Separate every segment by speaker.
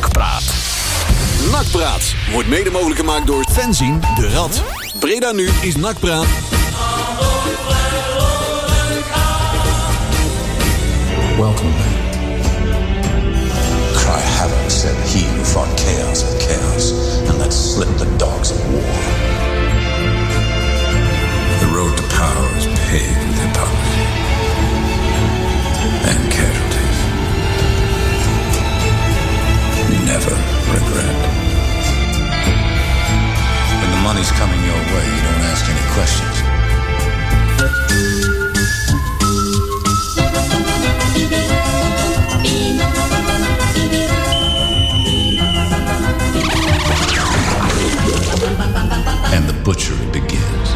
Speaker 1: Nakpraat.
Speaker 2: Nakpraat wordt mede mogelijk gemaakt door Fenzin de Rad. Breda nu is Nakpraat.
Speaker 3: Welcome back. Cry havoc, said he who fought chaos and chaos, and let slip the dogs of war. The road to power is paved with hypocrisy and casualties. Never regret. When the money's coming your way, you don't ask any questions. and the butchery begins.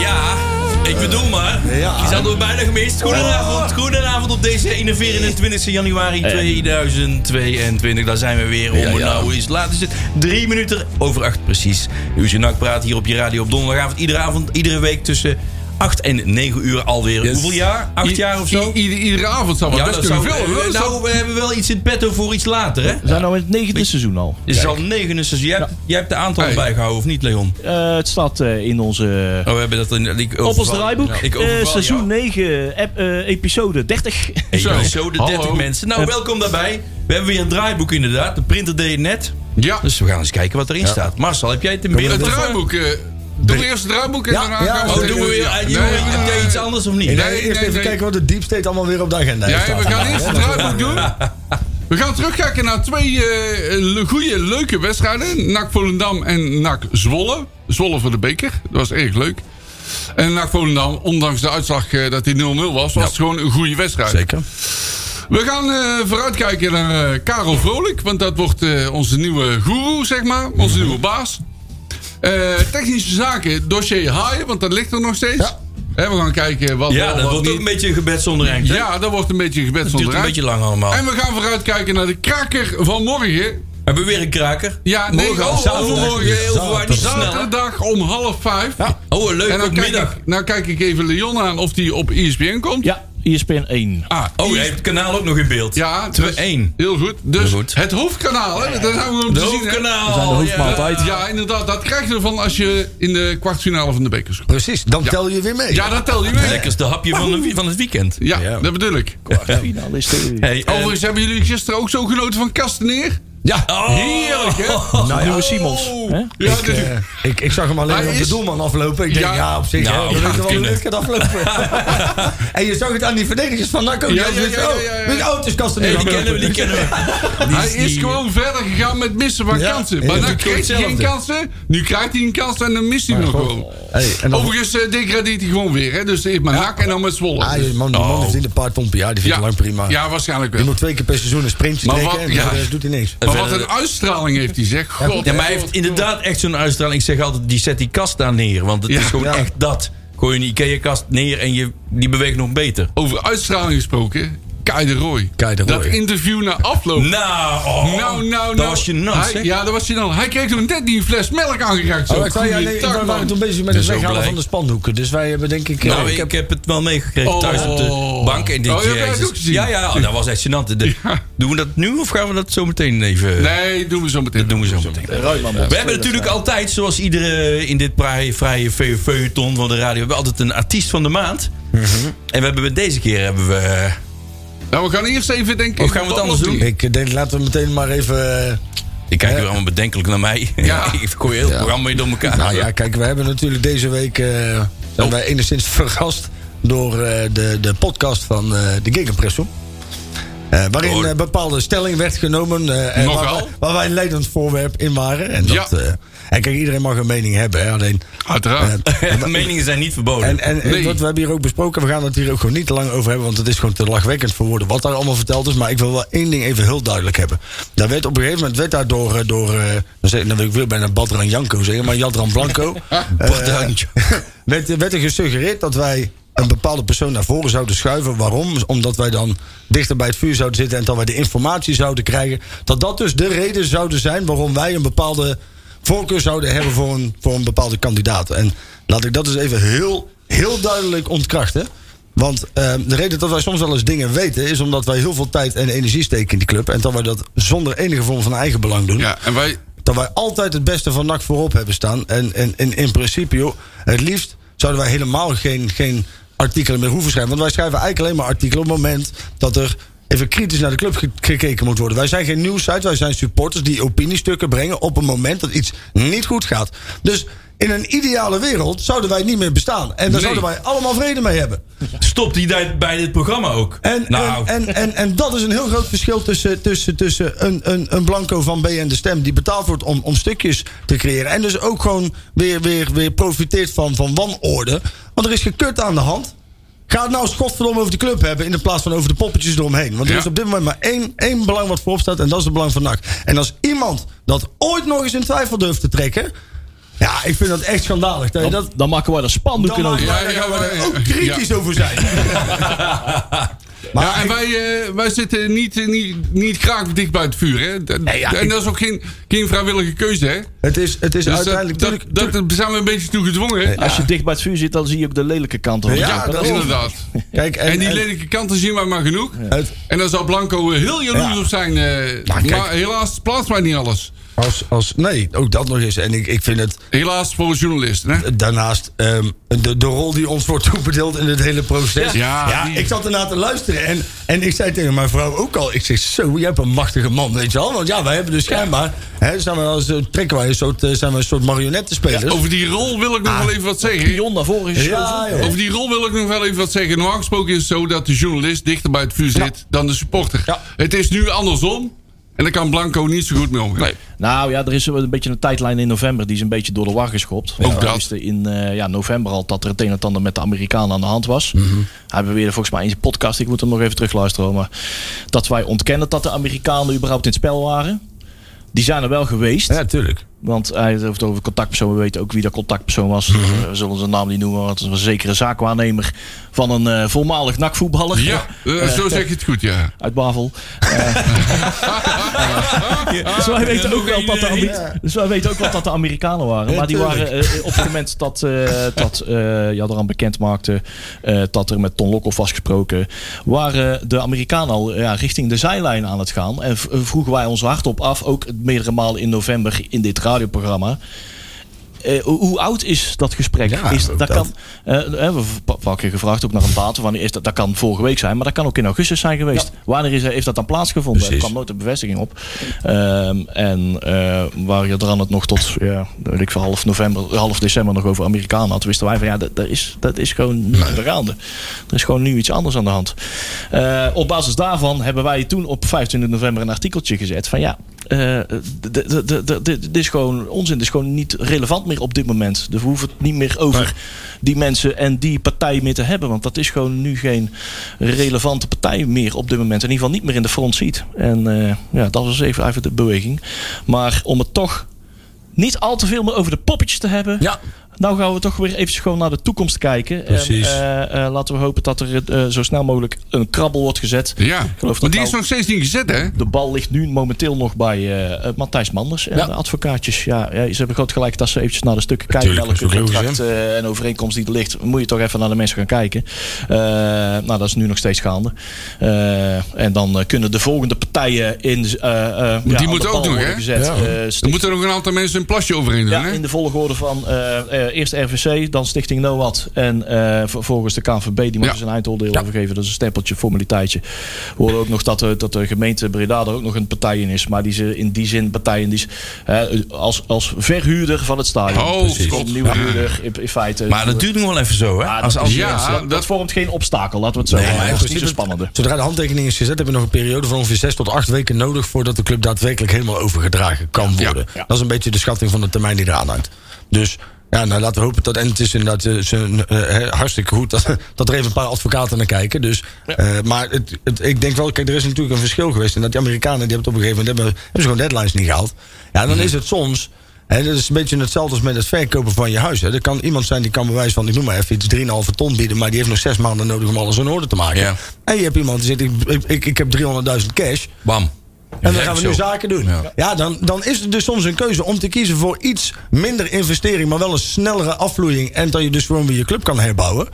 Speaker 4: Ja, ik bedoel maar. Je zou er bijna gemist.
Speaker 5: Oh.
Speaker 4: Goedenavond, goedenavond op deze 24 januari 2022. Daar zijn we weer om.
Speaker 5: Ja, ja.
Speaker 4: Nou is laat is het. Drie minuten over acht precies. Nu is je nakpraat hier op je radio op donderdagavond. Iedere avond, iedere week tussen 8 en 9 uur alweer.
Speaker 5: Yes.
Speaker 4: Hoeveel jaar? Acht
Speaker 5: I-
Speaker 4: jaar of zo?
Speaker 5: i- ieder- iedere avond zou maar best kunnen
Speaker 4: zou-
Speaker 5: vullen. hoor. Dat zou-
Speaker 4: Nou, we hebben wel iets in petto voor iets later, hè?
Speaker 1: We zijn nou in het negende seizoen al.
Speaker 4: Het is al negende seizoen. Jij, hebt- jij hebt de aantallen
Speaker 5: Hey.
Speaker 4: bijgehouden, of niet, Leon?
Speaker 1: Eh, het staat eh, in onze...
Speaker 4: Oh, we hebben dat in... Ik
Speaker 1: Op ons
Speaker 4: overval-
Speaker 1: draaiboek,
Speaker 4: Ja, ik
Speaker 1: Eh,
Speaker 4: overval jou.
Speaker 1: seizoen 9, ep- eh, episode 30.
Speaker 5: Zo.
Speaker 4: Zo, zo de 30
Speaker 5: Hallo.
Speaker 4: mensen. Nou, welkom daarbij. We hebben weer een draaiboek inderdaad. De printer deed het net.
Speaker 5: Ja,
Speaker 4: Dus we gaan eens kijken wat erin staat. Marcel, heb jij het in beeld?
Speaker 5: het
Speaker 4: Of, eh,
Speaker 5: draaiboek. eh, Doe eerst het draaiboek en
Speaker 6: Ja,
Speaker 5: daarna
Speaker 6: ja,
Speaker 5: gaan we...
Speaker 4: Oh, doen we weer... eh,
Speaker 5: Nee,
Speaker 4: jongen, heb jij
Speaker 5: eh,
Speaker 4: iets anders of niet?
Speaker 6: Nee,
Speaker 5: Nee,
Speaker 6: eerst
Speaker 5: nee,
Speaker 6: even
Speaker 5: nee.
Speaker 6: kijken wat de deep state allemaal weer op de agenda heeft.
Speaker 5: Ja, we gaan eerst het draaiboek doen. We gaan terugkijken naar twee eh, le- goede, leuke wedstrijden. NAC Volendam en NAC Zwolle. Zwolle voor de beker. Dat was erg leuk. En NAC Volendam, ondanks de uitslag eh, dat hij 0-0 was, was het gewoon een goede wedstrijd.
Speaker 4: Zeker.
Speaker 5: We gaan eh, vooruitkijken naar eh, Karel Vrolijk. Want dat wordt eh, onze nieuwe guru, zeg maar. Onze
Speaker 4: Mhm.
Speaker 5: nieuwe baas. Eh, technische zaken, dossier haaien. Want dat ligt er nog steeds. Hè, we gaan kijken wat
Speaker 4: Ja,
Speaker 5: wel,
Speaker 4: dat
Speaker 5: wat
Speaker 4: wordt ook een
Speaker 5: niet.
Speaker 4: beetje een gebed zonder eind. hè?
Speaker 5: Ja, dat wordt een beetje een gebed
Speaker 4: Het duurt
Speaker 5: zonder
Speaker 4: een
Speaker 5: eind.
Speaker 4: beetje lang allemaal.
Speaker 5: En we gaan vooruitkijken naar de kraker van morgen.
Speaker 4: Hebben we weer een kraker?
Speaker 5: Ja, nee,
Speaker 4: Morgen,
Speaker 5: oh, overmorgen.
Speaker 4: Heel verwaard, niet zo snel. hè?
Speaker 5: Zaterdag om half vijf.
Speaker 4: Oh, een
Speaker 5: En
Speaker 4: leuke
Speaker 5: dan kijk,
Speaker 4: middag.
Speaker 5: ik, nou kijk ik even Leon aan of die op E ESPN komt.
Speaker 1: Ja, E ESPN 1.
Speaker 5: Ah,
Speaker 4: Oh, je hebt het kanaal ook nog in beeld.
Speaker 5: Ja,
Speaker 4: Twee-
Speaker 5: dus-
Speaker 4: één.
Speaker 5: Heel goed. Dus
Speaker 4: Heel goed.
Speaker 5: het hoofdkanaal, hè? Daar zijn we
Speaker 4: Het
Speaker 5: om te zien. hè.
Speaker 4: hoofdkanaal.
Speaker 1: We zijn de hoofdmaaltijd.
Speaker 4: ja.
Speaker 5: Ja, inderdaad. Dat krijg je ervan als je in de kwartfinale van de bekers komt.
Speaker 6: Precies, dan tel je weer mee.
Speaker 5: Ja, dat tel je mee.
Speaker 4: Lekkerste hapje van, de, van het weekend.
Speaker 5: Ja, dat bedoel ik.
Speaker 1: Finalist. eh.
Speaker 4: Hey, eh,
Speaker 5: Overigens hebben jullie gisteren ook zo genoten van Kasteneer.
Speaker 6: Ja.
Speaker 4: oh.
Speaker 5: Heerlijk, hè? Oh.
Speaker 1: Nou, Nieuwe Simons. hè?
Speaker 5: Ja, dit-
Speaker 4: eh,
Speaker 6: Ik, ik zag hem alleen
Speaker 5: Hij
Speaker 6: op de
Speaker 5: is-
Speaker 6: doelman aflopen. Ik denk,
Speaker 5: Ja.
Speaker 6: ja, op zich,
Speaker 4: Nou,
Speaker 6: hè,
Speaker 4: ja,
Speaker 6: we weten
Speaker 4: het
Speaker 6: wel hoe
Speaker 4: kunnen.
Speaker 6: het gaat aflopen. en je zag het aan die verdedigers van NAC ook.
Speaker 5: Ja,
Speaker 6: Die
Speaker 5: ja,
Speaker 6: wisten,
Speaker 5: ja,
Speaker 6: oh,
Speaker 5: ja, ja.
Speaker 6: Met auto's
Speaker 4: Hey, die kennen we, die kennen we. Die
Speaker 5: Hij is
Speaker 4: die-
Speaker 5: gewoon verder gegaan met missen van
Speaker 6: Ja,
Speaker 5: kansen.
Speaker 6: ja,
Speaker 5: Maar
Speaker 6: dat
Speaker 5: dan
Speaker 6: doet
Speaker 5: kreeg hij geen
Speaker 4: hetzelfde.
Speaker 5: kansen. Nu krijgt hij een kans en dan mist hij nog gewoon.
Speaker 6: Hey, en dan,
Speaker 5: Overigens eh, degradeert hij gewoon weer. Hè? Dus hij heeft maar nak en dan met Zwolle.
Speaker 6: ah, die
Speaker 4: Oh,
Speaker 6: man, die man heeft in een paar pompen. Ja, die vindt
Speaker 5: ja,
Speaker 6: het lang prima.
Speaker 5: ja, waarschijnlijk
Speaker 6: Die
Speaker 5: wel.
Speaker 6: moet twee keer per seizoen een sprintje
Speaker 5: Maar
Speaker 6: trekken.
Speaker 5: wat-
Speaker 6: en
Speaker 5: ja.
Speaker 6: voor de rest doet hij niks.
Speaker 5: Maar wat
Speaker 4: verder-
Speaker 5: een uitstraling heeft hij, zeg. God,
Speaker 4: Ja, maar hij heeft inderdaad echt zo'n uitstraling. Ik zeg altijd, die zet die kast daar neer. Want het
Speaker 5: Ja.
Speaker 4: is gewoon
Speaker 6: Ja.
Speaker 4: echt dat. Gooi een Ikea-kast neer en je, die beweegt nog beter.
Speaker 5: Over uitstraling gesproken, Kai de Roy.
Speaker 6: Kai de Roy.
Speaker 5: Dat interview na afloop.
Speaker 4: Nou, oh,
Speaker 5: Nou, nou, nou.
Speaker 4: Dat was je nas,
Speaker 5: Hij- Ja, dat was je dan. Hij kreeg toen net die fles melk aangeraakt. Zo.
Speaker 6: Oh, ik zei, ja, nee,
Speaker 5: Goeiedag,
Speaker 6: wij waren
Speaker 5: man.
Speaker 6: toen bezig met
Speaker 4: ben
Speaker 6: het
Speaker 4: zo
Speaker 6: weghalen
Speaker 4: blij.
Speaker 6: van de spandoeken. Dus wij hebben denk ik... eh,
Speaker 4: Nou, ik heb, het wel meegekregen
Speaker 5: Oh.
Speaker 4: thuis op de bank. En dit
Speaker 5: Oh, je hebt
Speaker 4: Jezus.
Speaker 5: het ook gezien?
Speaker 4: Ja, ja, oh, dat was echt gênant. De-
Speaker 5: Ja.
Speaker 4: Doen we dat nu of gaan we dat zo meteen even...
Speaker 5: Nee, doen we zo meteen.
Speaker 4: Doen we zo meteen. We hebben natuurlijk altijd, zoals iedere in dit praai- vrije feu- feuilleton van de radio... hebben we altijd een artiest van de maand. En we hebben deze keer hebben we...
Speaker 5: Nou, we gaan eerst even denken.
Speaker 4: Of gaan we het anders doen?
Speaker 6: Ik denk, laten we meteen maar even... eh,
Speaker 4: Ik kijk weer allemaal bedenkelijk naar mij.
Speaker 5: Ja.
Speaker 4: ik gooi heel het programma weer door elkaar.
Speaker 6: Nou ja, kijk, we hebben natuurlijk deze week... eh, zijn wij enigszins verrast door eh, de, de podcast van eh, de Gegenpresso. Eh, waarin
Speaker 4: Oh.
Speaker 6: eh, bepaalde stelling werd genomen. eh, en
Speaker 5: Nogal.
Speaker 6: waar, wij- waar wij een leidend voorwerp in waren. En, dat,
Speaker 5: Ja.
Speaker 6: eh, en kijk, iedereen mag een mening hebben. Hè, alleen,
Speaker 5: Uiteraard.
Speaker 6: eh,
Speaker 4: Meningen zijn niet verboden.
Speaker 6: En, en, en
Speaker 5: Nee.
Speaker 6: wat we hebben hier ook besproken, we gaan het hier ook gewoon niet te lang over hebben, want het is gewoon te lachwekkend voor woorden wat daar allemaal verteld is. Maar ik wil wel één ding even heel duidelijk hebben. Daar werd op een gegeven moment werd daar door, eh, door eh, dan zeg- dan wil ik weer bijna Badran Janko zeggen, maar Jadran Blanco.
Speaker 4: Badran
Speaker 6: eh, werd, werd er gesuggereerd dat wij een bepaalde persoon naar voren zouden schuiven. Waarom? Omdat wij dan dichter bij het vuur zouden zitten en dat wij de informatie zouden krijgen. Dat dat dus de reden zouden zijn waarom wij een bepaalde voorkeur zouden hebben voor een, voor een bepaalde kandidaat. En laat ik dat dus even heel heel duidelijk ontkrachten. Want eh, de reden dat wij soms wel eens dingen weten... is omdat wij heel veel tijd en energie steken in die club. En dat wij dat zonder enige vorm van eigen belang doen.
Speaker 5: Ja, en wij...
Speaker 6: Dat wij altijd het beste van NAC voorop hebben staan. En, en, en in principe, joh, het liefst zouden wij helemaal geen, geen artikelen meer hoeven schrijven. Want wij schrijven eigenlijk alleen maar artikelen op het moment dat er even kritisch naar de club ge- gekeken moet worden. Wij zijn geen nieuwssite, wij zijn supporters die opiniestukken brengen op een moment dat iets niet goed gaat. Dus in een ideale wereld zouden wij niet meer bestaan. En daar
Speaker 5: Nee.
Speaker 6: zouden wij allemaal vrede mee hebben.
Speaker 4: Stopt die daar bij dit programma ook?
Speaker 6: En,
Speaker 4: nou,
Speaker 6: en, en, en, en dat is een heel groot verschil tussen, tussen, tussen een, een, een blanco van B en de stem die betaald wordt om, om stukjes te creëren. En dus ook gewoon weer, weer, weer profiteert van, van wanorde. Want er is gekut aan de hand. Ga het nou eens godverdomme over de club hebben in de plaats van over de poppetjes eromheen. Want er
Speaker 5: Ja.
Speaker 6: is op dit moment maar één, één belang wat voorop staat en dat is het belang van NAC. En als iemand dat ooit nog eens in twijfel durft te trekken. Ja, ik vind dat echt schandalig. Dat je dat,
Speaker 1: Dan, dan maken wij er spandoeken
Speaker 6: dan
Speaker 1: over.
Speaker 5: Ja,
Speaker 6: ja,
Speaker 5: ja,
Speaker 6: gaan we
Speaker 5: maar-
Speaker 6: er ook kritisch over zijn. maar
Speaker 5: Ja, en wij, eh, wij zitten niet, eh, niet, niet graag dicht bij het vuur, hè? Dat-
Speaker 6: Nee, ja,
Speaker 5: en
Speaker 6: ik-
Speaker 5: dat is ook geen, geen vrijwillige keuze, hè?
Speaker 6: Het is, het is
Speaker 5: Dus
Speaker 6: uiteindelijk.
Speaker 5: dat,
Speaker 6: tuurlijk-
Speaker 5: dat, dat zijn we een beetje toe gedwongen. hè?
Speaker 1: Als je dicht bij het vuur zit, dan zie je ook de lelijke kant. van het
Speaker 6: Ja,
Speaker 5: Ja,
Speaker 1: kamp.
Speaker 5: dat
Speaker 6: dat
Speaker 5: is
Speaker 6: is-
Speaker 5: inderdaad.
Speaker 6: Kijk, en,
Speaker 5: En die
Speaker 6: en-
Speaker 5: lelijke kanten zien wij maar genoeg.
Speaker 6: Het-
Speaker 5: En daar zal Blanco eh, heel jaloers
Speaker 6: Ja.
Speaker 5: op zijn. eh,
Speaker 6: Nou, kijk.
Speaker 5: maar helaas plaatst mij niet alles.
Speaker 6: als, als, nee, ook dat nog eens. En ik, ik vind het
Speaker 5: Helaas voor een journalist. Hè?
Speaker 6: daarnaast ehm, de, de rol die ons wordt toebedeeld in het hele proces.
Speaker 5: Ja. die-
Speaker 6: ik zat ernaar te luisteren. En, en ik zei tegen mijn vrouw ook al. Ik zeg, zo, jij hebt een machtige man, weet je wel. Want ja, wij hebben dus schijnbaar. Hè, zijn we als, eh, trekken wij een soort, eh, zijn we een soort marionettenspelers.
Speaker 5: Over die rol wil ik nog wel even wat zeggen.
Speaker 1: Pion naar voren is.
Speaker 6: Ja, joh.
Speaker 5: Over die rol wil ik nog wel even wat zeggen. Normaal gesproken is het zo dat de journalist dichter bij het vuur zit dan de supporter.
Speaker 6: Ja.
Speaker 5: Het is nu andersom. En daar kan Blanco niet zo goed mee omgaan.
Speaker 1: Nou ja, er is een beetje een tijdlijn in november. Die is een beetje door de war geschopt.
Speaker 5: Ook
Speaker 1: We
Speaker 5: dat.
Speaker 1: wisten in eh, ja, november al dat er het een en het ander met de Amerikanen aan de hand was.
Speaker 5: Mhm.
Speaker 1: Hij beweerde volgens mij in zijn podcast, ik moet hem nog even terugluisteren. hoor, Maar dat wij ontkennen dat de Amerikanen überhaupt in het spel waren. Die zijn er wel geweest.
Speaker 6: tuurlijk.
Speaker 1: Want eh, hij heeft het over contactpersoon. We weten ook wie dat contactpersoon was.
Speaker 5: Mhm.
Speaker 1: We zullen zijn naam niet noemen. Want het was een zekere zaakwaarnemer van een eh, voormalig nakvoetballer.
Speaker 5: Ja, eh, zo zeg je het goed, ja.
Speaker 1: Uit Bavel. Eh, Dus wij weten ook wel dat de, Ameri- dus wij weten ook wel dat de Amerikanen waren. Maar die waren eh, op het moment dat, eh dat eh ja, eraan bekend maakte eh, dat er met Ton Lokhoff was gesproken, waren de Amerikanen al ja, richting de zijlijn aan het gaan. En v- eh, vroegen wij ons hardop af, ook meerdere malen in november in dit radioprogramma. Eh, hoe, hoe oud is dat gesprek?
Speaker 6: Ja,
Speaker 1: is,
Speaker 6: ook
Speaker 1: dat,
Speaker 6: dat.
Speaker 1: Kan, eh, we hebben een paar keer gevraagd, ook naar een datum. Van, is dat, dat kan vorige week zijn, maar dat kan ook in augustus zijn geweest. Wanneer is, heeft dat dan plaatsgevonden?
Speaker 6: Precies.
Speaker 1: Er kwam nooit een bevestiging op. Ehm, en eh, waar je dan het nog tot ja, weet ik, veel, half, november, half december nog over Amerikanen had, wisten wij van ja, dat, dat, is, dat is gewoon niet gaande. Er is gewoon nu iets anders aan de hand. Eh, op basis daarvan hebben wij toen op 25 november een artikeltje gezet van ja, eh, d- d- d- d- d- dit is gewoon onzin. Dit is gewoon niet relevant meer op dit moment. Dus we hoeven het niet meer over die mensen en die partij meer te hebben. Want dat is gewoon nu geen relevante partij meer op dit moment. In ieder geval niet meer in de front ziet. En eh, ja, dat was even, even de beweging. Maar om het toch niet al te veel meer over de poppetjes te hebben.
Speaker 6: Ja.
Speaker 1: Nou gaan we toch weer even gewoon naar de toekomst kijken.
Speaker 6: Precies.
Speaker 1: En, eh, eh, laten we hopen dat er eh, zo snel mogelijk een krabbel wordt gezet.
Speaker 5: Ja,
Speaker 1: geloof
Speaker 5: maar
Speaker 1: dat
Speaker 5: die
Speaker 1: nou-
Speaker 5: is nog steeds niet gezet, hè?
Speaker 1: De bal ligt nu momenteel nog bij eh, eh, Matthijs Manders en de advocaatjes. Ja, ja, ze hebben groot gelijk dat ze eventjes naar de stukken kijken.
Speaker 6: Tuurlijk,
Speaker 1: Welke
Speaker 6: dat is ook logisch,
Speaker 1: contract eh, en overeenkomst die er ligt. Moet je toch even naar de mensen gaan kijken. Eh, nou, dat is nu nog steeds gaande. Eh, en dan eh, kunnen de volgende partijen in. eh, eh, ja, aan
Speaker 5: moeten
Speaker 1: de bal
Speaker 5: ook nog,
Speaker 1: worden
Speaker 5: hè?
Speaker 1: Gezet.
Speaker 6: Ja.
Speaker 1: Eh,
Speaker 5: Er
Speaker 1: Stichting-
Speaker 5: moeten nog een aantal mensen een plasje overheen doen,
Speaker 1: ja,
Speaker 5: hè?
Speaker 1: in de volgorde van eh, eh, eerst RVC, dan Stichting NOAD en eh, vervolgens de KNVB. Die moeten
Speaker 5: Ja.
Speaker 1: zijn eindoordeel overgeven. Dat is een stempeltje, formaliteitje. We horen ook nog dat, eh, dat de gemeente Breda er ook nog een partij in is. Maar die ze in die zin partijen die is eh, als, als verhuurder van het stadion.
Speaker 5: Oh,
Speaker 1: Precies.
Speaker 5: God.
Speaker 1: Een nieuwe
Speaker 5: Ja.
Speaker 1: huurder in, in feite.
Speaker 4: maar dat duurt nog wel even zo, hè?
Speaker 1: Ja,
Speaker 4: als,
Speaker 1: dat-
Speaker 4: als,
Speaker 5: ja,
Speaker 1: dat, dat
Speaker 5: dat-
Speaker 1: vormt geen obstakel, laten we het zo zeggen.
Speaker 6: maar in
Speaker 1: dat is niet zo
Speaker 6: principe-
Speaker 1: spannende.
Speaker 6: Zodra de handtekening is gezet, heb je nog een periode van ongeveer 6 tot 8 weken nodig voordat de club daadwerkelijk helemaal overgedragen kan worden.
Speaker 1: ja.
Speaker 6: Dat is een beetje de schatting van de termijn die eraan hangt. Dus ja, nou, laten we hopen dat. En het is inderdaad eh, ze- eh, hè, hartstikke goed dat, dat er even een paar advocaten naar kijken. Dus, eh, maar het, het- ik denk wel, kijk, er is natuurlijk een verschil geweest. En dat die Amerikanen, die hebben het op een gegeven moment hebben, hebben ze gewoon deadlines niet gehaald. Ja,
Speaker 1: Mhm.
Speaker 6: dan is het soms. Hè, dat is een beetje hetzelfde als met het verkopen van je huis. Hè. Er kan iemand zijn die kan bewijs van, ik noem maar even iets, 3,5 ton bieden, maar die heeft nog zes maanden nodig om alles in orde te maken.
Speaker 4: Ja.
Speaker 6: En je hebt iemand die zegt, ik, ik, ik heb 300.000 cash.
Speaker 4: bam.
Speaker 6: En dan gaan we nu
Speaker 4: zo.
Speaker 6: zaken doen. Ja, dan, dan is het dus soms een keuze om te kiezen voor iets minder investering, maar wel een snellere afvloeiing. En dat je dus gewoon weer je club kan herbouwen.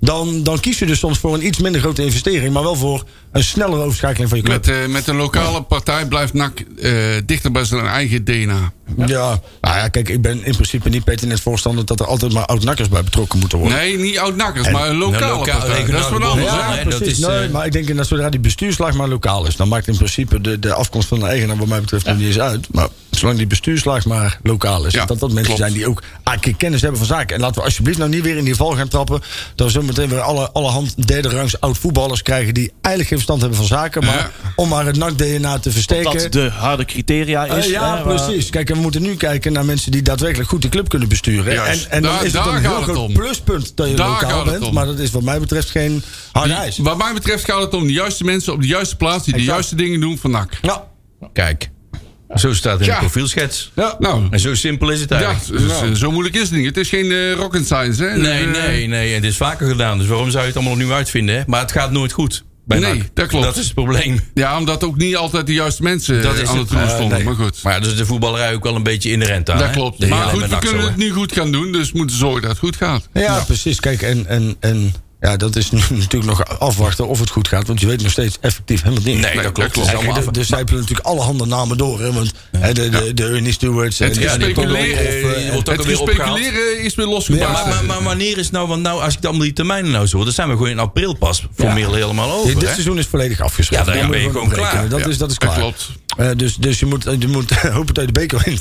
Speaker 6: Dan, dan kies je dus soms voor een iets minder grote investering, maar wel voor een snellere overschakeling van je club.
Speaker 5: Met, eh, met een lokale partij blijft NAC eh, dichter bij zijn eigen DNA.
Speaker 6: ja. Nou ja, kijk, ik ben in principe niet pertinent voorstander dat er altijd maar oud-nakkers bij betrokken moeten worden.
Speaker 5: Nee, niet oud-nakkers, maar een lokale
Speaker 4: lokaal-
Speaker 5: partij. Dat is
Speaker 4: regionale
Speaker 5: wat
Speaker 4: bond,
Speaker 5: anders.
Speaker 4: ja.
Speaker 5: hè?
Speaker 4: nee, dat
Speaker 6: precies.
Speaker 4: is, eh,
Speaker 6: Nee, maar ik denk dat zodra die bestuurslaag maar lokaal is, dan maakt in principe de, de afkomst van de eigenaar, wat mij betreft, nog niet eens uit. Maar zolang die bestuurslaag maar lokaal is,
Speaker 5: Ja,
Speaker 6: dat dat mensen
Speaker 5: klopt.
Speaker 6: zijn die ook een keer kennis hebben van zaken. En laten we alsjeblieft nou niet weer in die val gaan trappen, dat we zometeen weer alle, allerhand derde rangs oud voetballers krijgen die eigenlijk geen verstand hebben van zaken, maar om maar het NAC-DNA te versterken.
Speaker 5: eh,
Speaker 1: Dat de harde criteria is.
Speaker 6: Eh, ja,
Speaker 1: hè, waar-
Speaker 6: precies. Kijk, en we moeten nu kijken naar mensen die daadwerkelijk goed de club kunnen besturen.
Speaker 5: Juist.
Speaker 6: En, en dan
Speaker 5: Daar-
Speaker 6: is het
Speaker 5: daar
Speaker 6: een
Speaker 5: gaat
Speaker 6: heel
Speaker 5: het
Speaker 6: groot
Speaker 5: om.
Speaker 6: pluspunt dat je
Speaker 5: Daar gaat
Speaker 6: lokaal
Speaker 5: het
Speaker 6: bent.
Speaker 5: om.
Speaker 6: Maar dat is wat mij betreft geen hard ijs.
Speaker 5: Wat mij betreft gaat het om de juiste mensen op de juiste plaats die de
Speaker 6: Exact.
Speaker 5: juiste dingen doen van NAC.
Speaker 6: Nou,
Speaker 4: Kijk, zo staat het in
Speaker 5: Ja.
Speaker 4: de profielschets.
Speaker 5: Nou,
Speaker 4: En zo simpel is het
Speaker 5: ja,
Speaker 4: eigenlijk. Dus, eh,
Speaker 5: zo- zo moeilijk is het niet. Het is geen eh, rocket science, hè?
Speaker 4: Nee,
Speaker 5: Eh,
Speaker 4: nee, nee. En dit is vaker gedaan. Dus waarom zou je het allemaal opnieuw uitvinden? Hè? Maar het gaat nooit goed. Bij
Speaker 5: Nee,
Speaker 4: NAC.
Speaker 5: dat klopt.
Speaker 4: Dat is het probleem.
Speaker 5: Ja, omdat ook niet altijd de juiste mensen
Speaker 4: Dat is
Speaker 5: aan het
Speaker 4: het.
Speaker 5: doen
Speaker 4: Eh,
Speaker 5: stonden.
Speaker 4: nee.
Speaker 5: maar goed,
Speaker 4: Maar ja, dus de voetballerij ook wel een beetje inherent aan.
Speaker 5: dat
Speaker 4: hè?
Speaker 5: klopt.
Speaker 4: De hele
Speaker 5: Maar goed,
Speaker 4: met
Speaker 5: we
Speaker 4: NAC zo,
Speaker 5: kunnen
Speaker 4: hè?
Speaker 5: het nu goed gaan doen, dus we moeten zorgen dat het goed gaat.
Speaker 6: ja, precies. Kijk, en, en, en ja, dat is nu natuurlijk nog afwachten of het goed gaat. Want je weet nog steeds effectief helemaal Dus niet.
Speaker 4: Nee, dat klopt.
Speaker 5: klopt.
Speaker 4: Het is allemaal
Speaker 6: Kijk,
Speaker 4: af-
Speaker 6: er- er zijpelen natuurlijk alle handen namen door. Hè, want hè, de, de, de Ernie Stewarts... en
Speaker 5: Het
Speaker 6: de-
Speaker 4: ja, die
Speaker 5: gespeculeren,
Speaker 4: Pavlov, eh,
Speaker 5: eh,
Speaker 4: die wordt ook
Speaker 5: het
Speaker 4: alweer
Speaker 5: gespeculeren is weer
Speaker 4: Ja,
Speaker 5: losgebarsten.
Speaker 4: maar, maar, maar wanneer is nou, want nou, als ik allemaal die termijnen nou zo, dan zijn we gewoon in april pas formeel helemaal
Speaker 6: Ja,
Speaker 4: over.
Speaker 6: dit
Speaker 4: hè?
Speaker 6: seizoen is volledig afgeschreven.
Speaker 4: Ja, daar
Speaker 6: Dan
Speaker 4: ben je
Speaker 6: moeten we
Speaker 4: gewoon
Speaker 6: rekenen.
Speaker 4: klaar.
Speaker 6: Dat, is, dat is klaar.
Speaker 5: Dat klopt.
Speaker 6: Eh, dus, dus je moet, je moet hopen dat je de beker wint.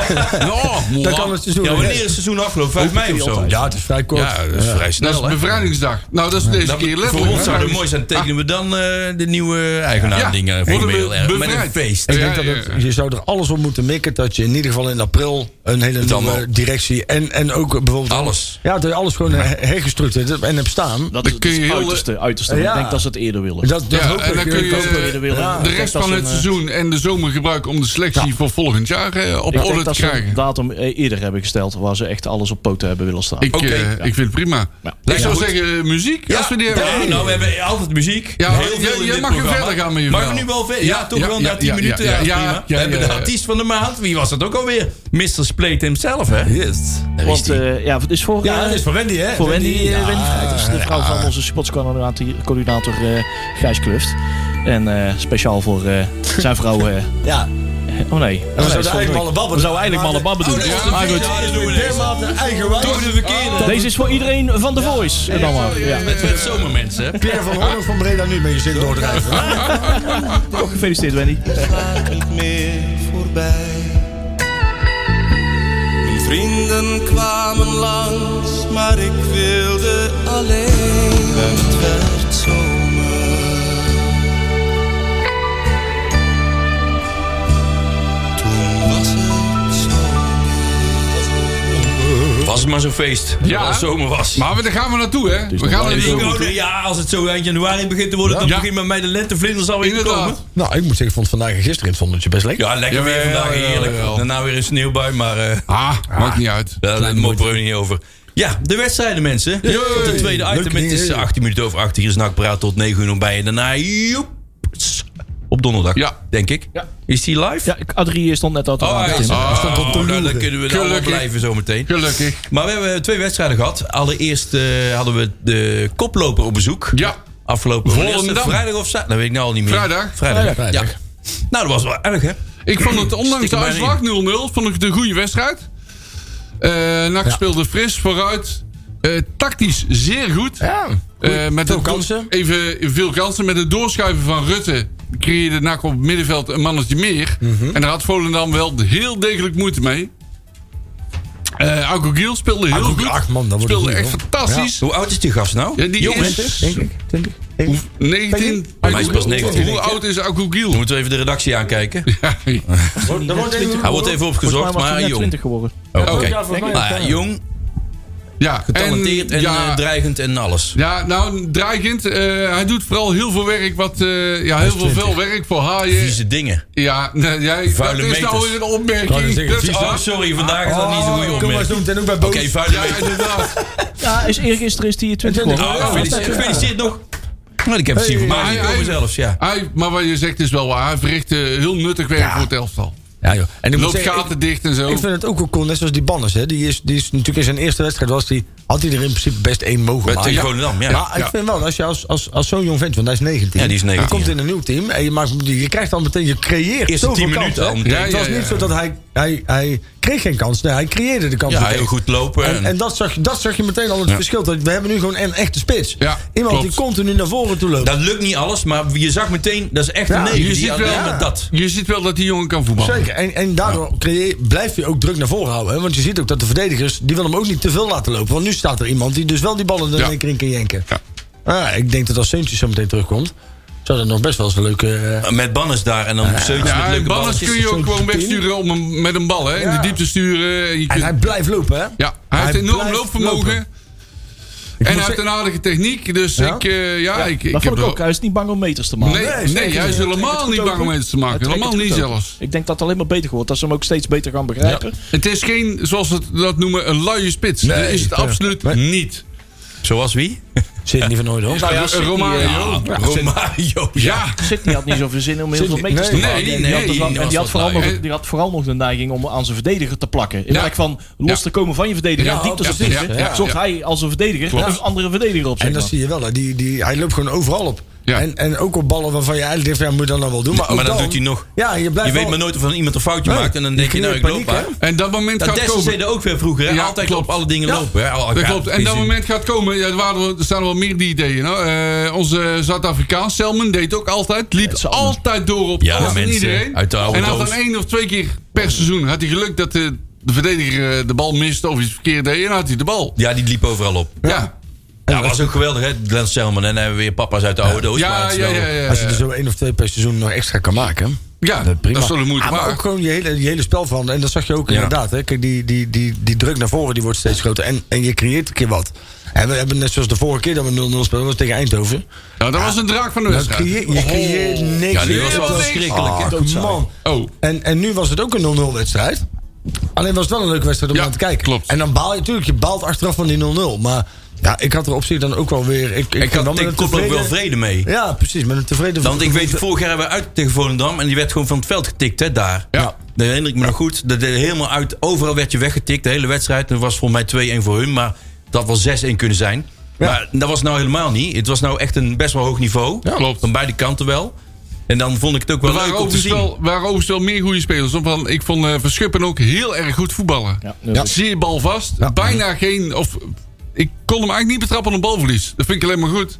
Speaker 5: Oh,
Speaker 6: Dan kan het seizoen
Speaker 4: Ja,
Speaker 6: weer
Speaker 4: wanneer is
Speaker 6: weg.
Speaker 4: het seizoen afgelopen? 5 mei of zo?
Speaker 6: Ja, het is vrij kort.
Speaker 4: Ja, dat is vrij
Speaker 5: Dat is
Speaker 4: snel. hè?
Speaker 5: bevrijdingsdag. Nou, dat is deze
Speaker 4: Dat-
Speaker 5: keer
Speaker 4: voor
Speaker 5: letterlijk.
Speaker 4: ons zou het mooi zijn. Tekenen we dan eh, de nieuwe eigenaar
Speaker 5: Ja,
Speaker 4: dingen eh,
Speaker 5: worden we
Speaker 4: formeel ergens met een
Speaker 5: bevrijd.
Speaker 4: feest.
Speaker 6: Ik
Speaker 5: Ja,
Speaker 6: denk Eh, dat
Speaker 5: ja,
Speaker 6: het-
Speaker 5: ja.
Speaker 6: je zou er alles op moeten mikken dat je in ieder geval in april een hele nieuwe
Speaker 4: allemaal.
Speaker 6: directie en, en ook bijvoorbeeld...
Speaker 4: Alles.
Speaker 6: Ja, dat je alles gewoon eh, her- hergestructureerd hebt en hebt staan.
Speaker 1: Dat
Speaker 5: Dan
Speaker 1: is het
Speaker 5: kun je heel-
Speaker 1: uiterste. uiterste.
Speaker 6: Ja.
Speaker 1: Maar Ik denk dat ze het eerder willen.
Speaker 6: Dat, dat
Speaker 5: Ja,
Speaker 6: hoop
Speaker 5: en
Speaker 6: ik.
Speaker 5: dan kun
Speaker 6: Ik hoop
Speaker 5: je,
Speaker 6: dat-
Speaker 1: eerder willen.
Speaker 6: ja.
Speaker 5: de
Speaker 1: Ik denk
Speaker 5: rest
Speaker 1: dat
Speaker 5: van
Speaker 1: ze
Speaker 5: het
Speaker 1: een,
Speaker 5: seizoen en de zomer gebruiken om de selectie voor volgend jaar eh, op
Speaker 1: Nou,
Speaker 5: orde
Speaker 1: Ik denk
Speaker 5: te
Speaker 1: dat ze een
Speaker 5: krijgen.
Speaker 1: datum eh, eerder hebben gesteld waar ze echt alles op poten hebben willen staan.
Speaker 5: Ik,
Speaker 4: Oké.
Speaker 5: eh,
Speaker 4: Ja.
Speaker 5: ik vind het prima.
Speaker 1: Ja.
Speaker 5: Ik zou zeggen, eh, muziek. als we die hebben.
Speaker 4: Ja, nou, we hebben altijd muziek.
Speaker 5: Ja,
Speaker 4: heel
Speaker 5: jij-
Speaker 4: veel in
Speaker 5: jij
Speaker 4: dit
Speaker 5: mag weer
Speaker 4: programma.
Speaker 5: verder gaan met je
Speaker 4: Mag we
Speaker 5: verhaal.
Speaker 4: nu wel verder? Ja,
Speaker 5: Ja,
Speaker 4: toch
Speaker 5: ja,
Speaker 4: wel
Speaker 5: ja,
Speaker 4: na 10
Speaker 5: ja,
Speaker 4: minuten.
Speaker 5: ja,
Speaker 4: Ja,
Speaker 5: ja,
Speaker 4: prima.
Speaker 5: ja,
Speaker 4: we hebben
Speaker 5: ja,
Speaker 4: de
Speaker 5: ja.
Speaker 4: artiest van de maand. Wie was dat ook alweer? Mr. Spleet himself, hè? Yes.
Speaker 1: Want eh, ja, het is voor,
Speaker 6: Ja,
Speaker 1: eh,
Speaker 6: dat is voor Wendy, hè?
Speaker 1: voor Wendy, eh,
Speaker 6: ja.
Speaker 1: Wendy Vrijters, de vrouw van onze sportscoördinator eh Gijs Kluft. En eh, speciaal voor eh, zijn vrouw. eh,
Speaker 6: Ja.
Speaker 1: oh nee. Oh, nee,
Speaker 6: We zouden
Speaker 1: sorry.
Speaker 6: eigenlijk malle babben
Speaker 1: We zouden eigenlijk malle babben
Speaker 4: Oh,
Speaker 1: doen.
Speaker 5: dat is
Speaker 1: maar goed,
Speaker 4: Ja, dat doen we niet.
Speaker 6: Dermate eigenwijs.
Speaker 4: Doen we de verkeerde.
Speaker 1: deze is voor iedereen van The Voice. eh, dan maar. Ja.
Speaker 4: Met het zomermensen, hè?
Speaker 6: Pierre van Horn van Breda nu met je zin doordrijven.
Speaker 1: Gefeliciteerd Wendy.
Speaker 7: vaak niet meer voorbij. Mijn vrienden kwamen langs, maar ik wilde alleen. En het werd zomer. Toen was het zomer.
Speaker 4: Was het maar zo'n feest.
Speaker 5: Ja.
Speaker 4: Ja. Als het zomer was.
Speaker 5: Maar we- daar gaan we naartoe, hè? We gaan er
Speaker 4: Ik
Speaker 5: naartoe.
Speaker 4: ook, ja, als het zo eind januari begint te worden, dan
Speaker 5: Ja.
Speaker 4: begint met mij de lentevlinders alweer te komen.
Speaker 5: Inderdaad.
Speaker 6: Nou, ik moet zeggen, ik vond vandaag en gisteren in het zonnetje best lekker.
Speaker 4: Ja, lekker weer
Speaker 5: Jawel,
Speaker 4: vandaag, heerlijk.
Speaker 5: jawel.
Speaker 4: Daarna weer een sneeuwbui, maar eh
Speaker 5: Ah, maakt niet uit.
Speaker 4: daar daar moppen we niet over. Ja, de wedstrijden mensen. Het tweede
Speaker 6: Leuk
Speaker 4: item, het is
Speaker 6: idee.
Speaker 4: 18 minuten over 8 uur. Snak praat tot 9 uur nog bij. En daarna, joeps, op donderdag,
Speaker 5: Ja.
Speaker 4: denk ik. Is die live?
Speaker 1: Ja, ik- Adrie eh, stond net al te
Speaker 4: Oh, hij is,
Speaker 1: in.
Speaker 4: oh, nou, dan kunnen we daar wel
Speaker 5: Gelukkig.
Speaker 4: blijven zometeen.
Speaker 5: Gelukkig.
Speaker 4: Maar we hebben twee wedstrijden gehad. Allereerst eh, hadden we de koploper op bezoek.
Speaker 5: Ja.
Speaker 4: Afgelopen
Speaker 5: Volendam.
Speaker 4: wanneer is het? vrijdag of zaterdag? Dat weet ik nou al niet meer.
Speaker 5: Vrijdag.
Speaker 4: Vrijdag.
Speaker 6: Vrijdag, vrijdag.
Speaker 4: Ja. Nou, dat was wel erg, hè?
Speaker 5: Ik vond het, ondanks de
Speaker 4: Stiekem bijna
Speaker 5: uitslag 0-0, vond ik het een goede wedstrijd. Eh NAC speelde fris vooruit. Eh, tactisch zeer goed. Eh, met
Speaker 6: Veel
Speaker 5: het-
Speaker 6: kansen.
Speaker 5: Even veel kansen. Met het doorschuiven van Rutte creëerde NAC op het middenveld een mannetje meer.
Speaker 6: Mhm.
Speaker 5: En daar had Volendam wel heel degelijk moeite mee. Eh Auko Giel speelde heel
Speaker 6: Auko Giel,
Speaker 5: goed.
Speaker 6: ach man, dat wordt
Speaker 5: speelde
Speaker 6: een
Speaker 5: echt
Speaker 6: goeie,
Speaker 5: fantastisch.
Speaker 4: Hoe oud is die gast nou?
Speaker 5: Ja, die
Speaker 4: Jongens.
Speaker 5: is
Speaker 6: Denk ik, denk ik. denk ik.
Speaker 5: 19.
Speaker 4: Maar hij is pas 19,
Speaker 5: Hoe
Speaker 4: denk ik, hè?
Speaker 5: oud is Auko
Speaker 4: Dan
Speaker 5: Giel?
Speaker 4: moeten we even de redactie aankijken.
Speaker 6: Dat wordt even-
Speaker 4: Hij wordt even
Speaker 1: Volgens mij
Speaker 4: opgezocht,
Speaker 1: was hij
Speaker 4: maar
Speaker 1: net
Speaker 4: jong.
Speaker 1: 20 geworden.
Speaker 4: Oh, Oké.
Speaker 6: ja, volgens mij
Speaker 4: Maar
Speaker 6: ook, ja.
Speaker 4: jong,
Speaker 5: Ja,
Speaker 4: talenteerd en,
Speaker 5: ja,
Speaker 4: eh, dreigend en alles.
Speaker 5: Ja, nou, dreigend. eh, hij doet vooral heel veel werk. Wat, eh, ja, heel veel vuil werk voor haaien.
Speaker 4: Vieze dingen.
Speaker 5: Ja, nee, jij,
Speaker 4: Vuile
Speaker 5: dat is nou
Speaker 4: meters.
Speaker 5: weer een
Speaker 6: Ik wou
Speaker 5: opmerking.
Speaker 6: net zeggen,
Speaker 5: Dat is
Speaker 6: vies,
Speaker 5: af.
Speaker 4: Oh, sorry, vandaag is dat niet zo'n goede
Speaker 6: Oh, Kom maar
Speaker 4: opmerking.
Speaker 6: zo
Speaker 4: Oké,
Speaker 6: meteen ook bij Boos.
Speaker 4: vuile
Speaker 5: Ja,
Speaker 4: meters.
Speaker 5: inderdaad.
Speaker 1: Ja, is eergisteren is hij 20
Speaker 4: Oh,
Speaker 5: Ah,
Speaker 1: geworden.
Speaker 4: gefeliciteerd, gefeliciteerd nog. Maar ik heb het zien voor
Speaker 5: Maar
Speaker 4: mij
Speaker 5: hij-
Speaker 4: komen
Speaker 5: hij-
Speaker 4: zelfs, ja.
Speaker 5: hij- maar wat je zegt is wel waar. Hij verricht eh, heel nuttig werk voor het elftal.
Speaker 6: Ja, joh. En ik moet
Speaker 5: Loopt
Speaker 6: zeggen,
Speaker 5: gaten dicht en zo.
Speaker 4: Oh.
Speaker 6: Ik vind het ook wel cool, net zoals die Banners. Hè. Die, is, die is natuurlijk in zijn eerste wedstrijd was die, had hij er in principe best één mogen
Speaker 4: Met
Speaker 6: maken.
Speaker 4: tegen Volendam, ja.
Speaker 6: Maar
Speaker 5: Ja.
Speaker 6: ik vind wel, als je als, als, als zo'n jong vent, want hij is 19.
Speaker 4: Ja, die is 19,
Speaker 6: Je komt
Speaker 4: ja.
Speaker 6: in een nieuw team en je, maakt, die- je krijgt al meteen, je creëert
Speaker 4: Eerste 10
Speaker 6: zoveel kansen,
Speaker 4: minuten
Speaker 6: hè.
Speaker 4: al meteen.
Speaker 5: Ja,
Speaker 6: Het was
Speaker 5: ja, ja.
Speaker 6: niet zo dat hij, hij, hij kreeg geen kans. Nee, hij creëerde de kans.
Speaker 4: Ja, heel goed lopen.
Speaker 6: En, en dat, zag, je- dat zag je meteen al het
Speaker 4: Ja.
Speaker 6: verschil. Dat We hebben nu gewoon een echte spits.
Speaker 5: Ja,
Speaker 6: Iemand die
Speaker 5: klopt.
Speaker 6: continu naar voren toe loopt.
Speaker 4: dat lukt niet alles, maar je zag meteen, dat is echt
Speaker 6: Ja,
Speaker 4: een negen.
Speaker 5: je,
Speaker 4: Die
Speaker 5: ziet
Speaker 4: had
Speaker 5: wel,
Speaker 4: alleen maar dat.
Speaker 5: je ziet wel dat die jongen kan voetballen.
Speaker 6: Zeker. En, en daardoor creëer, blijf je ook druk naar voren houden. Hè? Want je ziet ook dat de verdedigers... die willen hem ook niet te veel laten lopen. Want nu staat er iemand die dus wel die ballen er
Speaker 5: Ja.
Speaker 6: in één keer in kan jenken.
Speaker 5: Ja.
Speaker 6: Ah, ik denk dat als Seuntjes zo meteen terugkomt... zou dat nog best wel eens een leuke... eh,
Speaker 4: Met banners Nou, daar en dan zeuntjes
Speaker 5: Ja,
Speaker 4: met
Speaker 5: en
Speaker 4: leuke
Speaker 5: ballers kun je
Speaker 4: balletjes.
Speaker 5: ook gewoon wegsturen om een, met een bal. Hè? In
Speaker 6: Ja.
Speaker 5: de diepte sturen. En je
Speaker 6: en
Speaker 5: kunt-
Speaker 6: hij blijft lopen, hè?
Speaker 5: ja, hij, heeft enorm
Speaker 6: blijft
Speaker 5: loopvermogen.
Speaker 6: lopen.
Speaker 5: En
Speaker 6: moet
Speaker 5: hij heeft
Speaker 6: zeggen-
Speaker 5: een aardige techniek. Dus
Speaker 6: Ja?
Speaker 5: ik, eh, ja, ik, ik
Speaker 1: dat
Speaker 5: heb
Speaker 1: vond ik
Speaker 5: er-
Speaker 1: ook. Hij is niet bang om meters te maken.
Speaker 5: Nee, nee,
Speaker 6: zeker
Speaker 5: hij is
Speaker 6: niet.
Speaker 1: Hij
Speaker 5: helemaal
Speaker 1: trekt
Speaker 5: niet
Speaker 1: het
Speaker 5: bang om
Speaker 1: ook
Speaker 5: mensen te
Speaker 1: Hij
Speaker 5: maken.
Speaker 1: trekt
Speaker 5: Helemaal
Speaker 1: het
Speaker 5: niet
Speaker 1: goed ook.
Speaker 5: zelfs.
Speaker 1: Ik denk dat het alleen maar beter wordt. Dat ze hem ook steeds beter gaan begrijpen.
Speaker 5: Het is geen, zoals ze dat noemen, een luie spits. dat is het
Speaker 6: Ja.
Speaker 5: absoluut
Speaker 6: Nee. Nou
Speaker 5: niet.
Speaker 4: Zoals wie?
Speaker 6: Zit niet van nooit, hoor.
Speaker 5: Een
Speaker 4: eh,
Speaker 5: Romario.
Speaker 4: Romario.
Speaker 5: Ja,
Speaker 1: Sydney had niet zoveel zin om heel veel meters
Speaker 6: nee,
Speaker 1: te maken.
Speaker 5: nee,
Speaker 1: En die
Speaker 5: nee,
Speaker 1: had dus
Speaker 5: die
Speaker 1: wel- en
Speaker 4: was
Speaker 1: die
Speaker 4: wat
Speaker 1: had, vooral
Speaker 4: lui.
Speaker 1: nog, die had vooral nog de neiging om aan zijn verdediger te plakken. In
Speaker 5: Ja.
Speaker 1: plaats van los
Speaker 5: Ja.
Speaker 1: te komen van je verdediger
Speaker 5: Ja,
Speaker 1: en diepte
Speaker 5: ja,
Speaker 1: te
Speaker 5: ja,
Speaker 1: spitsen,
Speaker 5: ja, ja.
Speaker 1: zocht hij als een verdediger een andere verdediger op. zeg
Speaker 6: En dat
Speaker 1: maar.
Speaker 6: zie je wel. hè. Die, die, hij loopt gewoon overal op.
Speaker 5: Ja.
Speaker 6: En, en ook op ballen waarvan je eigenlijk denkt... van, Ja, moet je dat nou wel doen? Maar, ook
Speaker 4: Maar dat
Speaker 6: dan-
Speaker 4: doet hij nog.
Speaker 6: Ja, je
Speaker 4: Je
Speaker 6: blijft
Speaker 4: weet
Speaker 6: wel-
Speaker 4: maar nooit of van iemand een foutje
Speaker 6: Nee,
Speaker 4: maakt. En dan
Speaker 6: je
Speaker 4: denk je, nou ik
Speaker 6: creëert
Speaker 4: loop
Speaker 6: paniek,
Speaker 4: maar.
Speaker 5: en dat moment
Speaker 4: Dat
Speaker 5: gaat
Speaker 4: Dessers
Speaker 5: komen.
Speaker 4: deden ook weer vroeger. hè?
Speaker 5: Ja,
Speaker 4: Altijd
Speaker 5: klopt.
Speaker 4: op alle dingen
Speaker 5: Ja,
Speaker 4: lopen. hè? Al-
Speaker 5: Dat
Speaker 4: ja,
Speaker 5: klopt. En dat
Speaker 4: precies.
Speaker 5: moment gaat komen. Ja, er, waren, wel- er staan wel meer die ideeën. hoor. Eh, onze Zuid-Afrikaan, Selman, deed ook altijd. Liep altijd door op
Speaker 4: Ja,
Speaker 5: alles en
Speaker 4: mensen
Speaker 5: iedereen.
Speaker 4: uit de oude
Speaker 5: en had dan
Speaker 4: doos.
Speaker 5: één of twee keer per seizoen had hij geluk dat de, de verdediger eh, de bal miste of iets verkeerd deed. En dan had hij de bal.
Speaker 4: Ja, die liep overal op.
Speaker 5: Ja, ja,
Speaker 4: Ja, was ook geweldig, hè? Glenn Selman. En dan hebben we weer papa's uit de oude doos. maar
Speaker 5: ja.
Speaker 4: het is
Speaker 5: ja,
Speaker 4: wel-
Speaker 5: ja, ja.
Speaker 6: Als je er zo één of twee per seizoen nog extra kan maken.
Speaker 5: Ja,
Speaker 6: dat prima.
Speaker 5: dat is wel de moeite
Speaker 6: Ah, maar
Speaker 5: waard.
Speaker 6: ook gewoon die hele, die hele spel van. En dat zag je ook inderdaad. Hè. Kijk, die, die, die, die druk naar voren die wordt steeds groter. En, en je creëert een keer wat. En we hebben net zoals de vorige keer dat we 0-0 speelden. Dat was tegen Eindhoven.
Speaker 5: Nou, dat Oh. was een draak van de
Speaker 6: Dan
Speaker 5: wedstrijd.
Speaker 6: creëer, je creëert niks.
Speaker 4: Ja, die was wel
Speaker 5: Niks.
Speaker 4: verschrikkelijk. hè?
Speaker 6: Ach, man.
Speaker 5: Oh.
Speaker 6: En, en nu was het ook een 0-0 wedstrijd. Alleen was het wel een leuke wedstrijd om
Speaker 5: Ja,
Speaker 6: aan te kijken.
Speaker 5: klopt.
Speaker 6: En dan baal je natuurlijk. Je baalt achteraf van die 0-0. Maar ja, ik had er op zich dan ook wel weer... Ik, ik,
Speaker 4: Ik
Speaker 6: ben wel
Speaker 4: had
Speaker 6: met
Speaker 4: ik
Speaker 6: een
Speaker 4: kon er ook wel
Speaker 6: tevreden-
Speaker 4: vrede mee.
Speaker 6: Ja, precies. Met een tevreden...
Speaker 4: Want ik weet, vorig jaar hebben we uit tegen Volendam. En die werd gewoon van het veld getikt, hè, daar.
Speaker 5: Ja.
Speaker 4: Dat herinner ik me nog goed. Dat deed helemaal uit. Overal werd je weggetikt. De hele wedstrijd. Dat was volgens mij 2-1 voor hun. Maar dat was 6-1 kunnen zijn.
Speaker 6: Ja.
Speaker 4: Maar dat was nou helemaal niet. Het was nou echt een best wel hoog niveau.
Speaker 5: Ja, klopt.
Speaker 4: Van beide kanten wel. En dan vond ik het ook wel
Speaker 5: Er waren
Speaker 4: leuk om te
Speaker 5: overigens,
Speaker 4: zien.
Speaker 5: wel, waren overigens wel meer goede spelers. hoor. Want ik vond eh, Verschuppen ook heel erg goed voetballen.
Speaker 1: Ja, dat Ja. is-
Speaker 5: Zeer balvast. Bijna geen... Of, ik kon hem eigenlijk niet betrappen op balverlies. Dat vind ik alleen maar goed.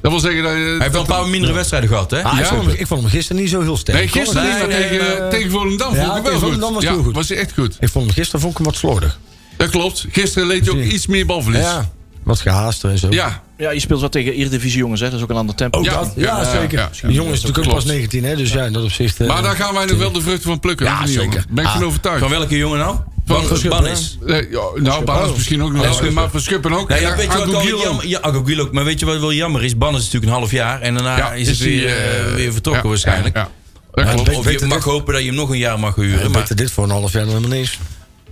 Speaker 5: Dat wil zeggen dat... eh,
Speaker 4: Hij heeft wel een paar mindere wedsteren gehad, hè?
Speaker 6: Ah, ik,
Speaker 5: Ja.
Speaker 6: vond hem, ik vond hem gisteren niet zo heel sterk.
Speaker 5: Nee, gisteren
Speaker 4: Nee,
Speaker 5: niet, maar
Speaker 4: nee,
Speaker 5: tegen,
Speaker 4: eh,
Speaker 5: tegen Volendam
Speaker 6: ja,
Speaker 5: vond ik
Speaker 6: tegen
Speaker 5: hem wel
Speaker 6: Volendam
Speaker 5: goed.
Speaker 6: was hij
Speaker 5: ja,
Speaker 6: heel goed.
Speaker 5: was hij echt goed.
Speaker 6: Ik vond hem gisteren vond ik hem wat slordig.
Speaker 5: Dat klopt. Gisteren leed je ook iets meer balverlies. Ja.
Speaker 6: Wat gehaaster en zo.
Speaker 5: Ja,
Speaker 1: Ja, je speelt wel tegen Eredivisie jongens, hè? dat is ook een ander tempo.
Speaker 5: ja,
Speaker 6: dat- ja, zeker.
Speaker 5: ja.
Speaker 6: Die jongen is natuurlijk ook
Speaker 5: Klopt.
Speaker 6: pas 19, hè? Dus ja, in dat opzicht. eh,
Speaker 5: Maar daar gaan wij nog wel de vruchten van plukken.
Speaker 6: Ja,
Speaker 5: of niet,
Speaker 6: zeker.
Speaker 5: jongen? Daar Ben ik van overtuigd.
Speaker 4: Van welke jongen nou? Van, van
Speaker 6: Verschuppen,
Speaker 4: Bannis.
Speaker 5: Eh, ja, nou, Barnes misschien ook nog. wel, maar Verschuppen ook.
Speaker 4: Nou
Speaker 5: En
Speaker 4: ja, weet je wat wel
Speaker 5: Agogil ook.
Speaker 4: jammer, ja, Agogil ook. Maar weet je wat wel jammer is? Bannis is natuurlijk een half jaar. En daarna
Speaker 5: Ja,
Speaker 4: is het
Speaker 5: hij,
Speaker 4: weer,
Speaker 5: eh,
Speaker 4: eh, weer vertrokken
Speaker 5: ja,
Speaker 4: waarschijnlijk.
Speaker 5: Ja, ja. Dat
Speaker 4: Of-
Speaker 5: klopt.
Speaker 4: Of je mag hopen dat je hem nog een jaar mag huren.
Speaker 6: dan
Speaker 4: Maar,
Speaker 6: beter dit voor een half jaar dan helemaal niks.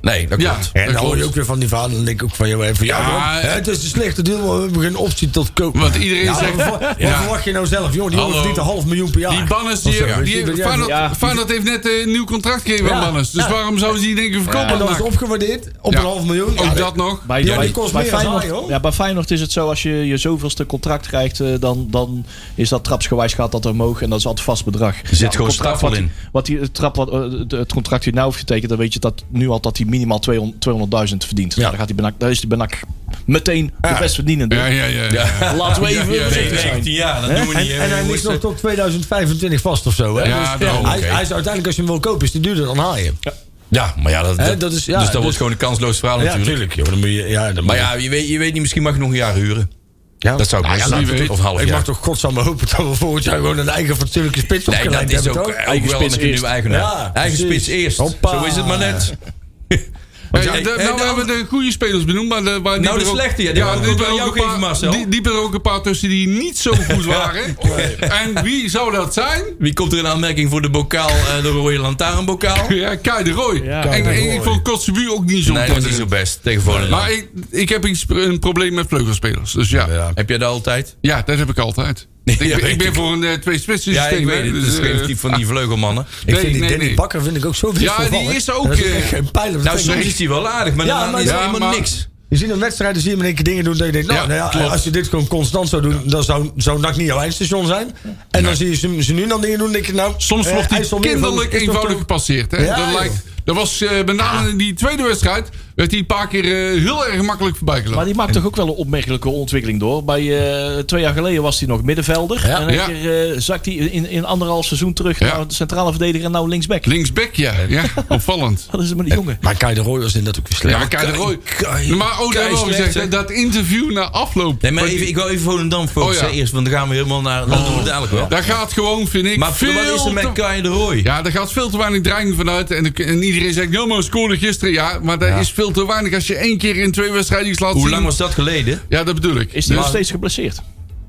Speaker 4: nee, dat
Speaker 5: Ja.
Speaker 4: klopt.
Speaker 5: Ja.
Speaker 6: En dan hoor je
Speaker 5: klopt.
Speaker 6: ook weer van die vader. Dan denk ik ook van, joh, even, ja,
Speaker 5: Ja, eh,
Speaker 6: man, hè, het is een slechte deal, maar we hebben geen optie tot kopen.
Speaker 5: Want iedereen
Speaker 6: ja,
Speaker 5: zegt-
Speaker 6: Wat, wat
Speaker 5: Ja.
Speaker 6: verwacht je nou zelf, joh? Die jongen
Speaker 5: Hallo.
Speaker 6: verdient een half miljoen per jaar.
Speaker 5: Die Banners,
Speaker 6: Of zo,
Speaker 5: die,
Speaker 6: weet je,
Speaker 5: die,
Speaker 6: Oh, dat jij-
Speaker 5: Feyenoord,
Speaker 1: Ja.
Speaker 5: Feyenoord heeft net eh, een nieuw contract gegeven aan
Speaker 6: Ja.
Speaker 5: Banners. Dus
Speaker 6: Ja.
Speaker 5: waarom zouden ze die denken verkopen?
Speaker 6: En dan is het
Speaker 5: maken?
Speaker 6: opgewaardeerd op
Speaker 5: Ja.
Speaker 6: een half miljoen.
Speaker 5: Ook
Speaker 6: Ja,
Speaker 5: dat nog.
Speaker 1: Bij,
Speaker 6: Die
Speaker 1: bij-
Speaker 6: kost
Speaker 1: bij
Speaker 6: meer dan hij,
Speaker 1: Feyenoord,
Speaker 6: hoor.
Speaker 1: ja, bij Feyenoord is het zo, als je je zoveelste contract krijgt, eh, dan, dan is dat trapsgewijs gaat dat omhoog en dat is altijd vast bedrag. Er
Speaker 4: zit gewoon straf al in.
Speaker 1: Wat die, het, trap, wat, eh, de- het contract die hij nou heeft getekend, dan weet je dat nu al dat hij minimaal 200 200.000 verdient. Nou, dan, gaat hij benak, dan is hij benak meteen de best verdienende.
Speaker 5: Ja, ja, ja. ja.
Speaker 1: Laten we even
Speaker 5: Ja, ja, ja.
Speaker 1: voorzichtig zijn.
Speaker 4: 19 jaar, dat doen we
Speaker 6: En,
Speaker 4: niet. hè.
Speaker 6: en hij
Speaker 4: We
Speaker 6: is nog
Speaker 4: moeten-
Speaker 6: tot 2025 vast of zo. Hè? Dus
Speaker 5: Ja, daarom,
Speaker 6: hij,
Speaker 4: oké.
Speaker 6: hij is uiteindelijk, als je hem wil kopen, is die duurder dan haaien.
Speaker 4: Ja, maar ja, dat,
Speaker 6: Hè,
Speaker 4: dat-
Speaker 6: dat is- ja,
Speaker 4: dus dat
Speaker 6: dus-
Speaker 4: wordt gewoon een kansloos verhaal natuurlijk.
Speaker 6: joh, dan moet je, ja, dan
Speaker 4: Maar ja, je weet, je weet niet, misschien mag je nog een jaar huren.
Speaker 6: Ja.
Speaker 4: Dat zou ik
Speaker 6: Nou
Speaker 4: best
Speaker 6: ja,
Speaker 4: laten
Speaker 5: wie
Speaker 4: doen.
Speaker 5: weet.
Speaker 4: Of een half
Speaker 6: Ik mag
Speaker 4: jaar.
Speaker 6: toch godsamme hopen dat we volgend jaar gewoon een eigen fatsoenlijke spits
Speaker 4: Nee,
Speaker 6: opgeleid
Speaker 4: dat is
Speaker 6: hebben,
Speaker 4: ook,
Speaker 6: toch?
Speaker 4: ook wel
Speaker 1: spits
Speaker 4: met een
Speaker 1: eerst.
Speaker 4: nieuwe eigenaar.
Speaker 6: Ja,
Speaker 4: Eigen
Speaker 6: precies.
Speaker 4: spits eerst.
Speaker 6: Hoppa.
Speaker 4: Zo is het maar net.
Speaker 5: Hey,
Speaker 4: jij-
Speaker 5: de-
Speaker 4: hey,
Speaker 5: nou,
Speaker 4: de
Speaker 5: we hebben de goede spelers benoemd, maar de, waar die
Speaker 4: de
Speaker 5: er ook-
Speaker 4: slechte, ja, die wil ik
Speaker 5: die
Speaker 4: ook
Speaker 5: er
Speaker 4: aan
Speaker 5: ook
Speaker 4: jou
Speaker 5: een paar-
Speaker 4: geven, Marcel.
Speaker 5: Die, die er ook een paar tussen die niet zo goed waren. En wie zou dat zijn?
Speaker 4: Wie komt er in aanmerking voor de bokaal, eh, de rode lantaarnbokaal?
Speaker 5: Ja, Kai de Roy.
Speaker 1: Ja.
Speaker 5: en,
Speaker 1: Kai de
Speaker 5: en
Speaker 1: Roy.
Speaker 5: ik vond Kotzebu ook niet zo
Speaker 4: Nee, dat is
Speaker 5: ontzettend.
Speaker 4: niet zo best tegen Volendam.
Speaker 5: Maar ik, ik heb iets, een probleem met vleugelspelers. Dus ja, ja.
Speaker 4: Heb jij dat altijd?
Speaker 5: dat heb ik altijd. ik, ben-
Speaker 4: weet
Speaker 5: ik ben
Speaker 4: ik.
Speaker 5: voor een eh, twee-spitsen
Speaker 4: Ja, ik
Speaker 5: systeem.
Speaker 4: weet
Speaker 5: hè,
Speaker 4: het.
Speaker 5: dus,
Speaker 4: Dat is
Speaker 5: eh,
Speaker 4: geen van die vleugelmannen.
Speaker 6: Ik
Speaker 5: Nee,
Speaker 6: vind die
Speaker 5: nee,
Speaker 6: Danny
Speaker 5: nee.
Speaker 6: Bakker vind ik ook zo
Speaker 5: Ja, die
Speaker 6: wisselvallig.
Speaker 5: is ook,
Speaker 6: Dat
Speaker 5: eh,
Speaker 6: echt geen pijl op de
Speaker 4: Nou,
Speaker 6: vingers.
Speaker 4: soms is hij wel aardig, maar
Speaker 6: Ja,
Speaker 4: daarna
Speaker 6: maar-
Speaker 4: is
Speaker 5: Ja,
Speaker 4: hij helemaal
Speaker 5: maar-
Speaker 4: niks.
Speaker 6: Je ziet een wedstrijd, dan zie je hem in één keer dingen doen. Dat je denkt, nou,
Speaker 5: Ja,
Speaker 6: nou ja,
Speaker 5: klopt.
Speaker 6: als je dit gewoon constant zou doen, dan zou, zou NAC niet jouw eindstation zijn. En dan zie je ze, ze nu dan dingen doen, denk je, nou...
Speaker 5: Soms
Speaker 6: eh,
Speaker 5: wordt hij
Speaker 6: IJsselmeer,
Speaker 5: kinderlijk
Speaker 6: dat is toch
Speaker 5: eenvoudig
Speaker 6: toch-
Speaker 5: gepasseerd. Hè?
Speaker 6: Ja,
Speaker 5: dat,
Speaker 6: joh.
Speaker 5: lijkt, dat was eh, met name in die tweede wedstrijd. werd hij een paar keer eh, heel erg makkelijk voorbij gelopen.
Speaker 1: Maar die maakt toch ook wel een opmerkelijke ontwikkeling door. Bij, eh, twee jaar geleden was hij nog middenvelder. En een
Speaker 5: Ja.
Speaker 1: keer eh, zakt hij in, in anderhalf seizoen terug
Speaker 5: Ja.
Speaker 1: naar de centrale verdediger en nou linksback.
Speaker 5: Linksback, ja. ja. Opvallend.
Speaker 1: Wat is het met die jongen?
Speaker 6: Maar Kai de Roy was in dat ook weer slecht.
Speaker 5: Ja, maar Kai de Roy.
Speaker 4: Kai-
Speaker 5: Maar
Speaker 4: Kai
Speaker 5: oh, dat hebben we al
Speaker 4: slecht,
Speaker 5: gezegd.
Speaker 4: hè?
Speaker 5: hè, Dat interview na afloop.
Speaker 4: Nee, maar
Speaker 5: Want
Speaker 4: even, ik wil even Volendam focussen
Speaker 5: Oh, ja.
Speaker 4: eerst, want dan gaan we helemaal naar... Dat doen we dadelijk wel.
Speaker 5: Daar gaat gewoon, vind ik,
Speaker 4: Maar
Speaker 5: veel
Speaker 4: wat is er met
Speaker 5: te-
Speaker 4: Kai de Roy?
Speaker 5: Ja, daar gaat veel te weinig dreiging vanuit. En, en iedereen zegt, ja, maar scoorde gisteren. Ja, maar dat is veel te weinig. Als je één keer in twee wedstrijden iets laat
Speaker 4: Hoe
Speaker 5: zien-
Speaker 4: lang was dat geleden?
Speaker 5: Ja, dat bedoel ik.
Speaker 1: Is hij nog
Speaker 5: Dus-
Speaker 1: steeds geblesseerd?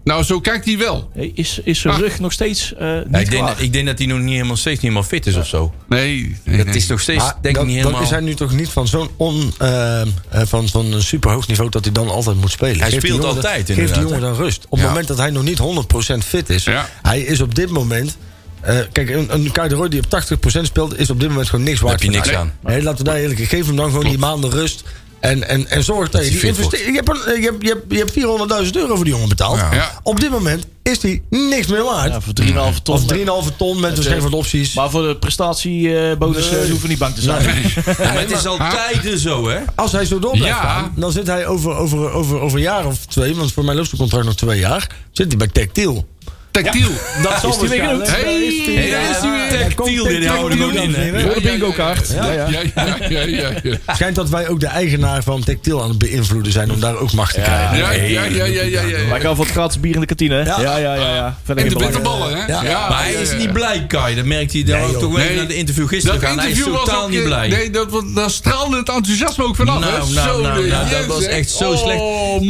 Speaker 5: nou, zo kijkt hij wel.
Speaker 1: Nee, Is, is zijn
Speaker 5: Ah.
Speaker 1: rug nog steeds eh, niet
Speaker 4: Ja, ik, denk,
Speaker 1: klaar?
Speaker 4: dat- ik denk dat hij nog niet helemaal, steeds niet helemaal fit is of zo.
Speaker 5: Nee, nee,
Speaker 4: Dat
Speaker 5: nee.
Speaker 4: is nog steeds,
Speaker 6: Maar
Speaker 4: denk
Speaker 6: dat,
Speaker 4: ik, niet
Speaker 6: dat
Speaker 4: helemaal...
Speaker 6: is hij nu toch niet van zo'n on, eh, eh, van, van een superhoog niveau dat hij dan altijd moet spelen.
Speaker 4: Hij
Speaker 6: die
Speaker 4: speelt
Speaker 6: jongen dan-
Speaker 4: altijd,
Speaker 6: Geeft die
Speaker 4: inderdaad,
Speaker 6: jongen dan rust. Op het moment dat hij nog niet 100% fit is.
Speaker 5: Ja.
Speaker 6: Hij is op dit moment... eh, kijk, een, een Kai de Roy die op 80% speelt... is op dit moment gewoon niks waard.
Speaker 4: je
Speaker 6: voor
Speaker 4: niks
Speaker 6: NAC.
Speaker 4: aan.
Speaker 6: Nee, laten we daar eerlijk in. Geef hem dan gewoon die maanden rust. En, en, en zorg dat, je
Speaker 4: hij
Speaker 6: die
Speaker 4: fit wordt.
Speaker 6: investering... Je hebt, een- je, hebt, je, hebt, je hebt 400.000 euro voor die jongen betaald.
Speaker 5: Ja.
Speaker 6: Op dit moment is hij niks meer waard.
Speaker 1: Ja, voor 3,5 ton. eh,
Speaker 6: of 3,5 ton met waarschijnlijk wat opties.
Speaker 1: Maar voor de prestatiebonus eh hoeven we niet bang te zijn.
Speaker 4: Ja, maar het is altijd zo, hè?
Speaker 6: Als hij zo door blijft
Speaker 5: Ja.
Speaker 6: gaan, dan zit hij over, over, over, over een jaar of twee, want voor mij loopt zijn contract nog twee jaar, zit hij bij Tactiel.
Speaker 5: Tactiel.
Speaker 6: Dat zal
Speaker 1: weer
Speaker 6: waarschijnlijk-
Speaker 1: genoemd?
Speaker 5: Hey, daar is hij weer.
Speaker 4: Tactiel, dit houden we ook in, hè?
Speaker 5: Ja,
Speaker 1: Voor de
Speaker 5: ja,
Speaker 1: bingo kaart.
Speaker 5: Ja, ja, ja. ja, ja, ja, ja.
Speaker 6: Schijnt dat wij ook de eigenaar van Tactiel aan het beïnvloeden zijn om daar ook macht te krijgen.
Speaker 5: Ja, ja, ja, ja, ja, ja.
Speaker 1: Wij gaan voor het gratis bier in de kantine. hè?
Speaker 6: Ja.
Speaker 1: Ja, ja, ja. ja, Verder
Speaker 5: En
Speaker 1: geen
Speaker 5: de
Speaker 1: belang.
Speaker 5: bitterballen, hè?
Speaker 6: Ja.
Speaker 4: Maar hij
Speaker 5: ja,
Speaker 4: is
Speaker 5: ja.
Speaker 4: niet blij, Kai. Dat merkte hij dan ook toch wel
Speaker 5: Nee.
Speaker 4: naar de interview gisteren.
Speaker 5: Dat
Speaker 4: gaan. Hij is
Speaker 5: interview was
Speaker 4: totaal
Speaker 5: ook,
Speaker 4: niet
Speaker 5: eh,
Speaker 4: blij.
Speaker 5: Nee, dat, was- daar straalde het enthousiasme ook vanaf.
Speaker 4: Nou,
Speaker 5: hè?
Speaker 4: nou,
Speaker 5: Zo,
Speaker 4: nou,
Speaker 5: de-
Speaker 4: nou, dat
Speaker 5: jezus,
Speaker 4: was echt zo
Speaker 5: oh,
Speaker 4: slecht.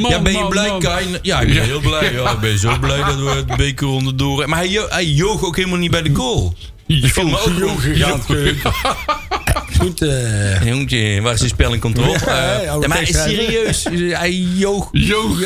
Speaker 5: Man,
Speaker 4: ja, ben je
Speaker 5: man,
Speaker 4: blij,
Speaker 5: man.
Speaker 4: Kai? Ja, ik ben heel blij. Ja, ik ben zo blij dat we het beker onderdoor... Maar hij, jo- hij joog ook helemaal niet bij de goal. Dat viel me ook op.
Speaker 6: Goed, eh,
Speaker 4: Jongetje, waar is die spelling controle?
Speaker 6: Ja,
Speaker 4: Eh,
Speaker 6: ja,
Speaker 4: maar hij is
Speaker 6: tekstschrijver.
Speaker 4: serieus. Hij joog.
Speaker 5: Joog.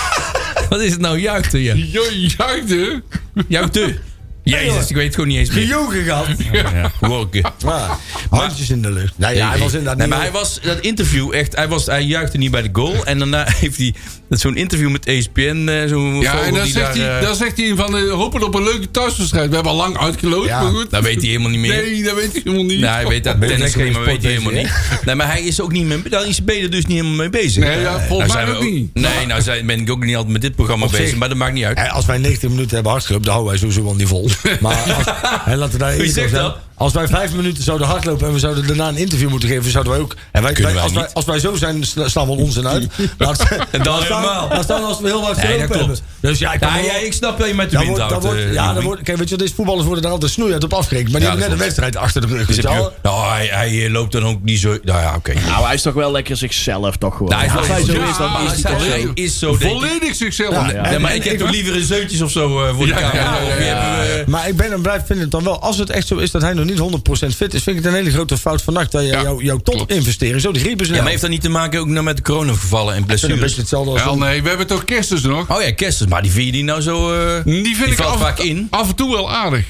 Speaker 4: Wat is het nou? Juichte, ja.
Speaker 5: Jo, juichte.
Speaker 4: Juichte. Jezus, ik weet het gewoon niet eens meer.
Speaker 6: gejogen gehad.
Speaker 4: Ja, worken.
Speaker 6: Ja, handjes in de lucht. Nee, ja, hij was inderdaad
Speaker 4: Nee,
Speaker 6: niet-
Speaker 4: maar hij was dat interview echt. Hij, was, hij juichte niet bij de goal. En daarna heeft hij dat zo'n interview met ESPN. eh, Zo'n
Speaker 5: Ja,
Speaker 4: vogel
Speaker 5: en dan
Speaker 4: die
Speaker 5: zegt,
Speaker 4: daar,
Speaker 5: hij,
Speaker 4: eh,
Speaker 5: dan zegt hij van eh, hopen op een leuke thuiswedstrijd. We hebben al lang uitgeloot,
Speaker 6: Ja,
Speaker 5: maar goed.
Speaker 4: dat weet hij helemaal niet meer.
Speaker 5: Nee, dat weet hij helemaal niet.
Speaker 4: Nou, hij weet dat
Speaker 6: je
Speaker 4: tennis
Speaker 6: geen
Speaker 4: niet, maar weet hij helemaal
Speaker 6: sportwezen,
Speaker 4: niet. Nee, maar hij is ook niet mee, daar is B er dus niet helemaal mee bezig. Nou,
Speaker 5: Nee, ja, volgens mij
Speaker 4: zijn we
Speaker 5: ook niet.
Speaker 4: Nee, nou zijn, ben ik ook niet altijd met dit programma
Speaker 6: Op zich-
Speaker 4: bezig, maar dat maakt niet uit.
Speaker 6: Eh, Als wij 19 minuten hebben hardgelopen, dan houden wij sowieso wel niet vol. Maar als, en laten we daar eerlijk
Speaker 4: zegt
Speaker 6: over zijn.
Speaker 4: dat?
Speaker 6: Als wij vijf minuten zouden hardlopen en we zouden daarna een interview moeten geven, zouden wij ook. En wij,
Speaker 4: Kunnen
Speaker 6: wij- als,
Speaker 4: wij
Speaker 6: wij, als wij zo zijn, sla- slaan we ons in uit.
Speaker 4: En dan helemaal.
Speaker 6: staan, dan staan we als we heel hard
Speaker 4: Nee,
Speaker 6: gelopen
Speaker 4: dat klopt.
Speaker 6: hebben. Dus ja, ik, kan
Speaker 4: Ja,
Speaker 6: wel-
Speaker 4: ja, ik snap dat je met de
Speaker 6: daar
Speaker 4: wind
Speaker 6: wordt, daar
Speaker 4: houdt.
Speaker 6: wordt,
Speaker 4: eh,
Speaker 6: ja, daar
Speaker 4: Joey.
Speaker 6: wordt, kijk, weet je, wat is voetballers worden daar altijd snoeihard op afgerekend. Maar die
Speaker 4: Ja, dat
Speaker 6: hebben net een wedstrijd achter de brug.
Speaker 4: Dus
Speaker 6: weet
Speaker 4: heb
Speaker 6: je
Speaker 4: je-
Speaker 6: wel.
Speaker 4: nou, hij, hij eh, loopt dan ook niet zo... Nou ja, oké.
Speaker 1: Nou, hij is toch wel lekker zichzelf, toch gewoon.
Speaker 4: Nou, hij is wel-
Speaker 1: Als hij zo
Speaker 4: Ja,
Speaker 1: is, dan
Speaker 4: maar hij
Speaker 1: is hij
Speaker 4: staat-
Speaker 1: toch zo.
Speaker 4: hij is zo, denk ik.
Speaker 5: Volledig zichzelf.
Speaker 4: Nee, maar ik heb toch liever een zeutjes of zo eh, voor de
Speaker 5: Ja,
Speaker 4: camera.
Speaker 5: ja, ja,
Speaker 4: Of wie
Speaker 5: ja,
Speaker 4: hebben we- eh,
Speaker 6: Maar ik ben en blijf vinden het dan wel. Als het echt zo is dat hij nog niet 100% fit is, vind ik het een hele grote fout van nacht. Dat je
Speaker 5: Ja,
Speaker 6: jouw, jouw top-investering zo de griep is.
Speaker 4: Ja, maar heeft dat niet te maken ook nou met de coronagevallen en
Speaker 6: het een beetje
Speaker 4: blessures?
Speaker 6: hetzelfde als
Speaker 5: Ja,
Speaker 6: een-
Speaker 5: nee, we hebben toch kerstens nog?
Speaker 4: Oh ja, Kerstens, maar die vind je die nou zo... eh,
Speaker 5: Die vind ik
Speaker 4: valt
Speaker 5: af,
Speaker 4: vaak in.
Speaker 5: af en toe wel aardig.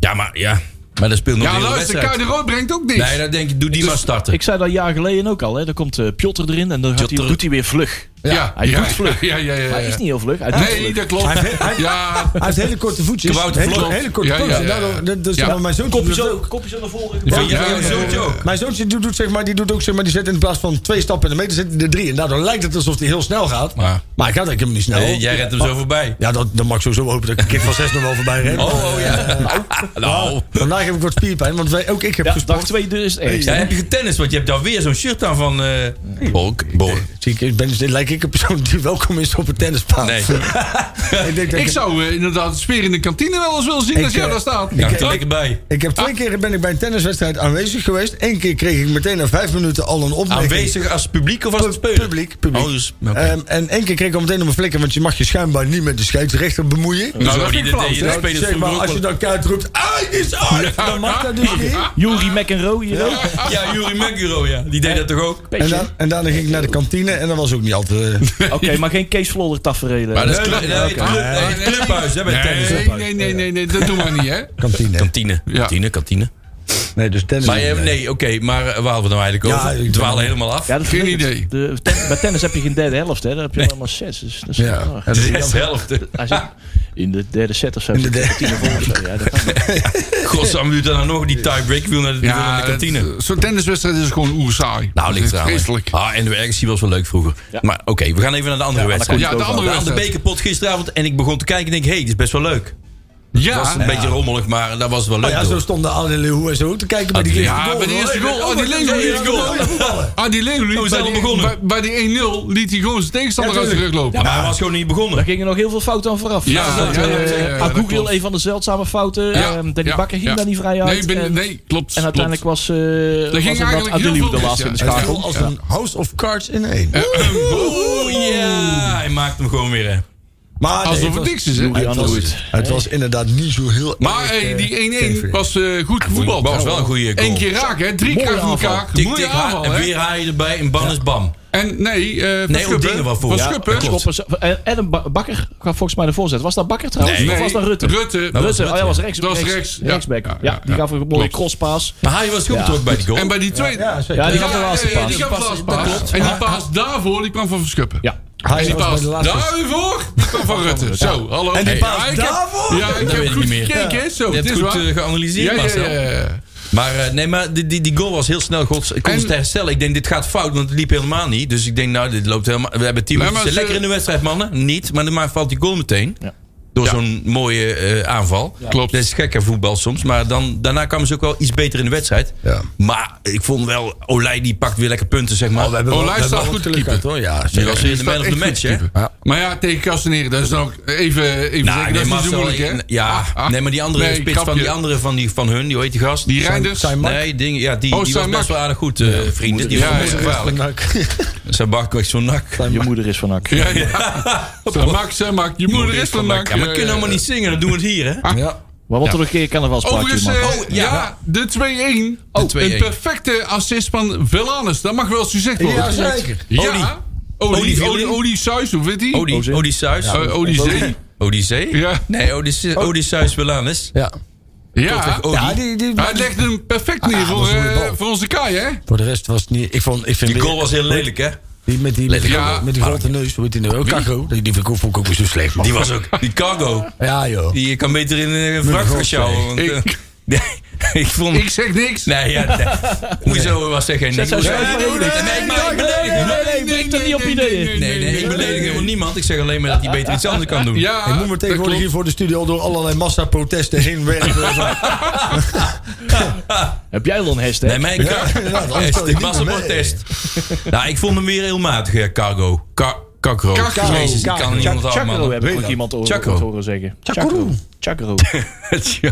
Speaker 4: Ja, maar ja. Maar dat speelt nog
Speaker 5: Ja,
Speaker 4: de hele
Speaker 5: luister,
Speaker 4: wedstrijd.
Speaker 5: Kai de Rood brengt ook niks.
Speaker 4: Nee, dan denk ik, doe die maar starten.
Speaker 1: Ik zei dat een jaar geleden ook al. Hè. Dan komt eh Piotr erin en dan gaat hij,
Speaker 4: Piotr.
Speaker 1: doet hij weer vlug.
Speaker 5: ja,
Speaker 1: Hij doet vlug.
Speaker 5: Ja, ja, ja. ja,
Speaker 1: Hij
Speaker 5: ja.
Speaker 1: is niet heel vlug. Hij doet
Speaker 5: Nee,
Speaker 1: vlug.
Speaker 5: dat klopt.
Speaker 6: Hij- hij-
Speaker 5: Ja,
Speaker 6: Hij heeft hele korte voetjes.
Speaker 4: Kabouter
Speaker 6: hele,
Speaker 4: Vlot.
Speaker 6: hele korte
Speaker 5: Ja, ja,
Speaker 6: voetjes.
Speaker 5: ja.
Speaker 6: Daardoor- dat- dat-
Speaker 5: Ja.
Speaker 6: maar Mijn zoontje,
Speaker 1: Kopjes
Speaker 6: doet
Speaker 1: zo-
Speaker 6: ook.
Speaker 1: kopjes aan de voren.
Speaker 4: Vind je
Speaker 5: Ja,
Speaker 4: dat
Speaker 5: ja,
Speaker 4: jouw zoontje ook?
Speaker 6: mijn zoontje doet, doet, zeg maar, die doet ook, zeg maar, die zet in plaats van twee stappen in de meter, zet hij er drie. En daardoor lijkt het alsof hij heel snel gaat.
Speaker 4: Maar-
Speaker 6: Maar, hij gaat eigenlijk helemaal niet snel. Oh.
Speaker 4: Nee, Eh, jij rent hem zo voorbij.
Speaker 6: Ja, dat, dan mag ik sowieso hopen dat ik een kick van zes nog wel voorbij ren.
Speaker 4: Oh, oh ja. Nou.
Speaker 6: Vandaag heb ik wat spierpijn, want wij, ook ik heb
Speaker 1: Ja, dag
Speaker 6: gesport.
Speaker 1: 2 dus echt.
Speaker 4: Ja, heb je tennis? Want je hebt daar weer zo'n shirt aan van... eh Bork. Bork.
Speaker 6: Zie ik, ik ben, lijk ik een persoon die welkom is op een tennisbaan.
Speaker 4: Nee.
Speaker 6: ik, denk dat
Speaker 5: Ik zou eh, inderdaad de sfeer in de kantine wel eens willen zien
Speaker 6: Ik,
Speaker 5: als jij
Speaker 6: eh,
Speaker 5: daar staat.
Speaker 4: Ja,
Speaker 6: Ik-
Speaker 4: er lekker bij.
Speaker 6: ik heb twee keer ben ik bij een tenniswedstrijd aanwezig geweest. Eén keer kreeg ik meteen na vijf minuten al een opmerking.
Speaker 4: Aanwezig als publiek of als
Speaker 6: Pu-
Speaker 4: speler?
Speaker 6: Publiek, publiek.
Speaker 4: Oh, dus, oké.
Speaker 6: Ehm, en één keer kreeg ik al meteen op mijn flikken, want je mag je schijnbaar niet met de scheidsrechter bemoeien.
Speaker 4: Nou,
Speaker 5: dat
Speaker 4: dat
Speaker 5: vind
Speaker 4: die
Speaker 5: ik
Speaker 4: de,
Speaker 5: flauw,
Speaker 4: de, de
Speaker 5: hè?
Speaker 4: spelers
Speaker 6: zeg
Speaker 4: vroeger
Speaker 6: maar,
Speaker 4: ook
Speaker 6: als je
Speaker 4: wel-
Speaker 6: dan keihard roept, uit is uit! Dan mag dat dus niet.
Speaker 1: Jury McEnroe hier ook.
Speaker 4: Ja, Jury Muguro, ja. Die deed dat toch ook?
Speaker 6: En,
Speaker 1: Beetje.
Speaker 6: dan, en daarna ging ik naar de kantine en dat was ook niet altijd... eh,
Speaker 1: Oké, maar geen Kees Vlodder tafereelen.
Speaker 4: Maar dat is club- nee, club- nee,
Speaker 5: Nee.
Speaker 4: clubhuis, hè, bij tennis.
Speaker 5: Nee, nee, nee, nee, nee, dat doen we niet, hè?
Speaker 6: kantine.
Speaker 4: Kantine,
Speaker 5: Ja.
Speaker 4: kantine, kantine.
Speaker 6: Nee, dus tennis.
Speaker 4: Maar eh, nee, oké, maar eh, waar hadden we nou eigenlijk
Speaker 6: Ja,
Speaker 4: over?
Speaker 6: ik
Speaker 4: We dwalen
Speaker 6: ben-
Speaker 4: helemaal af.
Speaker 1: ja, dat is
Speaker 5: geen
Speaker 1: vervelend.
Speaker 5: idee.
Speaker 1: De, ten- bij tennis heb je geen derde helft, hè? Dan heb je helemaal zes. Dus, dat is
Speaker 6: Ja.
Speaker 1: ah,
Speaker 4: Het is de helft.
Speaker 1: hij zit in de derde set of zo.
Speaker 6: In de
Speaker 1: zit hij
Speaker 6: derde-
Speaker 1: tien ervoor of zo. Ja, dat kan niet.
Speaker 4: God, zou we dan nog die tiebreak wil naar de, wil naar de kantine.
Speaker 5: dat- Zo'n tenniswedstrijd is gewoon oerzaai.
Speaker 4: nou, ligt
Speaker 5: Dat is
Speaker 4: eraan. hè.
Speaker 5: Vreselijk.
Speaker 4: Ah, en de RGC was wel leuk vroeger. Maar oké, we gaan even naar de andere
Speaker 1: maar
Speaker 4: wedstrijd.
Speaker 5: daar kom je Ja, de ook andere
Speaker 4: de
Speaker 5: aan. wedstrijd.
Speaker 4: bekerpot gisteravond. En ik begon te kijken en denk, hé, hey, dit is best wel leuk. Het was
Speaker 5: Ah, Ja, Oh,
Speaker 4: een beetje rommelig, maar dat was wel leuk.
Speaker 6: Ja, zo
Speaker 4: hoor.
Speaker 6: stonden alle Leeuwen en zo te kijken
Speaker 4: Ah,
Speaker 6: bij die
Speaker 4: die-
Speaker 6: eerste
Speaker 5: ja,
Speaker 6: goal.
Speaker 5: bij de eerste
Speaker 6: Hey,
Speaker 5: goal. Oh, die
Speaker 6: dat-
Speaker 5: Leeuwen,
Speaker 4: die goal.
Speaker 6: dat- dat-
Speaker 5: Ah, die Leeuwen
Speaker 4: we zijn
Speaker 5: liet bij
Speaker 4: al
Speaker 5: die-
Speaker 4: begonnen.
Speaker 5: bij- bij die 1-0 liet hij gewoon zijn tegenstander
Speaker 6: Ja,
Speaker 5: uit de rug
Speaker 6: tuurlijk.
Speaker 5: lopen.
Speaker 4: Ja, maar hij was gewoon niet
Speaker 1: Daar
Speaker 4: begonnen.
Speaker 1: gingen nog heel veel fouten aan vooraf.
Speaker 5: Ja, ja, ja, ja, ja, ja, dat
Speaker 1: Agugil,
Speaker 5: klopt.
Speaker 1: een van de zeldzame fouten.
Speaker 5: Ja,
Speaker 1: Ehm, Danny
Speaker 5: ja,
Speaker 1: Bakker ging
Speaker 5: ja.
Speaker 1: daar niet vrij uit.
Speaker 5: Nee, ik ben-
Speaker 1: en,
Speaker 5: nee, klopt.
Speaker 1: en uiteindelijk
Speaker 5: klopt.
Speaker 1: was, eh was
Speaker 5: eigenlijk
Speaker 1: inderdaad
Speaker 5: heel
Speaker 1: Adeliu
Speaker 5: veel
Speaker 1: de
Speaker 5: mis,
Speaker 1: laatste
Speaker 5: ja.
Speaker 1: in de
Speaker 6: Het
Speaker 1: schakel.
Speaker 6: voelde als een house of cards in één.
Speaker 4: Oeh, ja. Hij maakt hem gewoon weer, hè.
Speaker 6: Maar nee,
Speaker 5: Alsof
Speaker 6: was-
Speaker 5: het niks is, hè?
Speaker 1: Julian
Speaker 6: Het was,
Speaker 1: Lewis.
Speaker 6: het was inderdaad niet zo heel.
Speaker 5: Maar
Speaker 6: erg,
Speaker 5: hey,
Speaker 6: eh,
Speaker 5: die 1-1
Speaker 6: tegen-
Speaker 5: was eh, goed gevoetbald.
Speaker 4: was wel een goede goal.
Speaker 5: Eén keer raken, hè? Drie
Speaker 1: Mooie
Speaker 5: keer achter
Speaker 1: aanval.
Speaker 5: elkaar.
Speaker 4: Tik,
Speaker 5: Mooie
Speaker 4: tik,
Speaker 5: aanval,
Speaker 4: ha- en
Speaker 5: hè?
Speaker 4: weer hij erbij. En ban is bam.
Speaker 5: En nee, eh
Speaker 4: Nee,
Speaker 5: van
Speaker 4: Odinga was voor.
Speaker 5: Van
Speaker 4: Ja,
Speaker 5: Schuppen.
Speaker 4: dat klopt.
Speaker 1: Koppers- En, en een Eh, ba- Bakker gaf volgens mij de voorzet. Was dat Bakker trouwens?
Speaker 4: Nee.
Speaker 1: Of was dat Rutte?
Speaker 5: Rutte.
Speaker 1: Dat was Rutte. Oh, ja, was rechts,
Speaker 5: Dat was
Speaker 1: rechts,
Speaker 5: rechts, ja.
Speaker 1: rechtsback.
Speaker 5: Ja,
Speaker 1: Ja,
Speaker 5: ja,
Speaker 1: die
Speaker 5: ja.
Speaker 1: gaf een mooie
Speaker 5: Klopt.
Speaker 1: crosspaas.
Speaker 4: Maar hij was goed betrokken bij die goal.
Speaker 5: En bij die tweede...
Speaker 6: Ja, zeker.
Speaker 1: Ja, die
Speaker 5: Ja,
Speaker 1: gaf de laatste
Speaker 5: eh,
Speaker 1: paas.
Speaker 5: Die gaf de laatste
Speaker 4: Dat
Speaker 5: paas.
Speaker 4: klopt.
Speaker 5: En die paas daarvoor, die kwam van Van Schuppen.
Speaker 1: Ja.
Speaker 5: En
Speaker 6: Hij
Speaker 5: die
Speaker 6: was bij
Speaker 5: paas
Speaker 6: de laatste.
Speaker 5: daarvoor, die kwam van Rutte. Zo, hallo.
Speaker 6: En die
Speaker 5: Hey,
Speaker 6: paas
Speaker 5: ja, ik heb-
Speaker 6: daarvoor?
Speaker 5: Ja, ik
Speaker 4: Dat
Speaker 5: heb
Speaker 4: weet ik
Speaker 5: goed
Speaker 4: niet meer.
Speaker 5: gekeken, hè? Zo,
Speaker 4: Je
Speaker 5: het
Speaker 4: hebt
Speaker 5: is
Speaker 4: goed
Speaker 5: waar.
Speaker 4: eh, geanalyseerd,
Speaker 5: Ja, ja,
Speaker 4: Marcel.
Speaker 5: ja, ja.
Speaker 4: Maar eh, nee, maar die, die, die goal was heel snel gods, ik kon
Speaker 5: En-
Speaker 4: het herstellen. Ik denk, dit gaat fout, want het liep helemaal niet. Dus ik denk, nou, dit loopt helemaal... We hebben tien
Speaker 5: Nee,
Speaker 4: minuten.
Speaker 5: maar ze-
Speaker 4: lekker in de wedstrijd, mannen. Niet, maar dan valt die goal meteen.
Speaker 1: Ja.
Speaker 4: Door
Speaker 5: Ja.
Speaker 4: zo'n mooie eh, aanval.
Speaker 5: Klopt.
Speaker 4: Dat is gekker voetbal soms. Maar dan, daarna kwamen ze ook wel iets beter in de wedstrijd.
Speaker 6: Ja.
Speaker 4: Maar ik vond wel... Olij, die pakt weer lekker punten, zeg maar.
Speaker 5: Oh, wel- Olij staat goed te keeper.
Speaker 6: hoor. Ja,
Speaker 4: die
Speaker 6: zeker.
Speaker 4: was weer in de man of the
Speaker 5: Echt goed
Speaker 4: match, hè?
Speaker 5: keeper. Maar ja, tegen Castaneren, dat is dan ook even, even
Speaker 4: Nou,
Speaker 5: zeggen,
Speaker 4: nee,
Speaker 5: dat is niet zo
Speaker 4: Marcel,
Speaker 5: moeilijk, hè?
Speaker 4: ik- Ja,
Speaker 5: Ah, ah.
Speaker 4: nee, maar die andere
Speaker 5: Nee,
Speaker 4: spits van
Speaker 5: grapje.
Speaker 4: die andere van, die, van hun, die hoe heet die gast?
Speaker 5: Die Reinders?
Speaker 6: Zijn- zijn-
Speaker 4: Nee, ding, ja, die,
Speaker 5: Oh,
Speaker 4: die was
Speaker 5: zijn
Speaker 4: best
Speaker 5: Mak.
Speaker 4: wel aardig goed, eh, vrienden. Die
Speaker 5: Ja,
Speaker 4: was best
Speaker 5: ja, ja.
Speaker 4: gevaarlijk. Zijn bak was zo'n nak.
Speaker 1: Je moeder is van Ak.
Speaker 5: Ja, ja. Zo, Mak, zo, Mak. Je moeder is van Mak.
Speaker 4: Ja, maar we kunnen allemaal niet zingen, dan doen we het hier, hè?
Speaker 6: Ja.
Speaker 1: Maar wat er nog een keer carnavalspraatje
Speaker 5: Overigens,
Speaker 1: man.
Speaker 5: eh,
Speaker 4: Oh, ja.
Speaker 5: ja. de 2-1. Oh, een
Speaker 4: 2-1.
Speaker 5: perfecte assist van Velanus. Dat mag wel eens gezegd worden.
Speaker 6: Ja, zeker.
Speaker 5: Ja. Odie,
Speaker 4: Odie-
Speaker 5: Odie, Odie Suis, hoe weet hij?
Speaker 4: Odie, Odysseus.
Speaker 5: Eh, Odie Zee.
Speaker 4: Odyssee?
Speaker 5: Ja.
Speaker 4: Nee, Odysseus, Odysseus Belanus.
Speaker 6: Ja.
Speaker 5: Ja.
Speaker 4: Odie.
Speaker 6: Ja, Oh, die, die,
Speaker 5: Hij legde hem perfect
Speaker 6: Ah,
Speaker 5: neer
Speaker 6: dat
Speaker 5: voor,
Speaker 6: was een goede
Speaker 5: eh,
Speaker 6: bal.
Speaker 5: voor onze Kai, hè?
Speaker 6: Voor de rest was het niet. Ik vond, ik vind
Speaker 4: Die goal was heel lelijk, hè?
Speaker 6: Die met die, met die,
Speaker 5: Ja.
Speaker 6: met die grote neus, weet je nou, ook, Kakko. Die, die vind ik ook- vond ik ook weer zo slecht, man.
Speaker 4: Die was ook... Die cargo.
Speaker 6: Ja, joh.
Speaker 4: Die kan beter in een wrak
Speaker 6: God,
Speaker 4: gaan sjouwen. want, eh,
Speaker 5: Ik-
Speaker 4: nee, Ik vond...
Speaker 5: Ik zeg niks.
Speaker 4: Nee, ja, nee. Hoezo was er geen... Nee,
Speaker 1: zo'n
Speaker 4: nee,
Speaker 1: schrijver
Speaker 4: nee,
Speaker 1: in.
Speaker 4: nee, nee, maar ik beledig hem.
Speaker 1: breng dat niet op ideeën.
Speaker 4: Nee, nee, ik beledig helemaal niemand. Ik zeg alleen maar dat hij beter iets anders kan doen.
Speaker 5: Ja,
Speaker 6: ik moet me
Speaker 5: dat
Speaker 6: tegenwoordig hier
Speaker 5: klopt.
Speaker 6: voor de studio door allerlei massaprotesten heen werken.
Speaker 1: Heb jij wel een hashtag?
Speaker 4: Nee, mijn
Speaker 6: inderdaad,
Speaker 4: cargo.
Speaker 6: anders kan je
Speaker 4: Ik
Speaker 6: niet
Speaker 4: was een
Speaker 6: meer mee.
Speaker 4: protest. Nou, ik vond hem weer heel matig, eh, cargo. Ka- Kakro.
Speaker 5: Kakro.
Speaker 4: Jezus, ik kan niet anders
Speaker 1: Chakro heb ik
Speaker 4: afmaken.
Speaker 1: ook iemand horen,
Speaker 4: Chakro.
Speaker 1: ooit horen zeggen.
Speaker 6: Chakro.
Speaker 1: Chakro.
Speaker 4: Ja.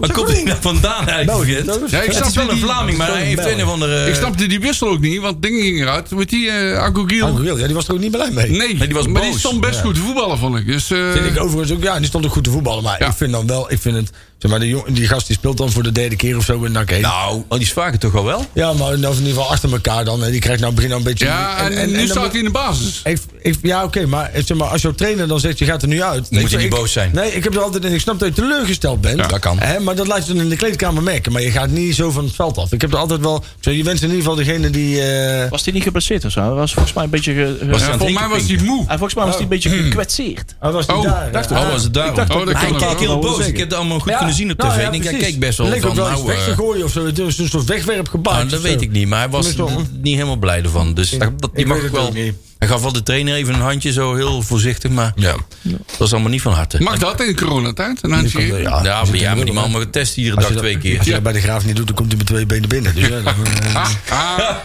Speaker 4: Waar komt hij nou vandaan eigenlijk?
Speaker 6: België.
Speaker 5: Ja, ik
Speaker 4: Het
Speaker 5: snap
Speaker 4: is wel
Speaker 5: die-
Speaker 4: een Vlaming, maar hij heeft een of andere...
Speaker 5: Ik snapte die wissel ook niet, want dingen ging eruit. Met die eh Agogiel.
Speaker 6: Ja, die was er ook niet blij mee.
Speaker 5: Nee,
Speaker 4: Maar die was
Speaker 5: maar die
Speaker 4: boos.
Speaker 5: stond best goed te voetballen, vond ik. Dus, eh,
Speaker 6: Vind ik overigens ook, ja, die stond ook goed te voetballen. Maar
Speaker 5: Ja.
Speaker 6: ik vind dan wel, ik vind het, zeg maar, die, jong, die gast die speelt dan voor de derde keer of zo in NAC heen.
Speaker 4: Nou, oh, die is vaker toch al wel?
Speaker 6: Ja, maar in ieder geval achter elkaar dan. En die krijgt nou begin al een beetje...
Speaker 5: ja, en, nu
Speaker 6: dan
Speaker 5: staat
Speaker 6: moet-
Speaker 5: hij in de basis.
Speaker 6: ik, ik- ja, oké, maar, eh, zeg maar als jouw trainer dan zegt, je gaat er nu uit...
Speaker 4: Dan moet je
Speaker 6: Ik-
Speaker 4: niet
Speaker 6: ik-
Speaker 4: boos zijn.
Speaker 6: Nee, ik heb er altijd in, ik snap dat je teleurgesteld bent.
Speaker 4: Ja, dat kan.
Speaker 6: Hè, maar dat laat je dan in de kleedkamer merken. Maar je gaat niet zo van het veld af. Ik heb er altijd wel... Zo, je wenst in ieder geval degene die... eh,
Speaker 1: Was hij niet geblesseerd of zo? Hij was volgens mij een beetje... ge- ge-
Speaker 4: Was hij
Speaker 5: Ja,
Speaker 4: aan het
Speaker 5: volgens mij was hij
Speaker 4: hinken
Speaker 5: moe.
Speaker 1: Hij- volgens mij was hij een beetje gekwetseerd.
Speaker 6: hij was die
Speaker 5: Oh,
Speaker 6: daar.
Speaker 5: dacht
Speaker 6: ja.
Speaker 4: Oh, was het daarom?
Speaker 5: dacht dat
Speaker 4: Oh, dat
Speaker 5: kan
Speaker 4: hij
Speaker 5: ook.
Speaker 4: keek heel
Speaker 1: Dat
Speaker 4: boos.
Speaker 1: zeker.
Speaker 4: Ik heb het allemaal goed
Speaker 6: Ja,
Speaker 4: kunnen zien op
Speaker 6: nou
Speaker 4: tv.
Speaker 6: ja,
Speaker 4: ik denk, hij
Speaker 6: precies.
Speaker 4: keek best wel
Speaker 6: Leek
Speaker 4: van,
Speaker 6: ook wel eens
Speaker 4: nou,
Speaker 6: weg te
Speaker 4: eh,
Speaker 6: gooien of zo. Dus een soort wegwerpgebaar.
Speaker 4: nou, dat weet ik niet. Maar hij was
Speaker 6: Kom eens
Speaker 4: n- niet helemaal blij ervan. Dus dat, dat- die
Speaker 6: ik
Speaker 4: mag
Speaker 6: weet
Speaker 4: ook
Speaker 6: het
Speaker 4: wel...
Speaker 6: ook niet.
Speaker 4: Hij gaf wel de trainer even een handje, zo heel voorzichtig. Maar
Speaker 6: Ja.
Speaker 4: dat was allemaal niet van harte.
Speaker 5: Mag dat in coronatijd? Een handje geven?
Speaker 4: ja, maar, ja, maar die man mag getest iedere dag
Speaker 6: je
Speaker 4: twee
Speaker 6: dat-
Speaker 4: keer.
Speaker 6: Als je dat bij de graaf niet doet, dan eh. komt hij met twee benen binnen. Dus ja, dan-
Speaker 5: Ah, ah.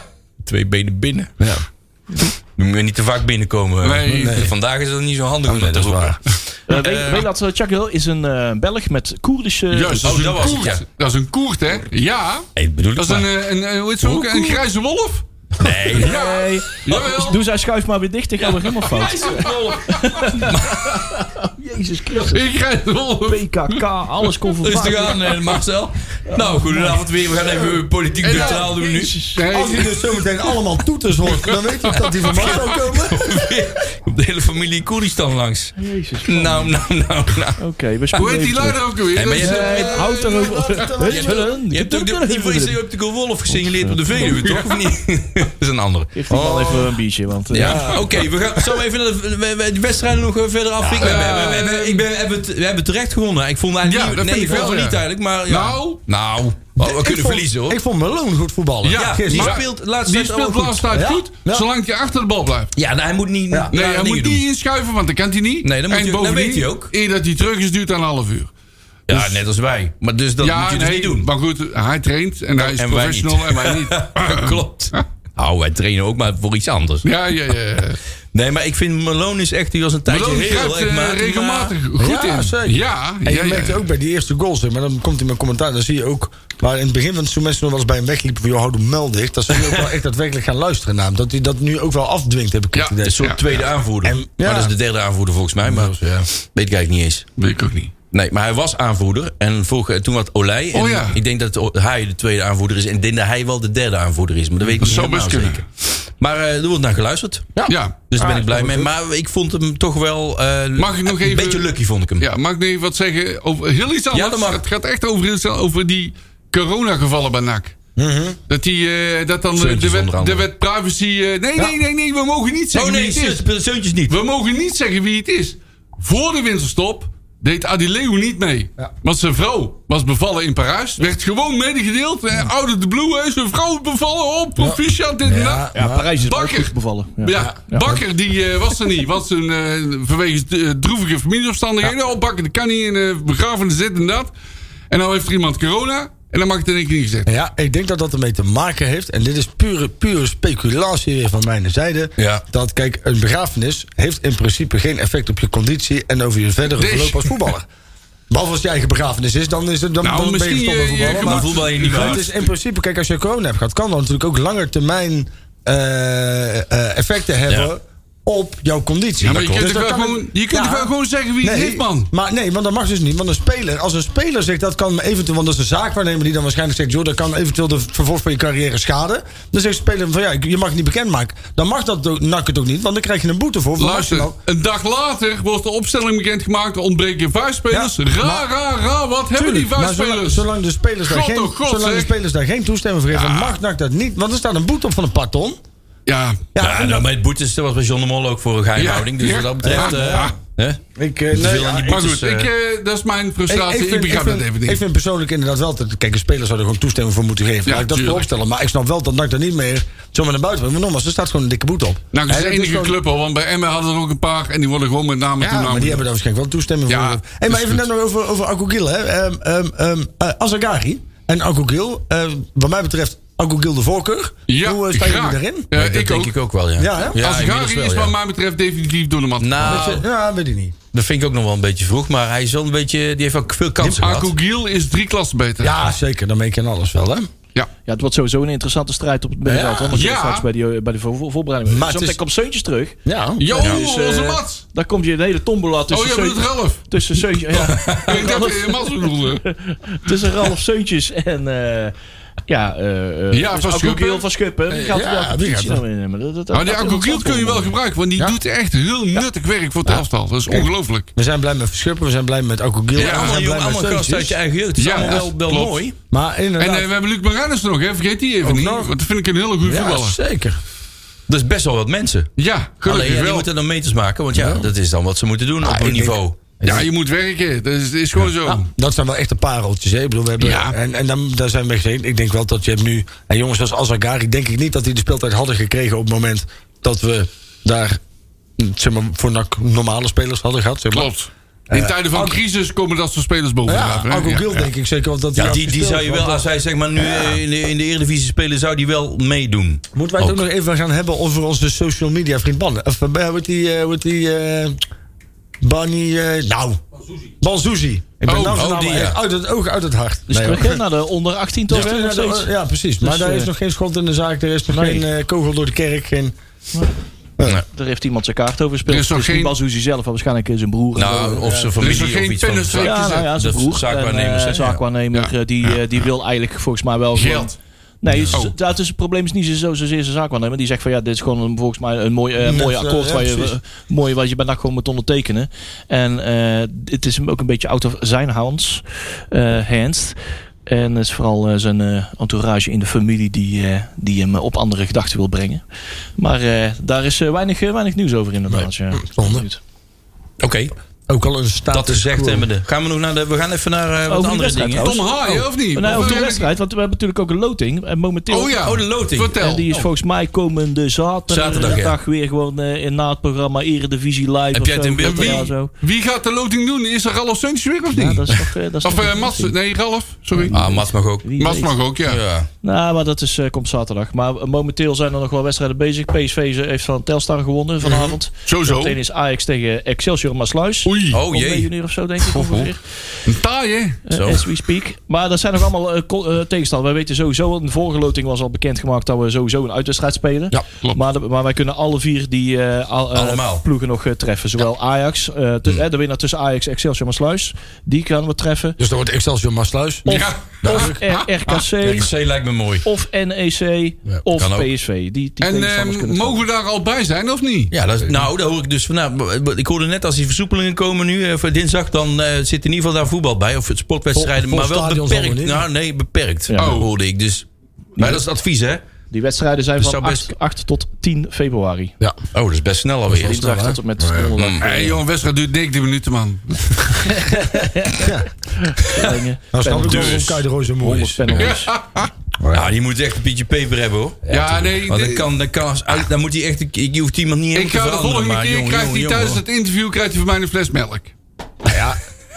Speaker 4: Twee benen binnen. Ja. Je moet niet te vaak binnenkomen.
Speaker 5: Nee. Nee.
Speaker 4: Vandaag is dat niet zo handig. om
Speaker 6: dat
Speaker 4: te
Speaker 6: is
Speaker 4: roepen.
Speaker 6: waar.
Speaker 1: Eh, weet- weet je dat eh, Chuck Hill is een eh, Belg met Koerdische...
Speaker 5: Juist, dat
Speaker 4: oh,
Speaker 5: is
Speaker 4: dat
Speaker 5: een
Speaker 4: was het,
Speaker 5: koert.
Speaker 4: ja.
Speaker 5: Dat is een koert, hè? Ja.
Speaker 4: Nee, dat bedoel ik
Speaker 5: Dat is een,
Speaker 4: maar.
Speaker 5: eh, een, eh, hoe heet ze ook? Een grijze wolf?
Speaker 4: Nee.
Speaker 1: Nee.
Speaker 5: Jawel.
Speaker 1: Doe zijn schuif maar weer dicht, dan gaan we helemaal fout. Jezus Christus.
Speaker 5: Een grijze wolf.
Speaker 1: PKK, alles komt voor
Speaker 4: Rustig
Speaker 1: vaak.
Speaker 4: aan, eh, Marcel. Nou, goedenavond weer. We gaan even politiek
Speaker 5: En dan-
Speaker 4: neutraal doen nu.
Speaker 6: Als
Speaker 5: Nee,
Speaker 6: hij dus zometeen allemaal toeters wordt, dan weet ik dat die van Marcel komen.
Speaker 4: Op de hele familie Koerdistan langs.
Speaker 1: Jezus.
Speaker 4: Nou, nou, nou, nou.
Speaker 1: Oké, we spelen
Speaker 5: Hoe heet die
Speaker 1: even
Speaker 5: luider Eh, ook
Speaker 4: Nee,
Speaker 5: alweer?
Speaker 4: maar je
Speaker 5: Dat is,
Speaker 4: hebt-
Speaker 1: terug. Houd erover.
Speaker 4: Je hebt, je hebt ook de, die voice je hebt de Wolf gesignaleerd op de Veluwe, toch? Of niet? nou. Dat is een andere.
Speaker 1: Geef die man
Speaker 5: Oh.
Speaker 1: even een biertje, want... eh,
Speaker 4: Ja, oké. we gaan zo even naar de, we- we- die wedstrijden nog eh, verder afvinken.
Speaker 5: Ja.
Speaker 4: we, hebben- we, hebben- ik ben, we, hebben het, we hebben terecht gewonnen. Ik vond eigenlijk
Speaker 5: Ja,
Speaker 4: niet,
Speaker 5: dat
Speaker 4: nee,
Speaker 5: vind ik
Speaker 4: vond
Speaker 5: wel,
Speaker 4: het niet
Speaker 5: ja.
Speaker 4: eigenlijk, maar ja.
Speaker 5: Nou.
Speaker 4: Nou, oh, we kunnen verliezen hoor.
Speaker 6: Ik vond Malone goed voetballen.
Speaker 5: Ja,
Speaker 4: ja,
Speaker 5: gisteren.
Speaker 4: die
Speaker 5: maar-
Speaker 4: speelt laatst
Speaker 5: Die speelt laatst tijd
Speaker 6: Ja.
Speaker 5: goed,
Speaker 6: Ja.
Speaker 5: zolang je achter de bal blijft.
Speaker 4: Ja, nou, hij moet niet. rare
Speaker 5: Nee, hij
Speaker 4: dingen
Speaker 5: moet
Speaker 4: doen.
Speaker 5: niet inschuiven, want dat kan hij niet.
Speaker 4: Nee, dan moet
Speaker 5: en
Speaker 4: je- dan
Speaker 5: bovendien,
Speaker 4: weet hij ook.
Speaker 5: Eer dat hij terug is, duurt het een half uur.
Speaker 4: Ja, net als wij. Maar dus dat moet je dus
Speaker 5: nee,
Speaker 4: niet doen.
Speaker 5: Maar goed, hij traint en hij is
Speaker 4: En wij
Speaker 5: professional
Speaker 4: niet.
Speaker 5: en wij niet.
Speaker 4: Klopt. Nou, wij trainen ook maar voor iets anders.
Speaker 5: Ja, ja, ja.
Speaker 4: Nee, maar ik vind Malone is echt, die was een tijdje
Speaker 5: Malone
Speaker 4: heel
Speaker 5: grijpt eh,
Speaker 4: erg matig, maar-
Speaker 5: regelmatig goed
Speaker 6: Ja,
Speaker 5: in.
Speaker 6: zeker.
Speaker 5: Ja,
Speaker 6: En je
Speaker 5: ja, ja,
Speaker 6: merkte
Speaker 5: ja.
Speaker 6: ook bij die eerste goals, hè, maar dan komt hij met commentaar. Dan zie je ook waar in het begin van het seizoen mensen nog wel eens bij hem wegliepen. Van, joh, hou de mel dicht. Dat ze nu ook wel echt daadwerkelijk gaan luisteren naar hem. Dat hij dat nu ook wel afdwingt, heb ik
Speaker 5: Ja,
Speaker 6: het idee.
Speaker 4: Een soort
Speaker 5: Ja,
Speaker 4: tweede aanvoerder.
Speaker 6: En- ja.
Speaker 4: Maar dat is de derde aanvoerder volgens mij. Maar weet ik eigenlijk niet eens.
Speaker 5: Weet ik ook niet.
Speaker 4: Nee, maar hij was aanvoerder. En vroeg, eh, toen wat Olij. En
Speaker 5: Oh ja.
Speaker 4: Ik denk dat o- hij de tweede aanvoerder is. En ik denk dat hij wel de derde aanvoerder is. Maar dat weet ik
Speaker 5: Dat
Speaker 4: niet
Speaker 5: zou best
Speaker 4: helemaal
Speaker 5: kunnen.
Speaker 4: zeker. Maar eh, er wordt naar geluisterd.
Speaker 5: Ja.
Speaker 4: Dus daar ben ik blij mee. Maar ik vond hem toch wel... eh,
Speaker 5: Mag ik nog
Speaker 4: een
Speaker 5: even-
Speaker 4: beetje lucky vond ik hem.
Speaker 5: Ja, mag ik nog even wat zeggen over heel iets anders?
Speaker 4: Ja, dat mag.
Speaker 5: Het gaat echt over, heel iets anders, over die coronagevallen bij NAC. Dat, die, eh, dat dan eh, de,
Speaker 4: Zeuntjes
Speaker 5: wet,
Speaker 4: onder
Speaker 5: de
Speaker 4: andere.
Speaker 5: wet privacy... eh, nee, nee, nee, nee, we mogen niet
Speaker 4: Oh
Speaker 5: zeggen
Speaker 4: nee,
Speaker 5: wie het is.
Speaker 4: Zeuntjes Zeuntjes niet.
Speaker 5: We mogen niet zeggen wie het is. Voor de winterstop deed Adileu niet mee. Want zijn vrouw was bevallen in Parijs. Werd gewoon medegedeeld. Eh, Out of the blue, hè, zijn vrouw bevallen. Oh, proficiat, dit en dat.
Speaker 6: Ja,
Speaker 1: Ja, Parijs is me ook
Speaker 5: Bakker.
Speaker 1: goed bevallen. Ja.
Speaker 5: Ja, Bakker die eh, was er niet. Was een, eh, vanwege eh, droevige familieomstandigheden. Oh, Bakker dat kan niet in eh begrafenis dit en dat. En dan heeft er iemand corona. En dan mag ik het in één keer niet gezegd.
Speaker 6: Ja, ik denk dat dat ermee te maken heeft. En dit is pure, pure speculatie weer van mijn zijde.
Speaker 4: Ja.
Speaker 6: Dat, kijk, een begrafenis heeft in principe geen effect op je conditie... en over je verdere
Speaker 5: Nee.
Speaker 6: verloop als voetballer. Behalve als je eigen begrafenis is, dan, is het, dan,
Speaker 5: Nou,
Speaker 6: dan ben je
Speaker 5: misschien,
Speaker 6: gestopt
Speaker 5: eh,
Speaker 6: met
Speaker 5: je
Speaker 6: voetballen.
Speaker 5: gemoed-
Speaker 4: Maar voetbal je niet
Speaker 6: Maar het
Speaker 4: meer.
Speaker 6: is in principe, kijk, als je corona hebt gehad, kan dat natuurlijk ook langer termijn eh, eh, effecten hebben
Speaker 4: Ja.
Speaker 6: op jouw conditie.
Speaker 5: Ja, maar je kunt,
Speaker 6: Dus
Speaker 5: het
Speaker 6: dat
Speaker 5: wel
Speaker 6: kan
Speaker 5: gewoon, je kunt
Speaker 6: Ja.
Speaker 5: het wel gewoon zeggen wie het
Speaker 6: Nee,
Speaker 5: is, man.
Speaker 6: Maar nee, want dat mag dus niet. Want een speler, als een speler zegt dat kan eventueel, want dat is een zaakwaarnemer die dan waarschijnlijk zegt, joh, dat kan eventueel de vervolg van je carrière schaden. Dan zegt de speler van ja, ik- je mag het niet bekendmaken. Dan mag dat ook- nak het ook niet, want dan krijg je een boete voor. voor
Speaker 5: Luister,
Speaker 6: maximaal-
Speaker 5: een dag later wordt de opstelling bekendgemaakt. Er ontbreken vijf spelers.
Speaker 6: Ja,
Speaker 5: ra,
Speaker 6: maar-
Speaker 5: ra, ra, wat hebben die
Speaker 6: Tuurlijk,
Speaker 5: vijf
Speaker 6: maar zolang,
Speaker 5: spelers?
Speaker 6: zolang de spelers daar
Speaker 5: God,
Speaker 6: geen,
Speaker 5: oh God,
Speaker 6: zolang de
Speaker 5: zeg.
Speaker 6: spelers daar geen toestemming voor geven, mag NAC dat niet. Want er staat een boete op van een paar ton.
Speaker 5: Ja,
Speaker 4: Ja, nou, met boetes was bij John de Mol ook voor een geheimhouding. Dus
Speaker 5: Ja.
Speaker 4: wat dat betreft...
Speaker 5: Ja.
Speaker 4: eh,
Speaker 5: Ja.
Speaker 4: hè?
Speaker 6: Ik, eh, nee,
Speaker 4: veel
Speaker 6: ja,
Speaker 4: aan die
Speaker 5: maar
Speaker 4: boetes,
Speaker 5: goed,
Speaker 4: eh,
Speaker 5: ik, eh, dat is mijn frustratie. Ik, begrijp
Speaker 6: vind,
Speaker 5: dat even niet.
Speaker 6: ik vind persoonlijk inderdaad wel... Dat, kijk, de spelers zouden gewoon toestemming voor moeten geven.
Speaker 5: Ja,
Speaker 6: Laat ik dat
Speaker 5: tuurlijk.
Speaker 6: vooropstellen. Maar ik snap wel dat NAC daar niet meer zomaar naar buiten brengt. Maar nogmaals, er staat gewoon een dikke boete op.
Speaker 5: nou, dat is de
Speaker 6: Hè, dat
Speaker 5: enige
Speaker 6: gewoon-
Speaker 5: club al, want bij Emmen hadden er ook een paar. En die worden gewoon met name
Speaker 6: Ja, maar
Speaker 5: toename.
Speaker 6: die hebben daar waarschijnlijk wel toestemming
Speaker 5: Ja,
Speaker 6: voor. Hey, maar
Speaker 5: is
Speaker 6: even
Speaker 5: goed.
Speaker 6: net nog over, over Akogil. hè. Ehm, ehm, ehm, eh, Azagari en Akogil. eh, wat mij betreft Akogil de voorkeur.
Speaker 5: Ja,
Speaker 6: Hoe eh, staan
Speaker 5: graag.
Speaker 6: jullie daarin?
Speaker 5: Ja,
Speaker 4: dat
Speaker 5: ik
Speaker 4: denk
Speaker 5: ook.
Speaker 4: ik ook wel, ja.
Speaker 6: Ja, hè?
Speaker 5: Als
Speaker 4: inmiddels
Speaker 5: Gari
Speaker 4: wel,
Speaker 5: is
Speaker 4: ja.
Speaker 5: wat mij betreft definitief door de mat.
Speaker 4: Nou,
Speaker 6: Ja, weet ik niet.
Speaker 4: dat vind ik ook nog wel een beetje vroeg. Maar hij is wel een beetje... Die heeft ook veel kansen gehad.
Speaker 5: Akogiel is drie klassen beter.
Speaker 6: Ja, zeker. Dan weet je aan alles wel, hè?
Speaker 5: Ja.
Speaker 1: Ja, het wordt sowieso een interessante strijd op het middenveld. hoor, natuurlijk
Speaker 5: Ja.
Speaker 1: straks bij, die, eh, bij de voor- voor- voorbereiding.
Speaker 6: Maar
Speaker 1: Maar
Speaker 6: het
Speaker 1: Zometeen
Speaker 6: is-
Speaker 1: komt Seuntjes terug.
Speaker 6: Ja.
Speaker 5: Jo,
Speaker 1: Dus, eh,
Speaker 5: onze Mats.
Speaker 1: Daar komt je een hele tombola
Speaker 5: Oh,
Speaker 6: dus
Speaker 1: tussen
Speaker 5: jij bedoelt
Speaker 1: Seuntjes.
Speaker 5: Ralf.
Speaker 1: Tussen Seuntjes, ja,
Speaker 5: Ik dacht dat je Mats bedoelde.
Speaker 1: tussen Ralf Seuntjes en... eh ja, eh eh,
Speaker 5: Ja,
Speaker 1: dus
Speaker 5: Van
Speaker 1: ook
Speaker 5: Schuppen.
Speaker 1: Heel van Schuppen. Die gaat
Speaker 6: ja,
Speaker 1: wel de
Speaker 6: die
Speaker 1: positie
Speaker 6: gaat
Speaker 1: nou innemen. Dat- dat-
Speaker 5: Maar Oh, die
Speaker 1: dat-
Speaker 5: Akogiel kun je wel gebruiken, want die doet echt heel nuttig werk voor het elftal. Dat is ongelooflijk.
Speaker 6: We zijn blij met Verschuppen. We zijn blij met Akogil.
Speaker 4: Ja, allemaal, jong, allemaal gasten uit je eigen jeugd. Het is
Speaker 5: Ja,
Speaker 4: allemaal
Speaker 5: ja,
Speaker 4: wel, wel
Speaker 5: klopt.
Speaker 4: mooi.
Speaker 6: Maar
Speaker 5: En
Speaker 6: inderdaad.
Speaker 5: eh, we hebben Luc Maranus nog, hè? vergeet die even
Speaker 6: Ook
Speaker 5: niet.
Speaker 6: nog.
Speaker 5: Want dat vind ik een hele goede
Speaker 6: ja,
Speaker 5: voetballer.
Speaker 6: zeker.
Speaker 4: Dat is best wel wat mensen.
Speaker 5: Ja,
Speaker 4: Alleen
Speaker 5: gelukkig
Speaker 4: ja, die
Speaker 5: wel.
Speaker 4: moeten dan meters maken. Want ja, Nou, dat is dan wat ze moeten doen op
Speaker 6: ik
Speaker 4: hun
Speaker 6: denk-
Speaker 4: niveau.
Speaker 5: Ja, je moet werken. Dat is, is gewoon zo.
Speaker 6: Nou, Dat zijn wel echte pareltjes. Hè? Ik bedoel, we hebben,
Speaker 5: Oh. Ja.
Speaker 6: En, en dan, daar zijn we gezien. Ik denk wel dat je hebt nu. En jongens als Azagari, denk ik niet dat die de speeltijd hadden gekregen op het moment dat we daar. Zeg maar, voor NAC normale spelers hadden gehad. Zeg maar.
Speaker 5: Klopt.
Speaker 6: Eh,
Speaker 5: In tijden van crisis komen dat soort spelers boven.
Speaker 6: Ja,
Speaker 5: water, hè?
Speaker 6: Arco
Speaker 5: Ja,
Speaker 6: Gil
Speaker 5: ja.
Speaker 6: denk ik zeker. Want dat
Speaker 4: Ja,
Speaker 6: hij
Speaker 4: die, die
Speaker 6: speelt,
Speaker 4: zou je wel,
Speaker 6: want
Speaker 4: als
Speaker 6: dat-
Speaker 4: hij zeg maar nu eh, in, de, in de Eredivisie spelen, zou die wel meedoen.
Speaker 6: Moeten wij het ook nog even gaan hebben over onze social media vriend Ban. Of eh, hoe heet die... eh, hoe heet die eh Banny... eh nou. Balzuzi. Ik ben
Speaker 5: Oh,
Speaker 6: nou
Speaker 5: oh,
Speaker 6: zijn naam
Speaker 5: die,
Speaker 6: al
Speaker 5: ja.
Speaker 6: uit het oog, uit het hart.
Speaker 1: Dus
Speaker 6: Nee,
Speaker 1: terug
Speaker 6: hoor.
Speaker 1: hè, naar de onder 18 toch?
Speaker 6: Ja,
Speaker 1: hè, nog
Speaker 6: ja,
Speaker 1: steeds?
Speaker 6: ja, ja, precies. maar daar
Speaker 1: eh,
Speaker 6: is nog geen schot in de zaak. Er is nog geen eh, kogel door de kerk. Geen,
Speaker 1: Daar heeft iemand zijn kaart over gespeeld.
Speaker 5: Er is nog
Speaker 1: dus geen...
Speaker 5: geen-
Speaker 1: Bazuzi zelf, maar waarschijnlijk eh, zijn broer.
Speaker 4: Nou, of zijn
Speaker 5: dus er is nog
Speaker 4: familie of
Speaker 5: geen
Speaker 4: iets van.
Speaker 5: tennis-
Speaker 4: Ja,
Speaker 1: ja, nou ja, zijn
Speaker 4: dat
Speaker 1: broer.
Speaker 4: zaakwaarnemers,
Speaker 1: En,
Speaker 4: hè,
Speaker 1: eh, zaakwaarnemer,
Speaker 5: ja.
Speaker 1: eh, die, eh, die wil eigenlijk volgens mij wel gewoon-
Speaker 5: Geld.
Speaker 1: Nee, dus,
Speaker 5: Oh.
Speaker 1: dat is, het probleem is niet zo- zozeer zijn zaakwaarnemer. Die zegt van ja, dit is gewoon een, volgens mij een mooi, eh,
Speaker 6: Net,
Speaker 1: mooi
Speaker 6: eh,
Speaker 1: akkoord.
Speaker 6: ja,
Speaker 1: waar je,
Speaker 6: precies.
Speaker 1: eh, mooi wat je bijna gewoon moet ondertekenen. En eh, het is hem ook een beetje out of zijn hands. eh, hands. En het is vooral eh, zijn eh, entourage in de familie die, eh, die hem op andere gedachten wil brengen. Maar eh, daar is eh, weinig, eh, weinig nieuws over inderdaad. ja.
Speaker 6: zonde.
Speaker 4: Oké,
Speaker 6: Ook al een staat.
Speaker 4: dat is gezegd hebbende. Gaan we, nog naar de, we gaan even naar eh, wat
Speaker 1: Over die
Speaker 4: andere
Speaker 1: wedstrijd
Speaker 4: dingen.
Speaker 5: Tom Haaien, of niet?
Speaker 1: Nou, over
Speaker 5: Of,
Speaker 1: de
Speaker 5: eh,
Speaker 1: wedstrijd, want we hebben natuurlijk ook een loting. En momenteel.
Speaker 5: Oh ja.
Speaker 4: Oh, de loting.
Speaker 1: En
Speaker 5: Vertel.
Speaker 1: die is volgens mij komende zaterdag,
Speaker 4: Zaterdag, ja.
Speaker 1: dag weer gewoon eh, in na het programma Eredivisie Live.
Speaker 4: Heb
Speaker 1: of
Speaker 4: jij het
Speaker 1: zo,
Speaker 4: in beeld?
Speaker 1: weet je wel,
Speaker 5: Wie,
Speaker 1: zo.
Speaker 5: wie gaat de loting doen? Is er Ralf Seuntjes weer of niet?
Speaker 1: Ja, dat is toch, eh, dat is
Speaker 5: of
Speaker 1: toch
Speaker 5: eh
Speaker 1: een
Speaker 5: Mats?
Speaker 1: loting.
Speaker 5: Nee, Ralf. Sorry.
Speaker 4: Ah, Mats mag ook.
Speaker 1: Wie
Speaker 5: Mats
Speaker 1: weet.
Speaker 5: mag ook, ja.
Speaker 4: Ja.
Speaker 1: Nou, maar dat is, eh, komt zaterdag. Maar eh, momenteel zijn er nog wel wedstrijden bezig. PSV ze- heeft van Telstar gewonnen
Speaker 4: Mhm.
Speaker 1: vanavond.
Speaker 5: Sowieso.
Speaker 1: Meteen is Ajax tegen Excelsior Maasluis.
Speaker 5: Oei.
Speaker 4: Oh
Speaker 1: Om twee
Speaker 4: jee.
Speaker 1: uur of zo, denk ik ongeveer.
Speaker 5: Een taai, hè?
Speaker 1: Eh,
Speaker 4: Zo.
Speaker 1: as we speak. Maar dat zijn nog allemaal eh, co- eh, tegenstanders. Wij weten sowieso, in de vorige loting was al bekendgemaakt dat we sowieso een uitwedstrijd spelen.
Speaker 5: Ja, klopt.
Speaker 1: Maar, de- maar wij kunnen alle vier die eh, al- eh,
Speaker 4: Allemaal.
Speaker 1: ploegen nog eh, treffen. Zowel Ajax, eh, tu- eh, de winnaar tussen Ajax, Excelsior en Sluis. Die kunnen we treffen.
Speaker 6: Dus dan wordt Excelsior Maasluis.
Speaker 1: Of,
Speaker 5: Ja.
Speaker 1: of R- RKC,
Speaker 4: RC lijkt me mooi.
Speaker 1: of NEC, of
Speaker 4: kan ook.
Speaker 1: PSV. Die, die
Speaker 5: En eh,
Speaker 1: tegenstanders kunnen
Speaker 5: mogen we daar al bij zijn of niet?
Speaker 4: Ja, dat is- nou, daar hoor ik dus vanaf. Ik hoorde net als die versoepelingen komen nu eh, voor dinsdag, dan eh, zit in ieder geval daar voetbal bij. Of sportwedstrijden,
Speaker 6: Vol- vol
Speaker 4: maar wel
Speaker 6: stadions
Speaker 4: beperkt.
Speaker 6: allemaal niet.
Speaker 4: Nou, nee, beperkt
Speaker 1: Ja. Oh,
Speaker 4: oh. hoorde ik. Dus. Maar dat is het advies, hè?
Speaker 1: treffen. Die wedstrijden zijn
Speaker 4: Dus
Speaker 1: van
Speaker 4: zou best-
Speaker 1: 8, 8 tot 10 februari.
Speaker 6: Ja.
Speaker 4: Oh, dat is best snel alweer.
Speaker 1: Dinsdag tot en met donderdag.
Speaker 5: Hé, hey, jongen, wedstrijd duurt 19 minuten, man.
Speaker 1: Groningen.
Speaker 6: Nou snap ik wel
Speaker 4: Dus.
Speaker 6: waarom Kai de Roy zo mooi is.
Speaker 1: Penalty.
Speaker 5: Ja,
Speaker 4: Nou, je moet echt een beetje peper hebben, hoor.
Speaker 5: ja nee.
Speaker 4: Want dat
Speaker 5: de-
Speaker 4: kan, dat kan als uit, dan moet hij echt, ik, je hoeft iemand niet
Speaker 5: ik
Speaker 4: helemaal
Speaker 5: ga
Speaker 4: te
Speaker 5: de
Speaker 4: veranderen.
Speaker 5: volgende
Speaker 4: maar
Speaker 5: keer,
Speaker 4: jongen,
Speaker 5: krijgt
Speaker 4: jongen,
Speaker 5: hij tijdens
Speaker 4: jongen.
Speaker 5: het interview krijgt hij van mij een fles melk.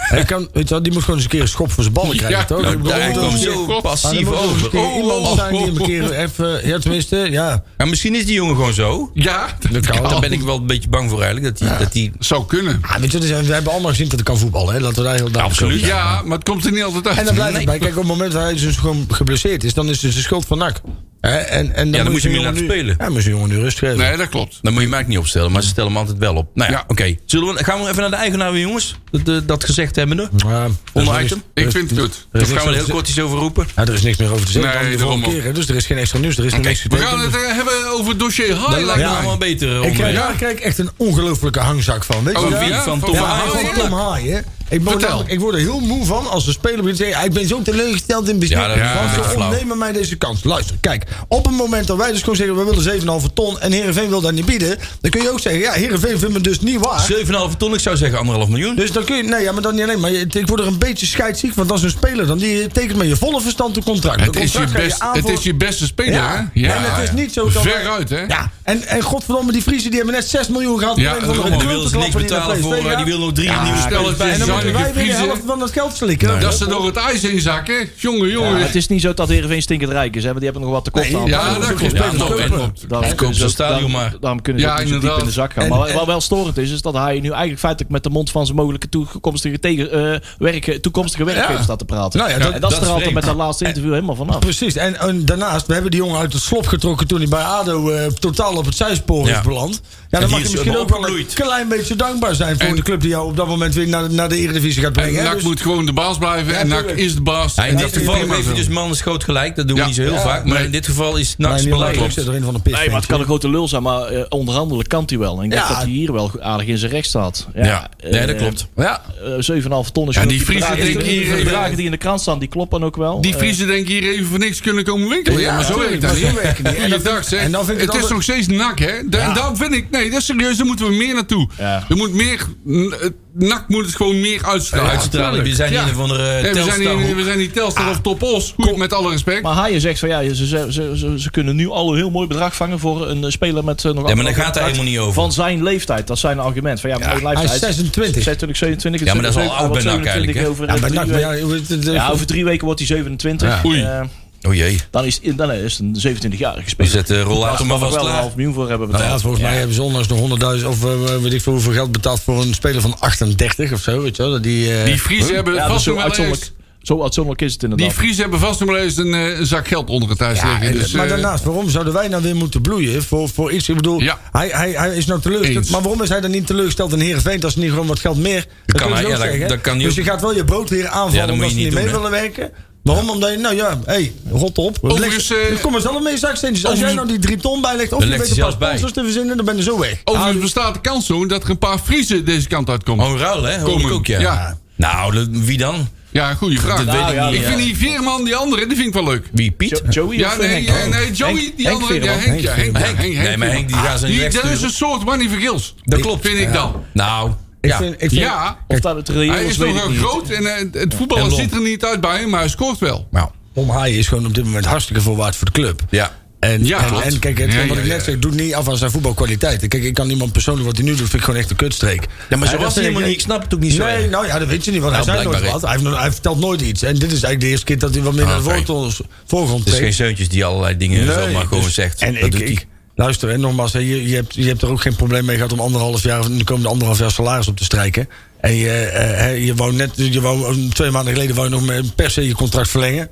Speaker 6: Hij, kan, weet je wel, die moet gewoon eens een keer een schop voor zijn ballen krijgen,
Speaker 5: Ja,
Speaker 6: toch?
Speaker 5: nou,
Speaker 6: Ik bedoel,
Speaker 4: Daar
Speaker 5: Oh,
Speaker 4: komt
Speaker 5: oh,
Speaker 4: zo
Speaker 5: God.
Speaker 6: maar er
Speaker 4: passief
Speaker 6: moet ook eens een
Speaker 4: over.
Speaker 6: keer
Speaker 5: Oh,
Speaker 6: iemand
Speaker 5: oh,
Speaker 6: zijn die hem
Speaker 5: oh,
Speaker 6: een keer even... Ja, tenminste, ja.
Speaker 4: Ja, misschien is die jongen gewoon zo.
Speaker 5: Ja, dat
Speaker 6: kan.
Speaker 4: Daar ben ik wel een beetje bang voor eigenlijk. Dat hij, dat hij
Speaker 5: Zou kunnen.
Speaker 6: Ah, weet je, dus, we hebben allemaal gezien dat hij kan voetballen, hè. Laten we daar heel duidelijk over zijn.
Speaker 5: Ja, maar het komt er niet altijd uit.
Speaker 6: En dan blijft
Speaker 4: Nee.
Speaker 6: het bij. Kijk, op het moment dat hij dus gewoon geblesseerd is, dan is het de schuld van NAC. Hè, En, en dan,
Speaker 4: dan moet je hem niet
Speaker 6: die
Speaker 4: laten
Speaker 6: jongen nu-
Speaker 4: spelen.
Speaker 6: Ja, moet je die jongen nu rust geven.
Speaker 5: Nee, dat klopt.
Speaker 4: Dan moet je mij niet opstellen, maar ze stellen hem altijd wel op. Nou ja,
Speaker 5: Ja.
Speaker 4: oké. Zullen we, gaan we even naar de eigenaar weer, jongens? Dat, eh, dat, dat gezegd hebbende.
Speaker 6: Ja,
Speaker 4: Onder
Speaker 6: er is-
Speaker 4: item?
Speaker 5: Ik vind het goed.
Speaker 6: er
Speaker 4: Daar
Speaker 6: is
Speaker 4: gaan we
Speaker 6: niks-
Speaker 4: er heel kort iets over roepen.
Speaker 6: Ja, er is niks meer over te zeggen.
Speaker 5: Nee,
Speaker 6: Dan de
Speaker 5: daarom
Speaker 6: vorige
Speaker 5: ook.
Speaker 6: keer, hè. dus er is geen extra nieuws, er is nog niks
Speaker 5: We
Speaker 6: getekend.
Speaker 5: gaan het eh, hebben over dossier
Speaker 4: Dat lijkt
Speaker 5: High.
Speaker 4: me allemaal beter. eh,
Speaker 6: Ik krijg,
Speaker 4: André.
Speaker 6: daar krijg ik echt een ongelofelijke hangzak van. Weet je
Speaker 5: Oh,
Speaker 6: wel?
Speaker 5: wie?
Speaker 6: Ja,
Speaker 4: Van Tom
Speaker 6: ja,
Speaker 4: Haaien?
Speaker 6: van Tom Haaien, hè. Ik, word
Speaker 5: Vertel.
Speaker 6: namelijk- ik word er heel moe van als de speler begint te zeggen... Ik ben zo teleurgesteld in
Speaker 4: Ja,
Speaker 6: bestuur.
Speaker 4: dat is een beetje
Speaker 6: ze
Speaker 4: flauw.
Speaker 6: ontnemen mij deze kans. Luister, kijk. Op het moment dat wij dus gewoon zeggen... We willen 7,5 ton en Heerenveen wil dat niet bieden... Dan kun je ook zeggen... Ja, Heerenveen vindt me dus niet waar.
Speaker 4: 7,5 ton, ik zou zeggen anderhalf miljoen.
Speaker 6: Dus dan kun je... Nee, ja, maar dan niet alleen. Maar je- ik word er een beetje scheidsziek. Want dat is een speler dan. Die tekent met je volle verstand een contract.
Speaker 5: Het
Speaker 6: Een
Speaker 5: is, je
Speaker 6: contract ga
Speaker 5: best,
Speaker 6: aan
Speaker 5: het
Speaker 6: voor-
Speaker 5: is je beste speler, hè?
Speaker 6: ja, en het is niet zo dat...
Speaker 5: Veruit, hè?
Speaker 6: Ja, en, en godverdomme, die Friese die hebben net 6 miljoen gehad. om
Speaker 5: Ja,
Speaker 6: een van de
Speaker 5: daarom.
Speaker 4: Die wil ze niks
Speaker 6: klultenklapper die
Speaker 4: betalen voor.
Speaker 6: naar PSV
Speaker 4: eh,
Speaker 6: gaat.
Speaker 4: Die wil nog drie nieuwe spelers
Speaker 5: spelletjes
Speaker 4: bij.
Speaker 6: En dan moeten wij weer de
Speaker 5: Friese.
Speaker 6: helft van dat geld slikken.
Speaker 5: Dat ze door het ijs heen zakken. Jongen, jongen.
Speaker 1: Ja, het is niet zo dat Heerenveen stinkend rijk is. Hè, want die hebben nog wat tekort aan.
Speaker 5: ja, dat klopt.
Speaker 4: Ja,
Speaker 5: dat
Speaker 4: nou,
Speaker 5: klopt.
Speaker 4: en-
Speaker 1: Daarom
Speaker 4: Verkoop
Speaker 1: kunnen ze
Speaker 4: zo'n
Speaker 1: ook-
Speaker 4: stadion
Speaker 1: daarom-
Speaker 4: maar.
Speaker 1: Daarom kunnen ze
Speaker 5: Ja,
Speaker 1: ook niet zo diep
Speaker 5: inderdaad.
Speaker 1: in de zak gaan. maar wat wel storend is, is dat hij nu eigenlijk feitelijk met de mond van zijn mogelijke toekomstige, tegen, eh, werken, toekomstige werkgever staat te praten.
Speaker 6: Nou ja, dat-
Speaker 1: en dat,
Speaker 4: dat
Speaker 1: is
Speaker 4: is
Speaker 1: er altijd
Speaker 4: vreemd.
Speaker 1: met dat laatste interview helemaal vanaf.
Speaker 6: Precies, en, en daarnaast, we hebben die jongen uit het slop getrokken toen hij bij ADO eh, totaal op het zijspoor
Speaker 4: Ja.
Speaker 6: is beland. Ja,
Speaker 4: die
Speaker 6: dan mag je
Speaker 4: is
Speaker 6: misschien
Speaker 4: maar
Speaker 6: ook wel een
Speaker 4: opgebloeid.
Speaker 6: klein beetje dankbaar zijn voor
Speaker 5: En-
Speaker 6: de club die jou op dat moment weer naar, naar de Eredivisie gaat
Speaker 5: En
Speaker 6: brengen. hè.
Speaker 5: NAC
Speaker 6: Dus-
Speaker 5: moet gewoon de baas blijven. en NAC
Speaker 6: tuurlijk.
Speaker 5: is de baas.
Speaker 4: Ja,
Speaker 5: En
Speaker 4: in
Speaker 5: dat
Speaker 4: dit
Speaker 5: is
Speaker 4: geval
Speaker 5: prima
Speaker 4: heeft hij
Speaker 5: zo.
Speaker 4: dus man schoot gelijk. Dat doen
Speaker 5: Ja.
Speaker 4: we niet zo heel
Speaker 5: Ja,
Speaker 4: vaak. Maar
Speaker 5: nee.
Speaker 4: in dit geval is
Speaker 6: Nee,
Speaker 4: NAC
Speaker 6: niet
Speaker 4: belangrijk.
Speaker 6: leuk. Ik zit erin van een pis.
Speaker 1: Nee, maar het kan een grote lul zijn, maar eh, onderhandelen kan hij wel. En ik denk
Speaker 6: Ja.
Speaker 1: dat hij hier wel aardig in zijn recht staat. Ja,
Speaker 4: Ja, nee, dat
Speaker 1: eh,
Speaker 4: klopt.
Speaker 6: Ja,
Speaker 1: eh, 7,5 ton is
Speaker 5: Ja,
Speaker 1: genoeg.
Speaker 5: die Friese
Speaker 1: bedragen-
Speaker 5: denken
Speaker 1: die
Speaker 5: hier-
Speaker 1: bedragen die in de krant staan, die kloppen ook wel.
Speaker 5: Die
Speaker 1: Eh,
Speaker 5: Friese denken hier even voor niks kunnen komen winkelen. Ja, maar zo werkt dat
Speaker 6: maar zo werkt het
Speaker 5: niet.
Speaker 6: niet. En dan
Speaker 5: Goeiedag,
Speaker 6: vind- en dan
Speaker 5: zeg.
Speaker 6: vind ik
Speaker 5: Het
Speaker 6: het
Speaker 5: is
Speaker 6: altijd-
Speaker 5: nog steeds nak, hè? Da- En dan vind ik... Nee, dat is serieus. Daar moeten we meer naartoe.
Speaker 1: Ja.
Speaker 5: Er moet meer... mm, eh, NAC moet het gewoon meer uitstralen.
Speaker 4: uitstralen. We zijn
Speaker 5: Ja.
Speaker 4: hier van de
Speaker 5: Nee, we, zijn niet,
Speaker 4: Telstar.
Speaker 5: we zijn niet Telstar of Topos. Goed, met alle respect.
Speaker 1: Maar Haaien zegt van ja, ze, ze, ze, ze- ze kunnen nu al een heel mooi bedrag vangen voor een eh, speler met eh, nog
Speaker 4: Ja, maar
Speaker 1: anderhalf
Speaker 4: daar gaat
Speaker 1: jaar
Speaker 4: hij
Speaker 1: contract.
Speaker 4: helemaal niet over.
Speaker 1: Van zijn leeftijd, dat is zijn argument. Van, ja, maar mijn leeftijd,
Speaker 6: hij is 26.
Speaker 1: 26, 27.
Speaker 4: Ja, maar dat is al
Speaker 1: Hij wordt
Speaker 4: oud bij NAC
Speaker 1: 27
Speaker 4: eigenlijk, hè?
Speaker 1: Over,
Speaker 6: Ja,
Speaker 1: eh,
Speaker 6: bij
Speaker 1: drie
Speaker 6: NAC, maar
Speaker 1: weken.
Speaker 6: ja, het- het-
Speaker 1: Ja, over drie weken wordt hij 27.
Speaker 5: Ja. Oei.
Speaker 1: Eh,
Speaker 4: Oh jee.
Speaker 1: dan, is, dan is het een 17-jarige
Speaker 4: We
Speaker 1: speler.
Speaker 4: zetten de rollator
Speaker 1: Daar
Speaker 4: maar
Speaker 1: mag
Speaker 4: vast
Speaker 1: ik wel een
Speaker 4: klaar.
Speaker 1: half miljoen voor hebben
Speaker 6: Nou
Speaker 1: betaald.
Speaker 6: ja, volgens mij hebben ze onlangs nog 100.000 of eh, weet ik veel hoeveel geld betaald voor een speler van 38 of zo. Weet je wel? dat Die, eh,
Speaker 5: Die Friese hebben
Speaker 1: Ja, dat is
Speaker 5: vast
Speaker 1: zo,
Speaker 5: nog wel eens...
Speaker 1: uitzonderlijk, zo uitzonderlijk is het
Speaker 5: Die
Speaker 1: inderdaad.
Speaker 5: Friese hebben vast nog wel eens een, eh, een zak geld onder het thuis
Speaker 6: Ja,
Speaker 5: liggen.
Speaker 6: en-
Speaker 5: Dus,
Speaker 6: maar
Speaker 5: eh,
Speaker 6: daarnaast, waarom zouden wij nou weer moeten bloeien voor, voor iets? Ik bedoel,
Speaker 5: Ja.
Speaker 6: hij, hij, hij is nou teleurgesteld.
Speaker 5: Eens.
Speaker 6: Maar waarom is hij dan niet teleurgesteld in Heerenveen als hij niet gewoon wat geld meer...
Speaker 4: kan
Speaker 6: Dat, kunnen ze
Speaker 4: hij-
Speaker 6: ook
Speaker 4: ja, dat-
Speaker 6: zeggen, hè?
Speaker 4: dat kan hij
Speaker 6: Dus
Speaker 4: ook-
Speaker 6: je gaat wel je brood weer aanvallen
Speaker 4: Ja, dat moet
Speaker 6: omdat
Speaker 4: je
Speaker 6: ze niet
Speaker 4: niet
Speaker 6: mee
Speaker 4: doen,
Speaker 6: willen werken. Waarom? Omdat je, nou ja, hé, hey, rot op.
Speaker 5: Overigens,
Speaker 6: Leg-
Speaker 5: eh,
Speaker 6: kom eens allemaal mee zaksteentjes. Als jij
Speaker 5: overigens-
Speaker 6: nou die drie ton bijlegt of
Speaker 4: Dan
Speaker 6: je
Speaker 4: legt
Speaker 6: weet
Speaker 4: hij
Speaker 6: een paar
Speaker 4: zelfs bij.
Speaker 6: sponsors te verzinnen, dan ben je zo weg.
Speaker 5: Overigens bestaat de kans zo dat er een paar Friese deze kant uitkomen.
Speaker 4: Oh, ruil hè? Hoor ik
Speaker 5: Komen.
Speaker 4: ook, ja.
Speaker 5: Ja.
Speaker 4: Nou, dat- wie dan?
Speaker 5: Ja, goede vraag. Nou,
Speaker 4: Dat weet ik
Speaker 1: ja,
Speaker 4: niet.
Speaker 5: ik
Speaker 4: ja.
Speaker 5: vind die Veerman, die andere, die vind ik wel leuk.
Speaker 4: Wie, Piet?
Speaker 1: Jo- Joey
Speaker 5: Ja,
Speaker 1: of eh,
Speaker 5: nee,
Speaker 1: Henk?
Speaker 5: ja, nee, Joey,
Speaker 1: Henk-
Speaker 5: die
Speaker 1: Henk
Speaker 5: andere. Ja,
Speaker 1: Veerman.
Speaker 5: Henk, ja, Henk, ja, Henk, Henk,
Speaker 4: Nee, maar Henk, die gaan ze niet
Speaker 5: Die- Dat is
Speaker 4: wegsturen.
Speaker 5: een soort Manny Vergils.
Speaker 4: Dat klopt.
Speaker 5: Vind ik dan.
Speaker 4: Nou, ja.
Speaker 6: vind- ik vind-
Speaker 5: Ja,
Speaker 1: Of dat het reëel
Speaker 5: hij
Speaker 1: is,
Speaker 5: is
Speaker 1: weet
Speaker 5: nog
Speaker 1: ik
Speaker 5: wel
Speaker 1: niet.
Speaker 5: groot en eh, het voetballen
Speaker 4: En blond.
Speaker 5: ziet er niet uit bij hem, maar hij scoort wel.
Speaker 6: Nou, Tom Haaien is gewoon op dit moment hartstikke voorwaarts voor de club.
Speaker 4: Ja.
Speaker 6: En,
Speaker 5: Ja,
Speaker 6: en,
Speaker 5: klopt.
Speaker 6: en kijk, het,
Speaker 5: Ja,
Speaker 6: wat
Speaker 5: ja,
Speaker 6: ik net
Speaker 5: ja.
Speaker 6: zeg, doet niet af aan zijn voetbalkwaliteiten. Kijk, ik kan iemand persoonlijk wat hij nu doet, vind ik gewoon echt een kutstreek.
Speaker 4: Ja, maar zo
Speaker 6: Hij-
Speaker 4: was
Speaker 6: dat
Speaker 4: hij
Speaker 6: vind
Speaker 4: helemaal niet. Ik snap het ook niet zo.
Speaker 6: Nee, nou ja, dat weet je niet, want hij
Speaker 4: Nou,
Speaker 6: zei nooit
Speaker 4: blijkbaar Ah,
Speaker 6: wat. Hij, heeft nog- hij vertelt nooit iets. En dit is eigenlijk de eerste keer dat hij wat meer naar de
Speaker 4: Oké.
Speaker 6: voorgrond- voorgrond
Speaker 4: Het is geen
Speaker 6: treedt.
Speaker 4: zeuntjes die allerlei dingen
Speaker 6: Nee,
Speaker 4: zomaar gewoon
Speaker 6: dus-
Speaker 4: zegt.
Speaker 6: En
Speaker 4: dat
Speaker 6: ik,
Speaker 4: doet hij.
Speaker 6: ik, luister, en nogmaals, hè, je, je, hebt, je hebt er ook geen probleem mee gehad om anderhalf jaar, of de komende anderhalf jaar salaris op te strijken. En je, eh, hè, je wou net, je wou, eh, twee maanden geleden wou je nog met- per se je contract verlengen.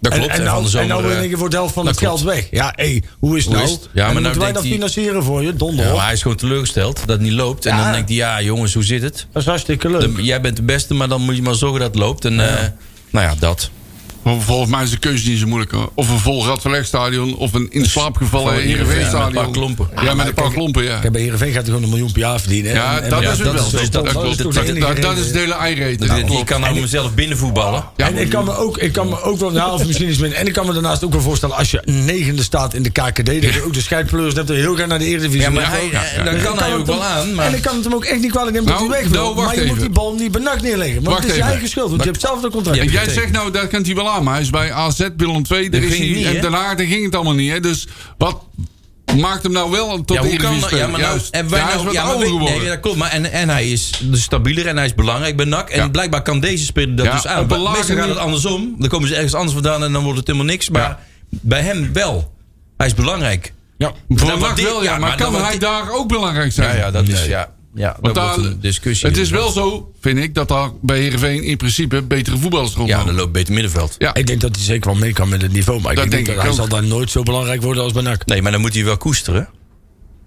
Speaker 4: Dat
Speaker 6: En-
Speaker 4: klopt.
Speaker 6: En,
Speaker 4: hè, van de
Speaker 6: nou, en
Speaker 4: zomer,
Speaker 6: nou in
Speaker 4: eh,
Speaker 6: één keer wordt de helft van
Speaker 4: dat
Speaker 6: het geld weg. Ja, hé, hoe is het
Speaker 4: Hoe
Speaker 6: nou?
Speaker 4: is het? Ja, maar
Speaker 6: En
Speaker 4: nou
Speaker 6: moeten wij
Speaker 4: denkt
Speaker 6: dat
Speaker 4: hij-
Speaker 6: financieren voor je? Donder
Speaker 4: ja,
Speaker 6: op.
Speaker 4: maar hij is gewoon teleurgesteld dat het niet loopt. En
Speaker 6: Ja.
Speaker 4: dan denkt hij, ja jongens, hoe zit het?
Speaker 6: Dat is hartstikke leuk.
Speaker 4: Dan- Eh, jij bent de beste, maar dan moet je maar zorgen dat het loopt. En eh, nou ja, dat.
Speaker 5: Vol- Volgens mij is de keuze niet zo moeilijk. hoor. Of een vol Radverlegstadion, of een in slaap gevallen
Speaker 4: Gewoon
Speaker 5: Heerenveenstadion.
Speaker 4: met een paar klompen.
Speaker 5: Ja, met een paar
Speaker 6: Kijk,
Speaker 5: klompen, ja.
Speaker 6: Kijk, bij Heerenveen gaat hij gewoon een miljoen per jaar verdienen.
Speaker 5: Ja,
Speaker 6: En- en-
Speaker 5: dat
Speaker 6: ja,
Speaker 5: is het wel.
Speaker 6: toch-
Speaker 4: Dus dat-
Speaker 6: dat
Speaker 4: dat-
Speaker 6: is toch
Speaker 4: dat-
Speaker 6: de eh. enige
Speaker 5: Dat, dat
Speaker 6: reden.
Speaker 5: is de hele eireten.
Speaker 4: Ik je kan nou mezelf binnen voetballen.
Speaker 5: Ja,
Speaker 6: en ik kan me ook, ik kan me ook wel, nou, of misschien iets minder. En ik kan me daarnaast ook wel voorstellen, als je negende staat in de KKD, dat je ook de scheidpleurs hebt, dat je heel graag naar de Eredivisie
Speaker 4: Ja, maar
Speaker 6: wil.
Speaker 4: hij-
Speaker 6: Ook.
Speaker 4: ja, dan kan
Speaker 6: ik
Speaker 4: hij
Speaker 6: hem
Speaker 4: ook
Speaker 6: toch-
Speaker 4: wel aan, maar-
Speaker 6: En ik kan het hem ook echt niet kwalijk nemen dat
Speaker 5: Nou,
Speaker 6: hij weg wil.
Speaker 5: nou, wacht
Speaker 6: maar je moet
Speaker 5: even.
Speaker 6: die bal niet benacht neerleggen. Want
Speaker 5: Wacht
Speaker 6: het is
Speaker 5: even.
Speaker 6: je eigen schuld, want je hebt zelf de contract.
Speaker 4: Ja,
Speaker 5: En
Speaker 4: ik-
Speaker 5: jij zegt nou, dat kent hij wel aan, maar hij is bij AZ Willem II. Daar
Speaker 4: Dat
Speaker 5: is
Speaker 4: ging
Speaker 5: hij,
Speaker 4: niet, hè?
Speaker 5: en daarna daar ging het allemaal niet. Hè? Dus wat maakt hem nou wel tot
Speaker 4: Ja, hoe kan dat?
Speaker 5: Eredivisie-speler?
Speaker 4: Ja, maar nou,
Speaker 5: Juist.
Speaker 4: en wij
Speaker 5: Ja, hij is
Speaker 4: nou,
Speaker 5: wat
Speaker 4: ja, maar
Speaker 5: ouder
Speaker 4: weet-
Speaker 5: geworden.
Speaker 4: nee, dat klopt. Maar en, en hij is dus stabieler en hij is belangrijk bij NAC. En
Speaker 5: Ja.
Speaker 4: blijkbaar kan deze speler dat
Speaker 5: Ja,
Speaker 4: dus aan.
Speaker 5: op een
Speaker 4: Maar Meestal
Speaker 5: lage
Speaker 4: gaat het
Speaker 5: manier-
Speaker 4: andersom. Dan komen ze ergens anders vandaan en dan wordt het helemaal niks. Maar bij hem wel. Hij is belangrijk.
Speaker 5: ja, voor
Speaker 4: Dan
Speaker 5: NAC
Speaker 4: wordt
Speaker 5: wel,
Speaker 4: die- ja,
Speaker 5: ja. Maar,
Speaker 4: maar dan
Speaker 5: kan
Speaker 4: wordt
Speaker 5: hij
Speaker 4: die-
Speaker 5: daar ook belangrijk zijn?
Speaker 4: dat is ja. Ja, dat
Speaker 5: Want
Speaker 4: wordt
Speaker 5: daar-
Speaker 4: een discussie.
Speaker 5: Het is wel zo, vind ik, dat daar bij Heerenveen in principe betere voetballers
Speaker 4: Ja, dan
Speaker 5: rondlopen.
Speaker 4: loopt beter middenveld.
Speaker 5: Ja.
Speaker 6: Ik denk dat hij zeker wel mee kan met het niveau. Maar ik
Speaker 5: Dat
Speaker 6: denk,
Speaker 5: denk
Speaker 6: dat
Speaker 5: ik
Speaker 6: hij
Speaker 5: ook.
Speaker 6: zal daar nooit zo belangrijk worden als bij NAC.
Speaker 4: Nee, maar dan moet hij wel koesteren.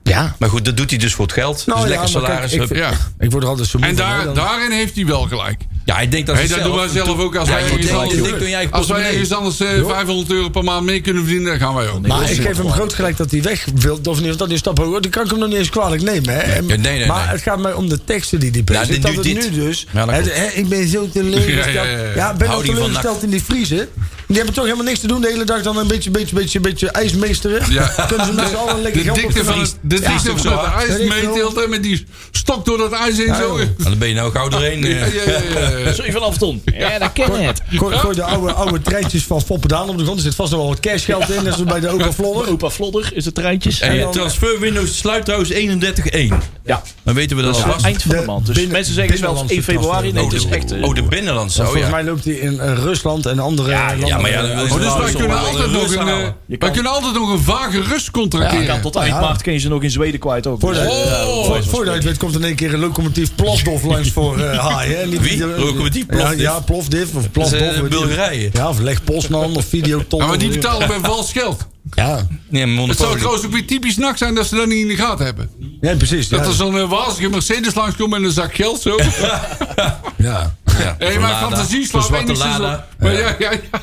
Speaker 6: Ja.
Speaker 4: Maar goed, dat doet hij dus voor het geld.
Speaker 6: Nou
Speaker 4: dus
Speaker 6: ja,
Speaker 4: lekker
Speaker 6: maar kijk,
Speaker 4: salaris.
Speaker 6: ik
Speaker 4: hup.
Speaker 6: vind-
Speaker 4: ja.
Speaker 5: ja.
Speaker 6: Ik word er altijd zo moe
Speaker 5: En
Speaker 6: van, hè,
Speaker 5: daar,
Speaker 6: dan-
Speaker 5: daarin heeft hij wel gelijk.
Speaker 4: ik denk dat
Speaker 5: Hey,
Speaker 4: ze
Speaker 5: dat doen wij zelf ook. Als
Speaker 4: Ja,
Speaker 5: wij
Speaker 4: ik
Speaker 5: ergens
Speaker 4: denk-
Speaker 5: anders-
Speaker 4: ik denk toen jij-
Speaker 5: als wij ergens anders eh, 500 euro per maand mee kunnen verdienen, dan gaan wij ook.
Speaker 6: Maar ik geef hem groot gelijk dat hij weg wil. Of niet, want dat is een stap hoger. Dan kan ik hem nog niet eens kwalijk nemen. Hè? En-
Speaker 4: nee, nee, nee.
Speaker 6: maar het gaat mij om de teksten die die
Speaker 4: Ja,
Speaker 6: presenteert.
Speaker 4: dit
Speaker 6: dat
Speaker 4: duurt
Speaker 6: het
Speaker 4: dit.
Speaker 6: nu dus.
Speaker 4: Ja, dat
Speaker 6: hè,
Speaker 4: klopt.
Speaker 6: hè, ik ben zo teleurgesteld.
Speaker 5: Ja,
Speaker 6: Ja,
Speaker 5: ja, ja, ja.
Speaker 6: ik ben al
Speaker 4: Houding van
Speaker 6: teleurgesteld in die vriezen. Die hebben toch helemaal niks te doen de hele dag. Dan een beetje, beetje, beetje, beetje ijsmeesteren.
Speaker 5: Ja.
Speaker 6: Kunnen ze met z'n allen lekker
Speaker 5: De
Speaker 6: geld op
Speaker 5: dikte van
Speaker 6: de
Speaker 5: het, de
Speaker 4: Ja,
Speaker 5: dikte
Speaker 4: ook
Speaker 5: van
Speaker 4: zo,
Speaker 5: het
Speaker 4: hè?
Speaker 5: ijs
Speaker 6: Dat is
Speaker 5: meetelt en met die stok door dat ijs heen. Zo.
Speaker 6: joh.
Speaker 4: Dan ben je nou gauw doorheen.
Speaker 5: Ja,
Speaker 4: eh.
Speaker 5: ja, ja, ja.
Speaker 1: Zo van ton. Ja, dat ken je het.
Speaker 6: Gooi, gooi de oude, oude treintjes van Foppendaan op de grond. Er zit vast nog wel wat cashgeld in. Dat is bij de Opa
Speaker 4: Oh,
Speaker 6: Vlodder.
Speaker 1: Opa Vlodder is het treintjes.
Speaker 4: En
Speaker 1: En
Speaker 4: de transferwindow sluit trouwens 31-1.
Speaker 1: Ja,
Speaker 4: Dan weten we dat
Speaker 1: dat is
Speaker 4: alvast.
Speaker 1: eind van de
Speaker 6: de
Speaker 1: maand. Dus
Speaker 6: binnen-
Speaker 1: mensen zeggen zelfs
Speaker 6: binnenlandse
Speaker 1: 1 februari. Nee, het is
Speaker 4: de-
Speaker 1: echt... eh,
Speaker 4: oh, de binnenlandse. Oh,
Speaker 6: Volgens
Speaker 4: ja.
Speaker 6: mij loopt hij in eh, Rusland en andere landen.
Speaker 4: ja, maar ja, dat is
Speaker 5: Oh, dus
Speaker 4: Nou,
Speaker 5: wij
Speaker 4: zo
Speaker 5: kunnen,
Speaker 4: wel
Speaker 5: altijd
Speaker 4: een
Speaker 5: nog
Speaker 4: rust
Speaker 5: een, eh,
Speaker 4: halen.
Speaker 1: Je
Speaker 5: wij
Speaker 1: kan-
Speaker 5: kunnen altijd nog een vage rust contracteren.
Speaker 1: je kan tot eind
Speaker 6: Ja.
Speaker 1: maart kun je ze nog in Zweden kwijt ook.
Speaker 6: Voordat,
Speaker 1: Dus, eh,
Speaker 6: voor- voordat je het weet komt in één keer een locomotief Plovdiv langs voor eh haaien. En die-
Speaker 4: Wie?
Speaker 6: die-
Speaker 4: Locomotief Plovdiv?
Speaker 6: Ja, ja, Plovdiv of Plovdiv.
Speaker 4: Dat is, eh,
Speaker 6: weet je.
Speaker 4: Bulgarije.
Speaker 6: Ja, of Leg Poznan of Videoton.
Speaker 5: Ja, maar die betalen bij vals geld.
Speaker 6: Ja,
Speaker 4: Nee, maar
Speaker 5: Het zou
Speaker 4: monopolie.
Speaker 5: trouwens ook weer typisch nak zijn dat ze dat niet in de gaten hebben.
Speaker 6: nee, precies.
Speaker 5: Dat
Speaker 6: ja,
Speaker 5: er zo'n eh, wazige Mercedes langskomt met een zak geld zo.
Speaker 6: ja.
Speaker 4: Ja,
Speaker 5: Hé,
Speaker 4: voor
Speaker 5: maar
Speaker 4: Lada,
Speaker 5: fantasie
Speaker 4: voor
Speaker 5: slaat
Speaker 4: zwarte
Speaker 5: enigszins
Speaker 4: lada.
Speaker 5: op. Maar, ja, ja, ja.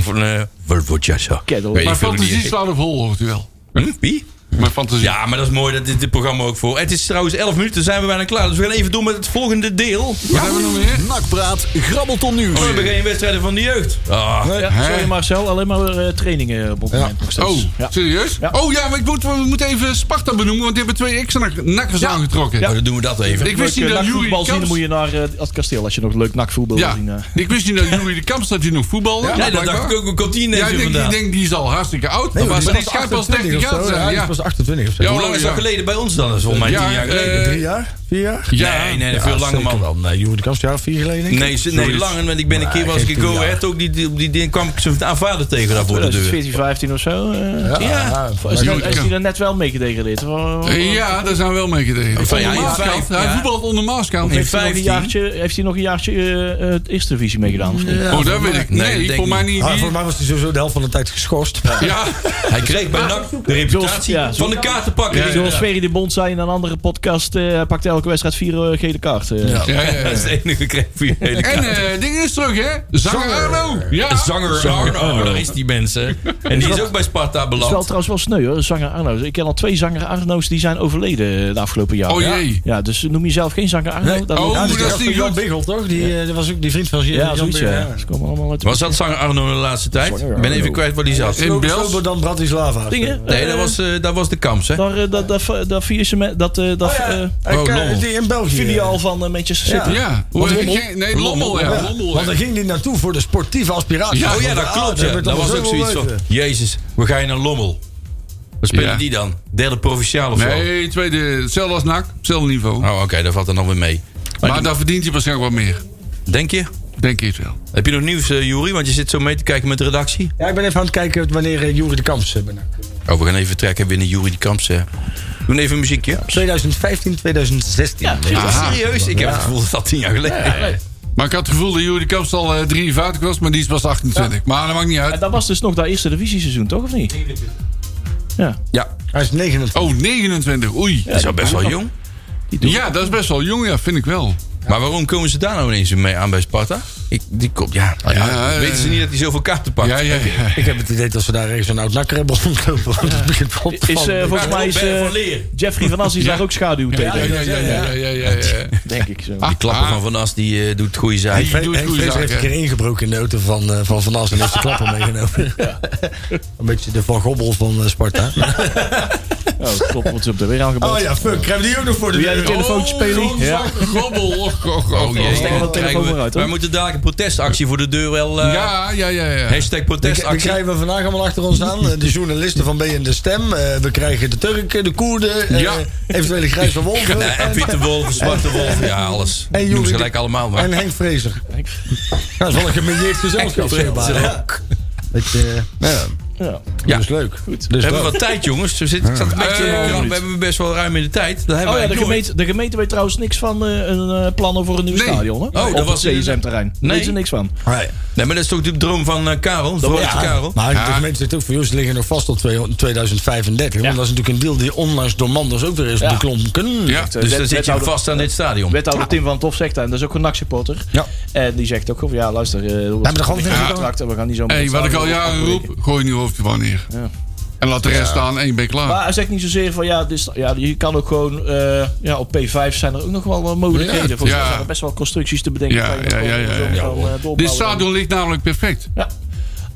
Speaker 4: Voor een... Wat wordt jij zo?
Speaker 1: Kettle.
Speaker 4: Weet
Speaker 5: maar
Speaker 4: ik veel
Speaker 5: fantasie
Speaker 4: niet.
Speaker 5: slaat op hol, hoort u wel.
Speaker 4: Hm? Wie?
Speaker 5: Mijn fantasie.
Speaker 4: Ja, maar dat is mooi dat dit, dit programma ook voor. Het is trouwens 11 minuten, zijn we bijna klaar. Dus we gaan even door met het volgende deel.
Speaker 5: Wat hebben we nog meer? Oh,
Speaker 2: Nakpraat, grabbelton nieuws.
Speaker 4: We hebben geen wedstrijden van de jeugd. Ah.
Speaker 1: Ja, sorry Marcel, alleen maar weer, eh, trainingen op het moment nog steeds.
Speaker 5: Oh,
Speaker 1: Ja.
Speaker 5: serieus?
Speaker 1: Ja.
Speaker 5: Oh ja, maar ik moet, we moeten even Sparta benoemen, want die hebben twee extra nakkers aangetrokken.
Speaker 4: Nou, dan doen we dat even.
Speaker 5: Ik wist
Speaker 1: Leuk,
Speaker 5: niet
Speaker 1: eh,
Speaker 5: dat Juri
Speaker 1: nakvoetbal
Speaker 5: de
Speaker 1: zien, dan
Speaker 5: Kamps...
Speaker 1: moet je naar eh, het kasteel als je nog leuk nakvoetbal wil
Speaker 5: Ja,
Speaker 1: zien. eh.
Speaker 5: ik wist niet dat Juri de Kamps dat hij nog voetbalde.
Speaker 4: Nee, dat
Speaker 5: blijkbaar.
Speaker 4: dacht ik ook. Een kantine
Speaker 5: Ja, ik
Speaker 4: ja,
Speaker 5: denk, ik
Speaker 4: vandaan.
Speaker 5: denk die is al hartstikke oud. maar die schijnt pas 30 jaar te
Speaker 6: Ja,
Speaker 5: zijn.
Speaker 6: die is
Speaker 5: Ja,
Speaker 6: pas 28 of zo.
Speaker 5: Ja,
Speaker 4: Hoe lang is dat
Speaker 5: ja.
Speaker 4: geleden bij ons dan? Dat is volgens mij
Speaker 5: Ja,
Speaker 4: 10 jaar geleden.
Speaker 5: eh,
Speaker 6: Drie jaar? Vier jaar?
Speaker 5: ja.
Speaker 4: nee, nee, veel langer
Speaker 6: zeker
Speaker 4: man.
Speaker 6: wel. Nee, Joer de Kamp, jaar of vier geleden? denk ik.
Speaker 4: Nee, ze- nee, langer. Want ik ben een keer was ik
Speaker 6: geen
Speaker 4: in Go
Speaker 6: tien jaar.
Speaker 4: Ahead ook. Die, die, op die ding kwam ik zijn aanvaarder tegen daar voor de deur.
Speaker 1: 2014, 15 of zo. eh.
Speaker 6: Ja, ja,
Speaker 1: Is
Speaker 6: ja.
Speaker 1: die- is die dan net wel meegedegradeerd? Of- of-
Speaker 5: Eh, ja, daar zijn we wel mee gedeeld.
Speaker 4: Van ja, in vijf,
Speaker 5: Hij
Speaker 4: ja.
Speaker 5: voetbalt onder Maaskant.
Speaker 4: In
Speaker 1: Heeft hij nog een
Speaker 4: 15?
Speaker 1: jaartje, heeft hij nog een jaartje eh, eh, het eerste divisie meegedaan? Of niet?
Speaker 5: Oh, dat weet ik.
Speaker 4: Nee,
Speaker 5: Nee,
Speaker 4: denk
Speaker 5: voor mij niet.
Speaker 6: Ah,
Speaker 5: Die-
Speaker 6: Volgens mij was hij sowieso de helft van de tijd geschorst.
Speaker 5: Ja,
Speaker 4: Hij kreeg bij NAC de reputatie
Speaker 1: ja,
Speaker 4: van de kaartenpakker. Ja,
Speaker 1: Zoals Ferry de Bond zei in een andere podcast, eh, hij pakt elke wedstrijd vier eh, gele kaart. eh.
Speaker 5: ja, ja, ja.
Speaker 4: Dat is de enige kreeg voor je hele
Speaker 5: En
Speaker 4: kaart.
Speaker 5: eh ding is terug, hè? Zanger Arno. Ja.
Speaker 4: Zanger Arno, daar is die mensen. En die is ook bij Sparta
Speaker 1: Het is wel
Speaker 4: beland.
Speaker 1: trouwens wel sneu hoor, zanger Arno's. Ik ken al twee zanger Arno's die zijn overleden eh, de afgelopen jaren.
Speaker 5: Oh jee.
Speaker 1: Ja, dus noem jezelf geen zanger Arno.
Speaker 6: Nee.
Speaker 1: dat
Speaker 5: Oh,
Speaker 1: loopt-
Speaker 5: dat is
Speaker 6: gast
Speaker 5: die
Speaker 6: van Jan
Speaker 5: goed.
Speaker 6: Biggel, toch? Die, eh, dat was ook die vriend van
Speaker 1: ja, zoiets ja.
Speaker 6: Biggel.
Speaker 1: Ze komen allemaal uit de
Speaker 4: Was dat zanger Arno in de laatste tijd? Ik ben even kwijt waar die zat.
Speaker 5: In Bels.
Speaker 6: Sober dan Bratislava.
Speaker 1: dingen.
Speaker 4: Nee, dat was, eh, dat was de Kamps, hè?
Speaker 1: Daar, eh, dat, dat, dat vier ze met dat, eh, dat eh,
Speaker 6: Eh,
Speaker 4: Oh,
Speaker 6: eh,
Speaker 4: lol.
Speaker 6: die in België.
Speaker 1: filiaal van eh, Manchester City.
Speaker 5: Ja. Hoe heet die? Nee, Lommel, ja. Lommel,
Speaker 6: Want
Speaker 5: ja.
Speaker 6: daar ging hij naartoe voor de sportieve aspiratie.
Speaker 5: Ja,
Speaker 4: Oh ja, dat klopt. Ja. Dat was ook zoiets
Speaker 6: eh,
Speaker 4: van... Jezus, we gaan naar Lommel. Wat spelen
Speaker 5: Ja.
Speaker 4: die dan? Derde provinciaal of zo?
Speaker 5: Nee, tweede. Hetzelfde als NAC. Hetzelfde niveau.
Speaker 4: Oh, oké, dat valt er nog weer mee.
Speaker 5: Maar daar verdient hij waarschijnlijk wat meer.
Speaker 4: Denk je?
Speaker 5: Denk ik wel.
Speaker 4: Heb je nog nieuws, eh Juri? Want je zit zo mee te kijken met de redactie.
Speaker 6: Ja, ik ben even aan het kijken wanneer eh, Joeri de Kamps eh, benakt.
Speaker 4: Oh, we gaan even trekken binnen Juri de Kamps. eh. Doen even een muziekje.
Speaker 6: 2015, 2016.
Speaker 1: Ja, precies.
Speaker 4: Ah, serieus? Ik heb het gevoel dat dat tien jaar geleden is.
Speaker 5: Maar ik had het gevoel dat Jury de Kamps al eh, 53 was, maar die is pas 28. Maar dat maakt niet
Speaker 1: En
Speaker 5: uit.
Speaker 1: dat was dus nog dat eerste divisieseizoen, toch? Of niet? Ja,
Speaker 4: Ja,
Speaker 6: Hij is 29.
Speaker 5: Oh, 29. Oei.
Speaker 4: dat is al best wel jong.
Speaker 5: Ja, dat is best wel jong, ja, vind ik wel.
Speaker 4: Maar waarom komen ze daar nou ineens mee aan bij Sparta? Ik, die komt, ja, nou ja,
Speaker 5: Ja, eh,
Speaker 4: weten ze niet dat hij zoveel kaarten pakt?
Speaker 5: Ja, ja, ja.
Speaker 6: Ik heb het idee dat ze daar ergens een oud nakker hebben rondlopen. want het begint wel op te
Speaker 1: is, eh,
Speaker 6: vallen.
Speaker 1: volgens mij is
Speaker 4: Ben
Speaker 1: eh,
Speaker 4: van Leer.
Speaker 1: Jeffrey van Assis daar ook schaduw
Speaker 5: Ja,
Speaker 1: tegen,
Speaker 5: ja, ja, ja, ja, ja, ja.
Speaker 1: denk ik. Zo.
Speaker 5: Ah,
Speaker 4: Die klapper van Van As, die eh, doet goede zaken.
Speaker 5: doe het
Speaker 6: Henk
Speaker 5: goede
Speaker 6: Vrezer
Speaker 5: zaken.
Speaker 6: heeft een keer ingebroken in de auto van eh, Van, van As en heeft de klappen meegenomen. Een beetje de Van Gobbel van eh, Sparta.
Speaker 1: Oh, klopt, wordt ze op de weer aangebeld.
Speaker 6: Oh ja, fuck. Krijg die ook nog voor de
Speaker 1: Doe jij de telefoontje spelen?
Speaker 5: Ja. Gobbel, och, och, och.
Speaker 4: Oh, jee,
Speaker 1: steek wel
Speaker 4: dan
Speaker 1: de telefoon
Speaker 4: krijgen we-
Speaker 1: maar uit, hoor.
Speaker 4: Wij moeten dadelijk een protestactie voor de deur wel... eh,
Speaker 5: Ja, ja, ja, ja.
Speaker 4: Hashtag
Speaker 6: We
Speaker 4: protestactie.
Speaker 6: Dus krijgen we vandaag allemaal achter ons aan. Eh, De journalisten van BN De Stem. eh, We krijgen de Turken, de Koerden. eh,
Speaker 5: Ja.
Speaker 6: Eventuele Grijze Wolven.
Speaker 4: Nee, en Witte Wolf, Zwarte Wolf, ja, alles.
Speaker 6: Hey,
Speaker 4: Noem
Speaker 6: Joeri,
Speaker 4: ze gelijk
Speaker 6: de-
Speaker 4: allemaal maar.
Speaker 6: En Henk Vrezer. Dat is wel een gemilieerd gezelschap, zeg maar. Ja. Dat je, nou ja,
Speaker 1: Ja.
Speaker 4: Ja.
Speaker 6: dat is leuk. Dus
Speaker 4: we hebben wat tijd, jongens. We, zitten, ik zat een beetje,
Speaker 5: Eh,
Speaker 4: krap.
Speaker 5: minuut.
Speaker 4: we hebben best wel ruim in de tijd. Dat hebben we
Speaker 1: Oh ja, de
Speaker 4: eigenlijk nooit.
Speaker 1: gemeente, de gemeente weet trouwens niks van eh, een eh, plannen voor een nieuw
Speaker 5: Nee.
Speaker 1: stadion. Hè?
Speaker 4: Oh, dat
Speaker 1: Op het
Speaker 4: was in de-
Speaker 1: CSM-terrein. Daar
Speaker 4: Nee.
Speaker 1: weten ze niks van.
Speaker 6: Right.
Speaker 4: Nee, maar dat is toch de droom van eh, Karel? De
Speaker 6: Ja,
Speaker 4: Karel?
Speaker 6: Maar de gemeente zegt ook van, joh, ze liggen nog vast tot 200 2035. Want dat is natuurlijk een deal die onlangs door Manders ook weer is
Speaker 1: Ja.
Speaker 6: beklonken.
Speaker 5: Ja,
Speaker 4: Dus
Speaker 1: Wet-
Speaker 4: dan zit je
Speaker 1: wethouder-
Speaker 4: vast aan dit stadion.
Speaker 1: Wethouder
Speaker 5: Nou.
Speaker 1: Tim van het Hof zegt dat. En dat is ook een NAC-supporter.
Speaker 6: Ja.
Speaker 1: En die zegt ook gewoon, ja luister. eh, we
Speaker 6: hebben er gewoon
Speaker 1: geen
Speaker 6: veel
Speaker 1: contract en we gaan niet zo met
Speaker 5: hey,
Speaker 1: het
Speaker 5: wat ik al
Speaker 1: stadion
Speaker 5: jaren
Speaker 1: afbreken.
Speaker 5: roep, gooi nu hoofdje van neer.
Speaker 1: Ja.
Speaker 5: En laat de rest staan en je bent klaar.
Speaker 1: Maar hij zegt niet zozeer van ja, dit, is- ja je kan ook gewoon eh, ja, op P5 zijn er ook nog wel eh, mogelijkheden. Volgens mij
Speaker 5: ja.
Speaker 1: zijn er best wel constructies te bedenken.
Speaker 5: Ja,
Speaker 1: waar je
Speaker 5: ja, ja, ja,
Speaker 1: gewoon
Speaker 5: ja,
Speaker 1: kan, eh, doorbouwen.
Speaker 5: Dit stadion ligt namelijk perfect.
Speaker 1: Ja.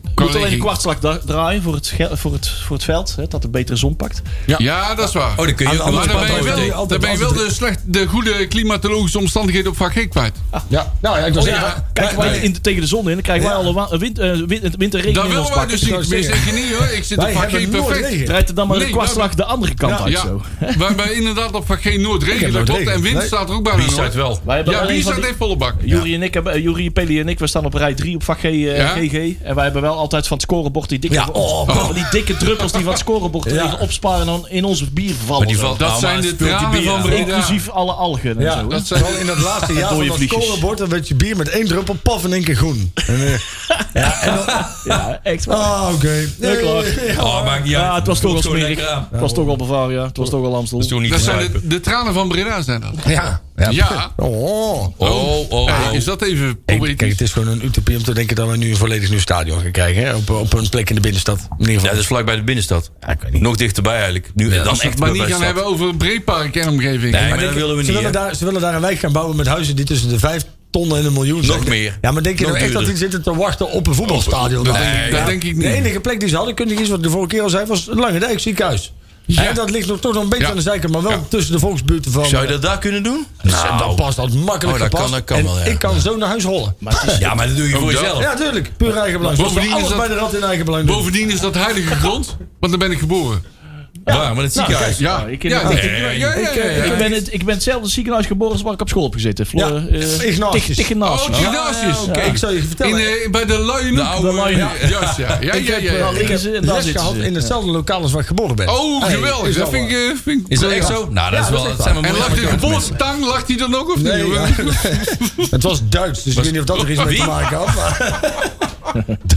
Speaker 1: Je
Speaker 5: Kan
Speaker 1: moet alleen een
Speaker 5: ik-
Speaker 1: kwartslag da- draaien voor het, ge- voor het, voor het veld. Hè, dat er betere zon pakt.
Speaker 5: Ja, dat is waar.
Speaker 4: Oh, dan kun je ook
Speaker 6: Aan de
Speaker 4: nog
Speaker 5: Maar
Speaker 6: andere
Speaker 4: een
Speaker 5: dan ben je
Speaker 6: Altijd,
Speaker 4: patroon
Speaker 5: wel, dan ben je wel de, slecht, de goede klimatologische omstandigheden op vak G kwijt.
Speaker 6: Ja. Nou ja, ik was even-
Speaker 1: Kijken wij in, tegen de zon in, dan krijgen wij alle wa- wind, eh, wind, winterregen
Speaker 5: Dat
Speaker 1: in ons
Speaker 5: willen wij
Speaker 1: pak.
Speaker 5: dus niet. Meer zeg je niet hoor. Ik zit op
Speaker 6: Wij
Speaker 5: vak G
Speaker 6: hebben nooit
Speaker 5: perfect.
Speaker 6: regen.
Speaker 1: Draait er dan maar
Speaker 5: Nee,
Speaker 1: een kwartslag de andere kant uit
Speaker 5: Ja,
Speaker 1: zo.
Speaker 5: wij hebben inderdaad op vak G nooit regen. Dat
Speaker 6: heb nooit
Speaker 5: klopt.
Speaker 6: regen.
Speaker 5: En wind
Speaker 6: Nee.
Speaker 5: staat er ook bijna
Speaker 4: b
Speaker 5: nooit.
Speaker 4: wel.
Speaker 1: Wij hebben
Speaker 5: Ja,
Speaker 1: alleen
Speaker 5: wie
Speaker 1: van
Speaker 5: staat
Speaker 1: die-
Speaker 5: heeft volle bak.
Speaker 1: Jurie en ik hebben, eh, Jurie, Peli en ik, we staan op rij 3 op vak G, eh,
Speaker 5: Ja.
Speaker 1: GG. En wij hebben wel altijd van het scorebord die dikke,
Speaker 6: Ja, oh.
Speaker 1: van die dikke druppels die van het scorebord er
Speaker 6: Ja.
Speaker 1: liggen opsparen en dan in onze bier vallen.
Speaker 4: Maar die valt
Speaker 5: Dat
Speaker 4: nou,
Speaker 5: zijn
Speaker 4: maar
Speaker 5: de
Speaker 4: speelt die
Speaker 5: tranen
Speaker 4: bier
Speaker 5: van
Speaker 4: aan.
Speaker 5: Breda.
Speaker 1: Inclusief alle algen en
Speaker 6: Ja,
Speaker 1: zo. hè.
Speaker 5: Dat zijn
Speaker 6: Vooral in dat laatste jaar
Speaker 1: Dode
Speaker 6: van dat
Speaker 1: vliegjes.
Speaker 6: scorebord, dan werd je bier met één druppel paf en één keer groen. En, eh,
Speaker 1: Ja, en dan- ja, echt waar.
Speaker 6: Ah, oké.
Speaker 1: Leuk lach.
Speaker 4: Oh, maakt niet uit.
Speaker 1: Ja, het was toch al
Speaker 4: Komt gewoon
Speaker 1: smerig.
Speaker 4: lekker aan.
Speaker 1: Het was toch al Bavaria. Het was toch al Amstel.
Speaker 4: Dat is toch niet
Speaker 5: Dat
Speaker 4: te
Speaker 5: zijn
Speaker 4: zuipen.
Speaker 5: de, de tranen van Breda zijn dat.
Speaker 6: Ja.
Speaker 5: Ja.
Speaker 6: Oh.
Speaker 4: Oh, oh, oh.
Speaker 5: Hey, is dat even
Speaker 6: Ik-
Speaker 5: poëtisch?
Speaker 6: kijk, het is gewoon een utopie om te denken dat we nu een volledig nieuw stadion gaan krijgen. Hè? Op, op een plek in de binnenstad. In ieder geval.
Speaker 4: Ja, dat is vlakbij de binnenstad.
Speaker 6: Ja, ik weet niet.
Speaker 4: Nog dichterbij eigenlijk. Nu, dan
Speaker 5: Als we
Speaker 4: echt
Speaker 5: het maar niet
Speaker 4: bij de
Speaker 5: gaan
Speaker 4: stad.
Speaker 5: hebben over een breedpark en omgeving.
Speaker 4: Oh, Nee, maar,
Speaker 6: Maar
Speaker 4: dat
Speaker 6: denk-
Speaker 4: willen we
Speaker 6: ze
Speaker 4: niet.
Speaker 6: Willen
Speaker 4: hè.
Speaker 6: daar, ze willen daar een wijk gaan bouwen met huizen die tussen de vijf ton en een miljoen zijn.
Speaker 4: Nog meer.
Speaker 6: Ja, maar denk je
Speaker 4: Nog
Speaker 6: nou echt dat die
Speaker 4: duurder.
Speaker 6: zitten te wachten op een voetbalstadion?
Speaker 5: dat
Speaker 6: daar?
Speaker 5: denk ik- dat denk ik niet.
Speaker 6: De enige plek die ze hadden kunnen kiezen, wat ik de vorige keer al zei, was het Lange Dijk ziekenhuis. Ja. dat ligt nog toch nog een beetje
Speaker 5: Ja.
Speaker 6: aan de zijkant, maar wel
Speaker 5: Ja.
Speaker 6: tussen de volksbuurten van...
Speaker 4: Zou je dat daar kunnen doen?
Speaker 6: Nou, dat past dat makkelijk
Speaker 4: Oh, dat
Speaker 6: gepast.
Speaker 4: kan- dat kan
Speaker 6: En
Speaker 4: wel, ja.
Speaker 6: Ik kan zo naar huis hollen.
Speaker 4: Ja, maar dat doe je
Speaker 5: Ook
Speaker 4: voor
Speaker 5: dat.
Speaker 4: jezelf.
Speaker 6: Ja, tuurlijk. Puur eigen belang.
Speaker 5: Bovendien
Speaker 6: Bovendien alles
Speaker 5: is dat-
Speaker 6: bij de rat in eigen belang doen.
Speaker 5: Bovendien is dat heilige grond, want daar ben ik geboren.
Speaker 4: Waar? Maar het ziekenhuis.
Speaker 5: Ja, ja,
Speaker 1: ik-
Speaker 5: ja, eh,
Speaker 1: ik-
Speaker 5: ja, ja, ja, ja, ja.
Speaker 1: Ik ben, het, ik ben hetzelfde ziekenhuis geboren als waar ik op school heb gezeten. Fleur,
Speaker 6: Ja,
Speaker 1: eh,
Speaker 6: Ignatius.
Speaker 1: Tig- Tig- Ignatius.
Speaker 5: Oh, Ignatius.
Speaker 4: Ah,
Speaker 6: Kijk, ik zou je vertellen.
Speaker 5: In, eh, bij de Luien.
Speaker 4: De oude-
Speaker 5: ja. Juist, ja. Ja,
Speaker 6: ik
Speaker 5: ja,
Speaker 6: heb,
Speaker 5: ja,
Speaker 6: eh,
Speaker 5: ja.
Speaker 1: Nou,
Speaker 6: ik
Speaker 1: liggen
Speaker 6: heb
Speaker 1: ze en daar
Speaker 6: les
Speaker 1: zitten
Speaker 6: gehad
Speaker 1: ze.
Speaker 6: in hetzelfde lokaal als waar ik geboren ben.
Speaker 5: Oh,
Speaker 6: Hey,
Speaker 5: geweldig.
Speaker 6: is
Speaker 5: Dat
Speaker 6: wel
Speaker 5: vind ik,
Speaker 6: waar.
Speaker 5: eh, vind ik
Speaker 4: Is dat
Speaker 5: briljant.
Speaker 4: echt zo? Nou, dat is
Speaker 6: Ja,
Speaker 4: wel...
Speaker 6: dat is
Speaker 4: Dat zijn wel
Speaker 5: En lag de
Speaker 4: mooie mensen.
Speaker 5: geboortetang, lag die dan ook of niet?
Speaker 6: Nee,
Speaker 5: hoor?
Speaker 6: ja. het was Duits, dus ik weet niet of dat er iets mee te
Speaker 4: Wie?
Speaker 6: maken had. Maar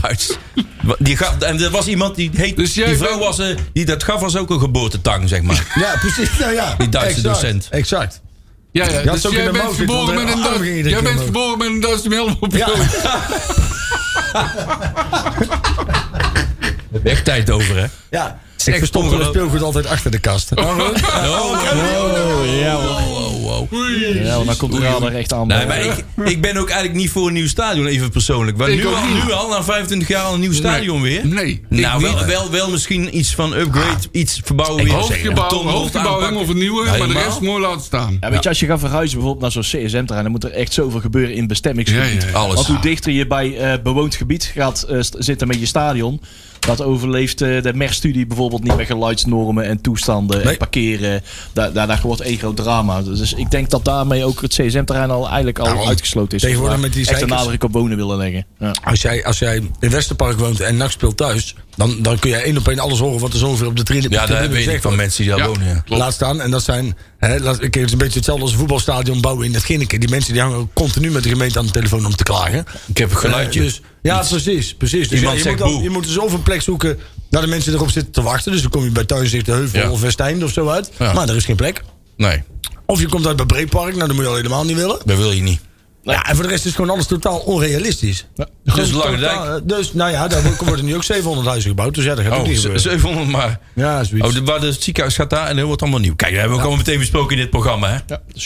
Speaker 4: Duits. Wa- Die gaf, en er was iemand die heet...
Speaker 5: Dus jij
Speaker 4: die vrouw
Speaker 5: bent-
Speaker 4: was, eh, die dat gaf was ook een geboortetang, zeg maar.
Speaker 6: ja, precies. Nou ja,
Speaker 4: Die Duitse
Speaker 6: exact,
Speaker 4: docent.
Speaker 6: Exact.
Speaker 5: Ja, ja.
Speaker 6: had
Speaker 5: Dus
Speaker 6: ze ook in
Speaker 5: jij
Speaker 6: de
Speaker 5: bent
Speaker 6: mouw zitten,
Speaker 5: geboren
Speaker 6: want
Speaker 5: met een
Speaker 6: de arm
Speaker 5: Duits.
Speaker 6: ging iedere
Speaker 5: Jij
Speaker 6: keer
Speaker 5: bent
Speaker 6: omhoog.
Speaker 5: geboren met een Duits die helemaal op
Speaker 6: Ja.
Speaker 4: Echt tijd over, hè?
Speaker 6: Ja. Ik
Speaker 4: echt
Speaker 6: verstop mijn
Speaker 4: ongelooflijk.
Speaker 6: speelgoed altijd achter de kast.
Speaker 1: Oh, ja hoor. Ja, maar dan komt de radar echt aan.
Speaker 4: Nee, maar ik, ik ben ook eigenlijk niet voor een nieuw stadion, even persoonlijk. Want
Speaker 5: Ik
Speaker 4: nu
Speaker 5: ook
Speaker 4: al,
Speaker 5: niet.
Speaker 4: nu al, na 25 jaar, al een nieuw stadion weer.
Speaker 5: Nee.
Speaker 4: Nou,
Speaker 5: ik
Speaker 4: wel,
Speaker 5: niet. Ah.
Speaker 4: wel, wel misschien iets van upgrade, iets verbouwen weer.
Speaker 5: Hoofdgebouw,
Speaker 4: Beton
Speaker 5: hoofdgebouw
Speaker 4: aanpakken.
Speaker 5: helemaal vernieuwen, maar de
Speaker 4: Helemaal.
Speaker 5: rest mooi laten staan.
Speaker 1: Ja, weet je, als je gaat verhuizen bijvoorbeeld naar zo'n CSM-terrein, dan moet er echt zoveel gebeuren in het bestemmingsgebied.
Speaker 5: Ja, ja, ja.
Speaker 4: Alles.
Speaker 1: Want hoe dichter je bij eh, bewoond gebied gaat eh, st- zitten met je stadion, dat overleeft eh, de MER-studie bijvoorbeeld niet met geluidsnormen en toestanden
Speaker 6: Nee.
Speaker 1: en parkeren. Daar, daar, daar wordt één groot drama. Dus ik denk dat daarmee ook het CSM-terrein al eigenlijk al
Speaker 6: Daarom.
Speaker 1: uitgesloten is.
Speaker 6: Tegenwoordig
Speaker 1: Als we
Speaker 6: met die
Speaker 1: echt een
Speaker 6: zeikers.
Speaker 1: nadruk op wonen willen leggen. Ja.
Speaker 6: Als jij, als jij in Westerpark woont en nacht speelt thuis, dan, dan kun jij één op één alles horen wat er zoveel op de trine
Speaker 4: Ja, daar
Speaker 6: tribune
Speaker 4: weet ik
Speaker 6: gezegd
Speaker 4: van
Speaker 6: wordt.
Speaker 4: mensen die daar
Speaker 5: Ja.
Speaker 4: wonen. Ja.
Speaker 6: Laat staan, en dat zijn. Hè, laat, kijk, het is een beetje hetzelfde als een voetbalstadion bouwen in het Ginneke. Die mensen die hangen ook continu met de gemeente aan de telefoon om te klagen.
Speaker 4: Ik heb een geluidje.
Speaker 6: Eh, dus, ja, precies. precies. Dus
Speaker 4: Iemand
Speaker 6: ja, je,
Speaker 4: zegt
Speaker 6: moet dan-
Speaker 4: boe.
Speaker 6: je moet dus of een plek zoeken waar de mensen erop zitten te wachten. Dus dan kom je bij Tuinzicht, de Heuvel
Speaker 4: Ja.
Speaker 6: of Westeinde of zo uit.
Speaker 4: Ja.
Speaker 6: Maar er is geen plek.
Speaker 4: Nee,
Speaker 6: Of je komt uit bij Breepark, nou dat moet je al helemaal niet willen.
Speaker 4: dat wil je niet.
Speaker 6: Ja, en voor de rest is gewoon alles totaal onrealistisch.
Speaker 4: Dus Lange
Speaker 6: Totaal,
Speaker 4: Dijk.
Speaker 6: eh, Dus nou ja, daar worden nu ook 700 huizen gebouwd. Dus ja, dat gaat ook
Speaker 4: Oh,
Speaker 6: niet
Speaker 4: ze-
Speaker 5: eh.
Speaker 6: gebeuren.
Speaker 4: 700 maar.
Speaker 6: Ja, zoiets.
Speaker 4: Oh, de, waar de het ziekenhuis gaat daar en dat wordt allemaal nieuw. Kijk, dat hebben we ook allemaal meteen besproken in dit programma. Hè?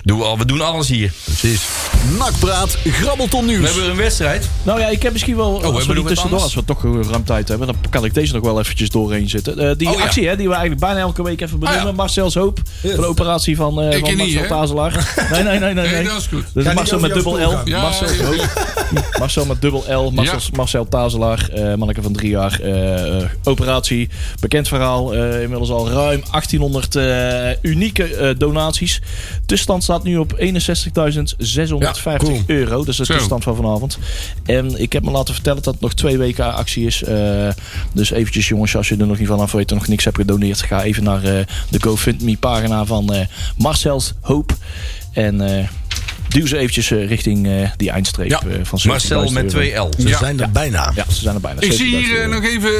Speaker 4: Doen we, al, we doen alles hier. oh,
Speaker 2: Nakpraat, grabbelton
Speaker 4: We
Speaker 2: nieuws.
Speaker 4: hebben een wedstrijd.
Speaker 1: Nou ja, ik heb misschien
Speaker 5: Oh,
Speaker 1: wel. als
Speaker 4: hebben
Speaker 1: we
Speaker 4: we
Speaker 1: die
Speaker 4: wat
Speaker 1: tussendoor,
Speaker 4: anders?
Speaker 1: als we toch eh, ruim tijd hebben, dan kan ik deze nog wel eventjes doorheen zitten. Eh, die
Speaker 4: Oh ja.
Speaker 1: actie hè, die we eigenlijk bijna elke week even benoemen.
Speaker 5: Ah, ja.
Speaker 1: Marcel's Hoop.
Speaker 6: Yes.
Speaker 1: Van de operatie van, eh
Speaker 5: Ik
Speaker 1: van
Speaker 5: niet,
Speaker 1: Marcel
Speaker 5: hè?
Speaker 1: Tazelaar. Nee, nee, nee, nee.
Speaker 5: Nee,
Speaker 1: nee.
Speaker 5: dat is goed.
Speaker 1: Dus
Speaker 6: Ga niet
Speaker 1: Marcel
Speaker 6: over
Speaker 1: met
Speaker 6: jouw
Speaker 1: dubbel
Speaker 6: spoor
Speaker 1: L.
Speaker 6: gaan.
Speaker 5: Ja,
Speaker 1: Marcel,
Speaker 5: ja, ja.
Speaker 1: Marcel met dubbel L. Marcel,
Speaker 5: Ja.
Speaker 1: Marcel Tazelaar, eh manneke van drie jaar. eh, eh, operatie. Bekend verhaal. eh, inmiddels al ruim 1800 eh, unieke eh, donaties. Tussenstand staat nu op 61.650
Speaker 6: cool.
Speaker 1: euro. Dus
Speaker 5: Zo.
Speaker 1: dat is de tussenstand van vanavond. En ik heb me laten vertellen dat het nog twee weken actie is. Eh, dus eventjes jongens, als je er nog niet van af weet en nog niks hebt gedoneerd. Ga even naar eh, de GoFundMe pagina van eh, Marcel's Hoop. En eh, duw ze eventjes eh, richting eh, die eindstreep
Speaker 4: Ja,
Speaker 1: eh, van 17.000
Speaker 4: Marcel met
Speaker 1: euro.
Speaker 4: 2L.
Speaker 6: Ze
Speaker 5: Ja.
Speaker 6: zijn er bijna.
Speaker 4: Nou,
Speaker 1: Ja, ze zijn er bijna.
Speaker 5: Ik zie
Speaker 1: 17.000
Speaker 5: hier eh,
Speaker 1: euro.
Speaker 5: nog even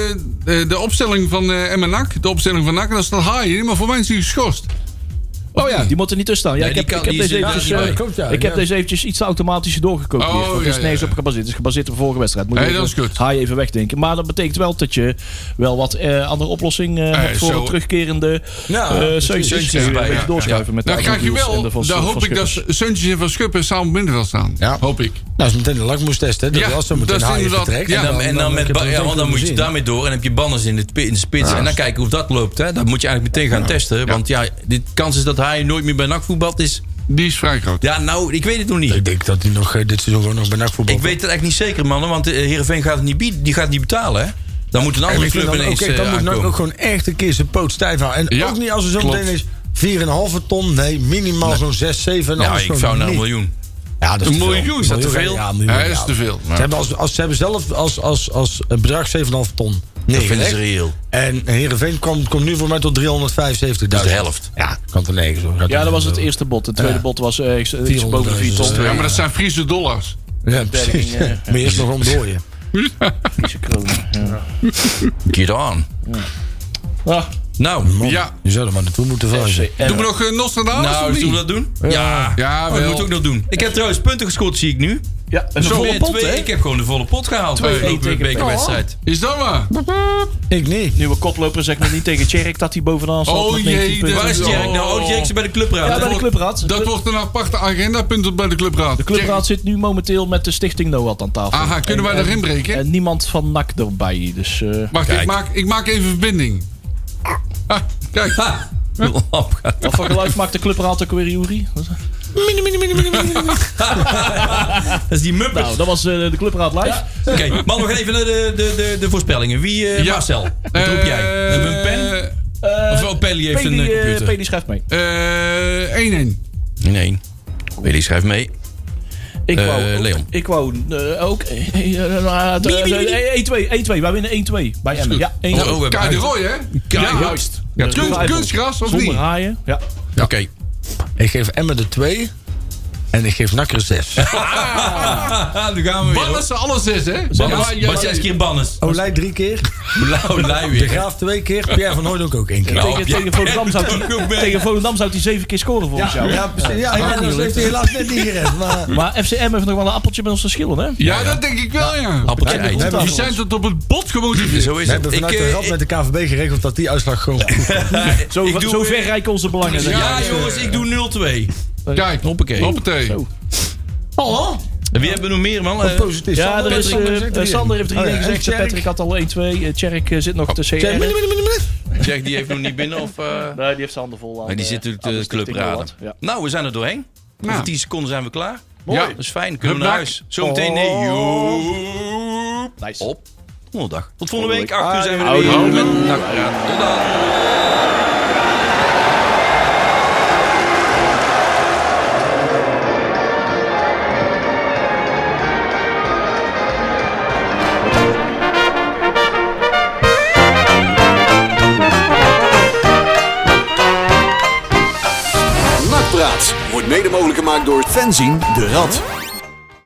Speaker 5: eh, de opstelling van eh Emma Nak. De opstelling van Nak, dat staat haaien maar voor mij is hij geschorst.
Speaker 1: Oh ja, die moet er niet tussen staan. Ja,
Speaker 4: Nee,
Speaker 1: ik
Speaker 4: die
Speaker 1: heb, ik
Speaker 4: kan- die
Speaker 1: heb deze
Speaker 4: zit daar
Speaker 1: eventjes,
Speaker 4: niet
Speaker 1: eh,
Speaker 4: bij.
Speaker 6: Klopt, ja.
Speaker 1: ik heb
Speaker 6: Ja.
Speaker 1: deze eventjes iets automatisch doorgekoopt.
Speaker 5: Oh,
Speaker 1: hier, want
Speaker 5: ja,
Speaker 1: het is
Speaker 5: ja,
Speaker 1: nergens
Speaker 5: ja.
Speaker 1: op gebaseerd. Het is gebaseerd op de vorige wedstrijd. Moet je
Speaker 5: Nee, dat
Speaker 1: even-
Speaker 5: is goed.
Speaker 1: Haai even wegdenken. Maar dat betekent wel dat je wel wat eh, andere oplossing eh, hebt voor
Speaker 5: zo-
Speaker 1: een terugkerende
Speaker 6: Ja,
Speaker 1: eh
Speaker 6: precies.
Speaker 1: Seuntjes.
Speaker 4: Seuntjes
Speaker 1: Een
Speaker 4: erbij,
Speaker 1: beetje
Speaker 4: ja.
Speaker 1: doorschuiven met de
Speaker 5: Dan krijg je
Speaker 1: Adonius en
Speaker 5: wel,
Speaker 1: de Van-
Speaker 5: daar
Speaker 1: van
Speaker 5: hoop ik dat
Speaker 1: Schippers.
Speaker 5: Suntjes en Van Schuppen samen op middenveld staan.
Speaker 6: Ja.
Speaker 5: Hoop ik.
Speaker 6: Nou, dat is meteen de lakmoestest, hè? Dat
Speaker 5: Ja,
Speaker 6: als ze
Speaker 5: dat
Speaker 6: meteen
Speaker 5: is
Speaker 6: haaien
Speaker 5: inderdaad-
Speaker 6: vertrekt.
Speaker 5: ja.
Speaker 4: En dan, en dan, met, ba-
Speaker 6: dan,
Speaker 4: ja, want dan moet je
Speaker 6: daar
Speaker 4: daarmee door en heb je banners in de, pi- in de spits. en dan kijken hoe dat loopt. Hè. Dat moet je eigenlijk meteen gaan testen. Want ja, de kans is dat hij nooit meer bij NAC voetbalt is.
Speaker 5: Die is vrij groot.
Speaker 4: Ja, nou, ik weet het nog niet.
Speaker 6: Ik denk dat hij nog eh, dit seizoen gewoon nog bij nachtvoetbal.
Speaker 4: Ik weet het eigenlijk niet zeker, mannen. Want eh, Heerenveen gaat het niet bieden. Die gaat het niet betalen, hè. Dan moet een
Speaker 6: En
Speaker 4: andere
Speaker 6: ik vind
Speaker 4: club
Speaker 6: dan,
Speaker 4: ineens
Speaker 6: oké,
Speaker 4: eh,
Speaker 6: dan moet NAC ook
Speaker 4: aankomen.
Speaker 6: gewoon echt een keer zijn poot stijf houden. En
Speaker 5: Ja,
Speaker 6: ook niet als er zo
Speaker 5: klopt.
Speaker 6: meteen is 4,5 ton. Nee, minimaal zo'n 6, 7.
Speaker 4: Ja, ik zou naar een miljoen.
Speaker 6: Ja, dat is
Speaker 5: Een
Speaker 6: te veel.
Speaker 5: miljoen, is dat
Speaker 4: te veel?
Speaker 6: Ja, een
Speaker 5: Ja,
Speaker 6: miljoen.
Speaker 5: dat is
Speaker 6: ja.
Speaker 5: te veel.
Speaker 6: Ze hebben, als, als, ze hebben zelf als, als, als een bedrag 7,5 ton.
Speaker 4: Dat
Speaker 6: Nee,
Speaker 4: vinden ze reëel.
Speaker 6: En Heerenveen komt komt nu voor mij tot 375.000. Dat
Speaker 4: de helft.
Speaker 6: Ja, kan er nergens over.
Speaker 1: Ja, dat was het eerste bot. Het tweede
Speaker 6: Ja.
Speaker 1: bot was eh, iets boven 4
Speaker 6: 400.000.
Speaker 1: ton.
Speaker 5: Ja, maar dat zijn Friese dollars.
Speaker 6: Ja, precies.
Speaker 1: Berging, eh,
Speaker 6: Maar eerst nog ontdooien.
Speaker 1: Friese kronen. Ja.
Speaker 4: Get on.
Speaker 1: Ah,
Speaker 4: Nou,
Speaker 5: Ja.
Speaker 6: Je zou er maar naartoe moeten verhuizen.
Speaker 1: FCM.
Speaker 5: Doen we nog uh, Nostradamus
Speaker 4: nou
Speaker 5: of
Speaker 4: zullen
Speaker 5: niet?
Speaker 4: we dat doen? Ja. ja. Oh,
Speaker 5: Ja,
Speaker 4: dat
Speaker 5: wel.
Speaker 4: moeten we ook nog doen. Ik heb trouwens punten gescoord, zie ik nu.
Speaker 1: Ja, en de
Speaker 4: Zo
Speaker 1: volle
Speaker 4: weer
Speaker 1: pot,
Speaker 4: twee.
Speaker 1: hè? Oh.
Speaker 4: Ik heb gewoon de volle pot gehaald. Twee,
Speaker 1: één
Speaker 4: de
Speaker 1: tegen-
Speaker 4: bekerwedstrijd.
Speaker 5: Is dat waar?
Speaker 6: Ik niet.
Speaker 1: Nieuwe koploper zegt nog niet tegen Tjerk dat hij bovenaan staat
Speaker 5: Oh,
Speaker 1: met
Speaker 5: jee,
Speaker 1: 19 punten.
Speaker 5: dat
Speaker 4: Waar is Jerk nou? Oh, Jerk is bij de clubraad.
Speaker 1: Ja, bij de
Speaker 5: wordt-
Speaker 1: clubraad.
Speaker 5: Dat wordt een aparte agenda, punt bij de clubraad.
Speaker 1: De clubraad zit nu momenteel met de stichting NOAD aan tafel.
Speaker 5: Aha, kunnen wij
Speaker 1: En-
Speaker 5: daarin breken?
Speaker 1: En niemand van NAC erbij, dus... eh,
Speaker 5: Wacht,
Speaker 4: Kijk.
Speaker 5: ik maak, ik maak even verbinding. Ah, kijk.
Speaker 4: Ha! De lamp gaat-
Speaker 1: Wat voor geluid maakt de clubraad ook weer, Jury?
Speaker 4: Dat is die Muppet.
Speaker 1: Nou, dat was eh, de clubraad live.
Speaker 4: Oké, man, nog even naar de, de, de, de voorspellingen. Wie, eh,
Speaker 5: Ja.
Speaker 4: Marcel, wat roep jij?
Speaker 5: Eh,
Speaker 4: Hebben we een pen? Of wel, Pelly heeft een eh,
Speaker 1: eh,
Speaker 4: computer.
Speaker 1: Peli schrijft mee.
Speaker 5: eh,
Speaker 4: Oh,
Speaker 5: 1-1.
Speaker 4: Nee, Willy schrijft mee.
Speaker 1: Ik
Speaker 4: Eh,
Speaker 1: wou, ook-
Speaker 4: Leon.
Speaker 1: Ik wou eh, ook... eh, eh, eh, eh, 1-2, 1-2. Wij winnen 1-2 bij Emmen.
Speaker 5: goed.
Speaker 1: Ja, 1-2.
Speaker 4: Oh, we hebben
Speaker 5: Kai de
Speaker 4: uit.
Speaker 5: Roy, hè?
Speaker 4: Kei-
Speaker 1: Juist.
Speaker 5: Ja,
Speaker 1: Dus
Speaker 5: kunst-
Speaker 1: vijf op.
Speaker 5: kunstgras of
Speaker 1: Zonder
Speaker 5: niet?
Speaker 1: haaien. Ja.
Speaker 4: Oké.
Speaker 6: Ik geef Emma de 2 en ik geef Nakker 6.
Speaker 4: Ah, nu gaan we weer.
Speaker 5: Ballen ze alles zes, hè?
Speaker 4: Bannes. Bas, zes keer bannes.
Speaker 6: Olij Oh, drie keer,
Speaker 4: Blauw Nou, lui
Speaker 6: De
Speaker 4: weer.
Speaker 6: Graaf twee keer, Pierre van Hooydonk ook één keer.
Speaker 4: Nou,
Speaker 1: tegen,
Speaker 4: ja.
Speaker 1: tegen, Volendam zou
Speaker 4: Ja, ook
Speaker 1: die,
Speaker 4: wel.
Speaker 1: tegen Volendam zou hij zeven keer scoren volgens jou.
Speaker 6: Ja, precies. Ja, ja, dat heeft hij helaas net niet gered. Maar
Speaker 1: Maar FCM heeft nog wel een appeltje met ons te schillen, hè?
Speaker 5: Ja, dat denk ik wel, ja.
Speaker 4: Appeltje
Speaker 6: Wij
Speaker 4: ei.
Speaker 6: hebben-
Speaker 5: Die zijn tot op het bot gemotiveerd.
Speaker 4: Zo is
Speaker 6: we
Speaker 4: het.
Speaker 6: hebben vanuit
Speaker 4: Ik,
Speaker 6: de
Speaker 4: eh,
Speaker 6: rad met de KVB geregeld dat die uitslag gewoon goed is.
Speaker 4: ik-
Speaker 1: Zo,
Speaker 4: ik doe-
Speaker 1: zo ver reiken onze belangen. zeg
Speaker 4: Ja,
Speaker 1: maar.
Speaker 4: jongens, ik doe 0-2.
Speaker 5: Kijk,
Speaker 4: Hoppakee.
Speaker 5: hoppatee.
Speaker 1: Zo.
Speaker 4: En Wie hebben we nog meer, man? Eh,
Speaker 6: Positief.
Speaker 1: Ja, er is, eh,
Speaker 6: Patrick,
Speaker 1: eh, Sander heeft 3-1
Speaker 6: Oh ja, en
Speaker 1: gezegd.
Speaker 6: Tjerk?
Speaker 1: Patrick had al 1-2. eh, Tjerk eh, zit
Speaker 4: Oh.
Speaker 1: nog te CR.
Speaker 6: Tjerk,
Speaker 1: Nee,
Speaker 4: Eh, Jack, die heeft nog niet binnen of... eh,
Speaker 1: Nou, die heeft zijn handen vol aan.
Speaker 4: Maar die
Speaker 1: eh,
Speaker 4: zit natuurlijk
Speaker 1: aan
Speaker 4: de
Speaker 1: stichting
Speaker 4: clubraden.
Speaker 1: Noord. Ja.
Speaker 4: Nou, we zijn er doorheen. Over
Speaker 5: Nou.
Speaker 4: 10 seconden zijn we klaar.
Speaker 5: Mooi.
Speaker 4: Dat is fijn. Kunnen we naar
Speaker 5: Hup, Oh.
Speaker 4: huis. Zometeen nee. Joep.
Speaker 1: Nice.
Speaker 4: Op. Donderdag. Tot volgende week. 8 uur zijn we er
Speaker 1: Houdoe.
Speaker 4: weer. Met Nakpraat. Tot dan.
Speaker 2: Nakpraat wordt mede mogelijk gemaakt door fanzine de Rad.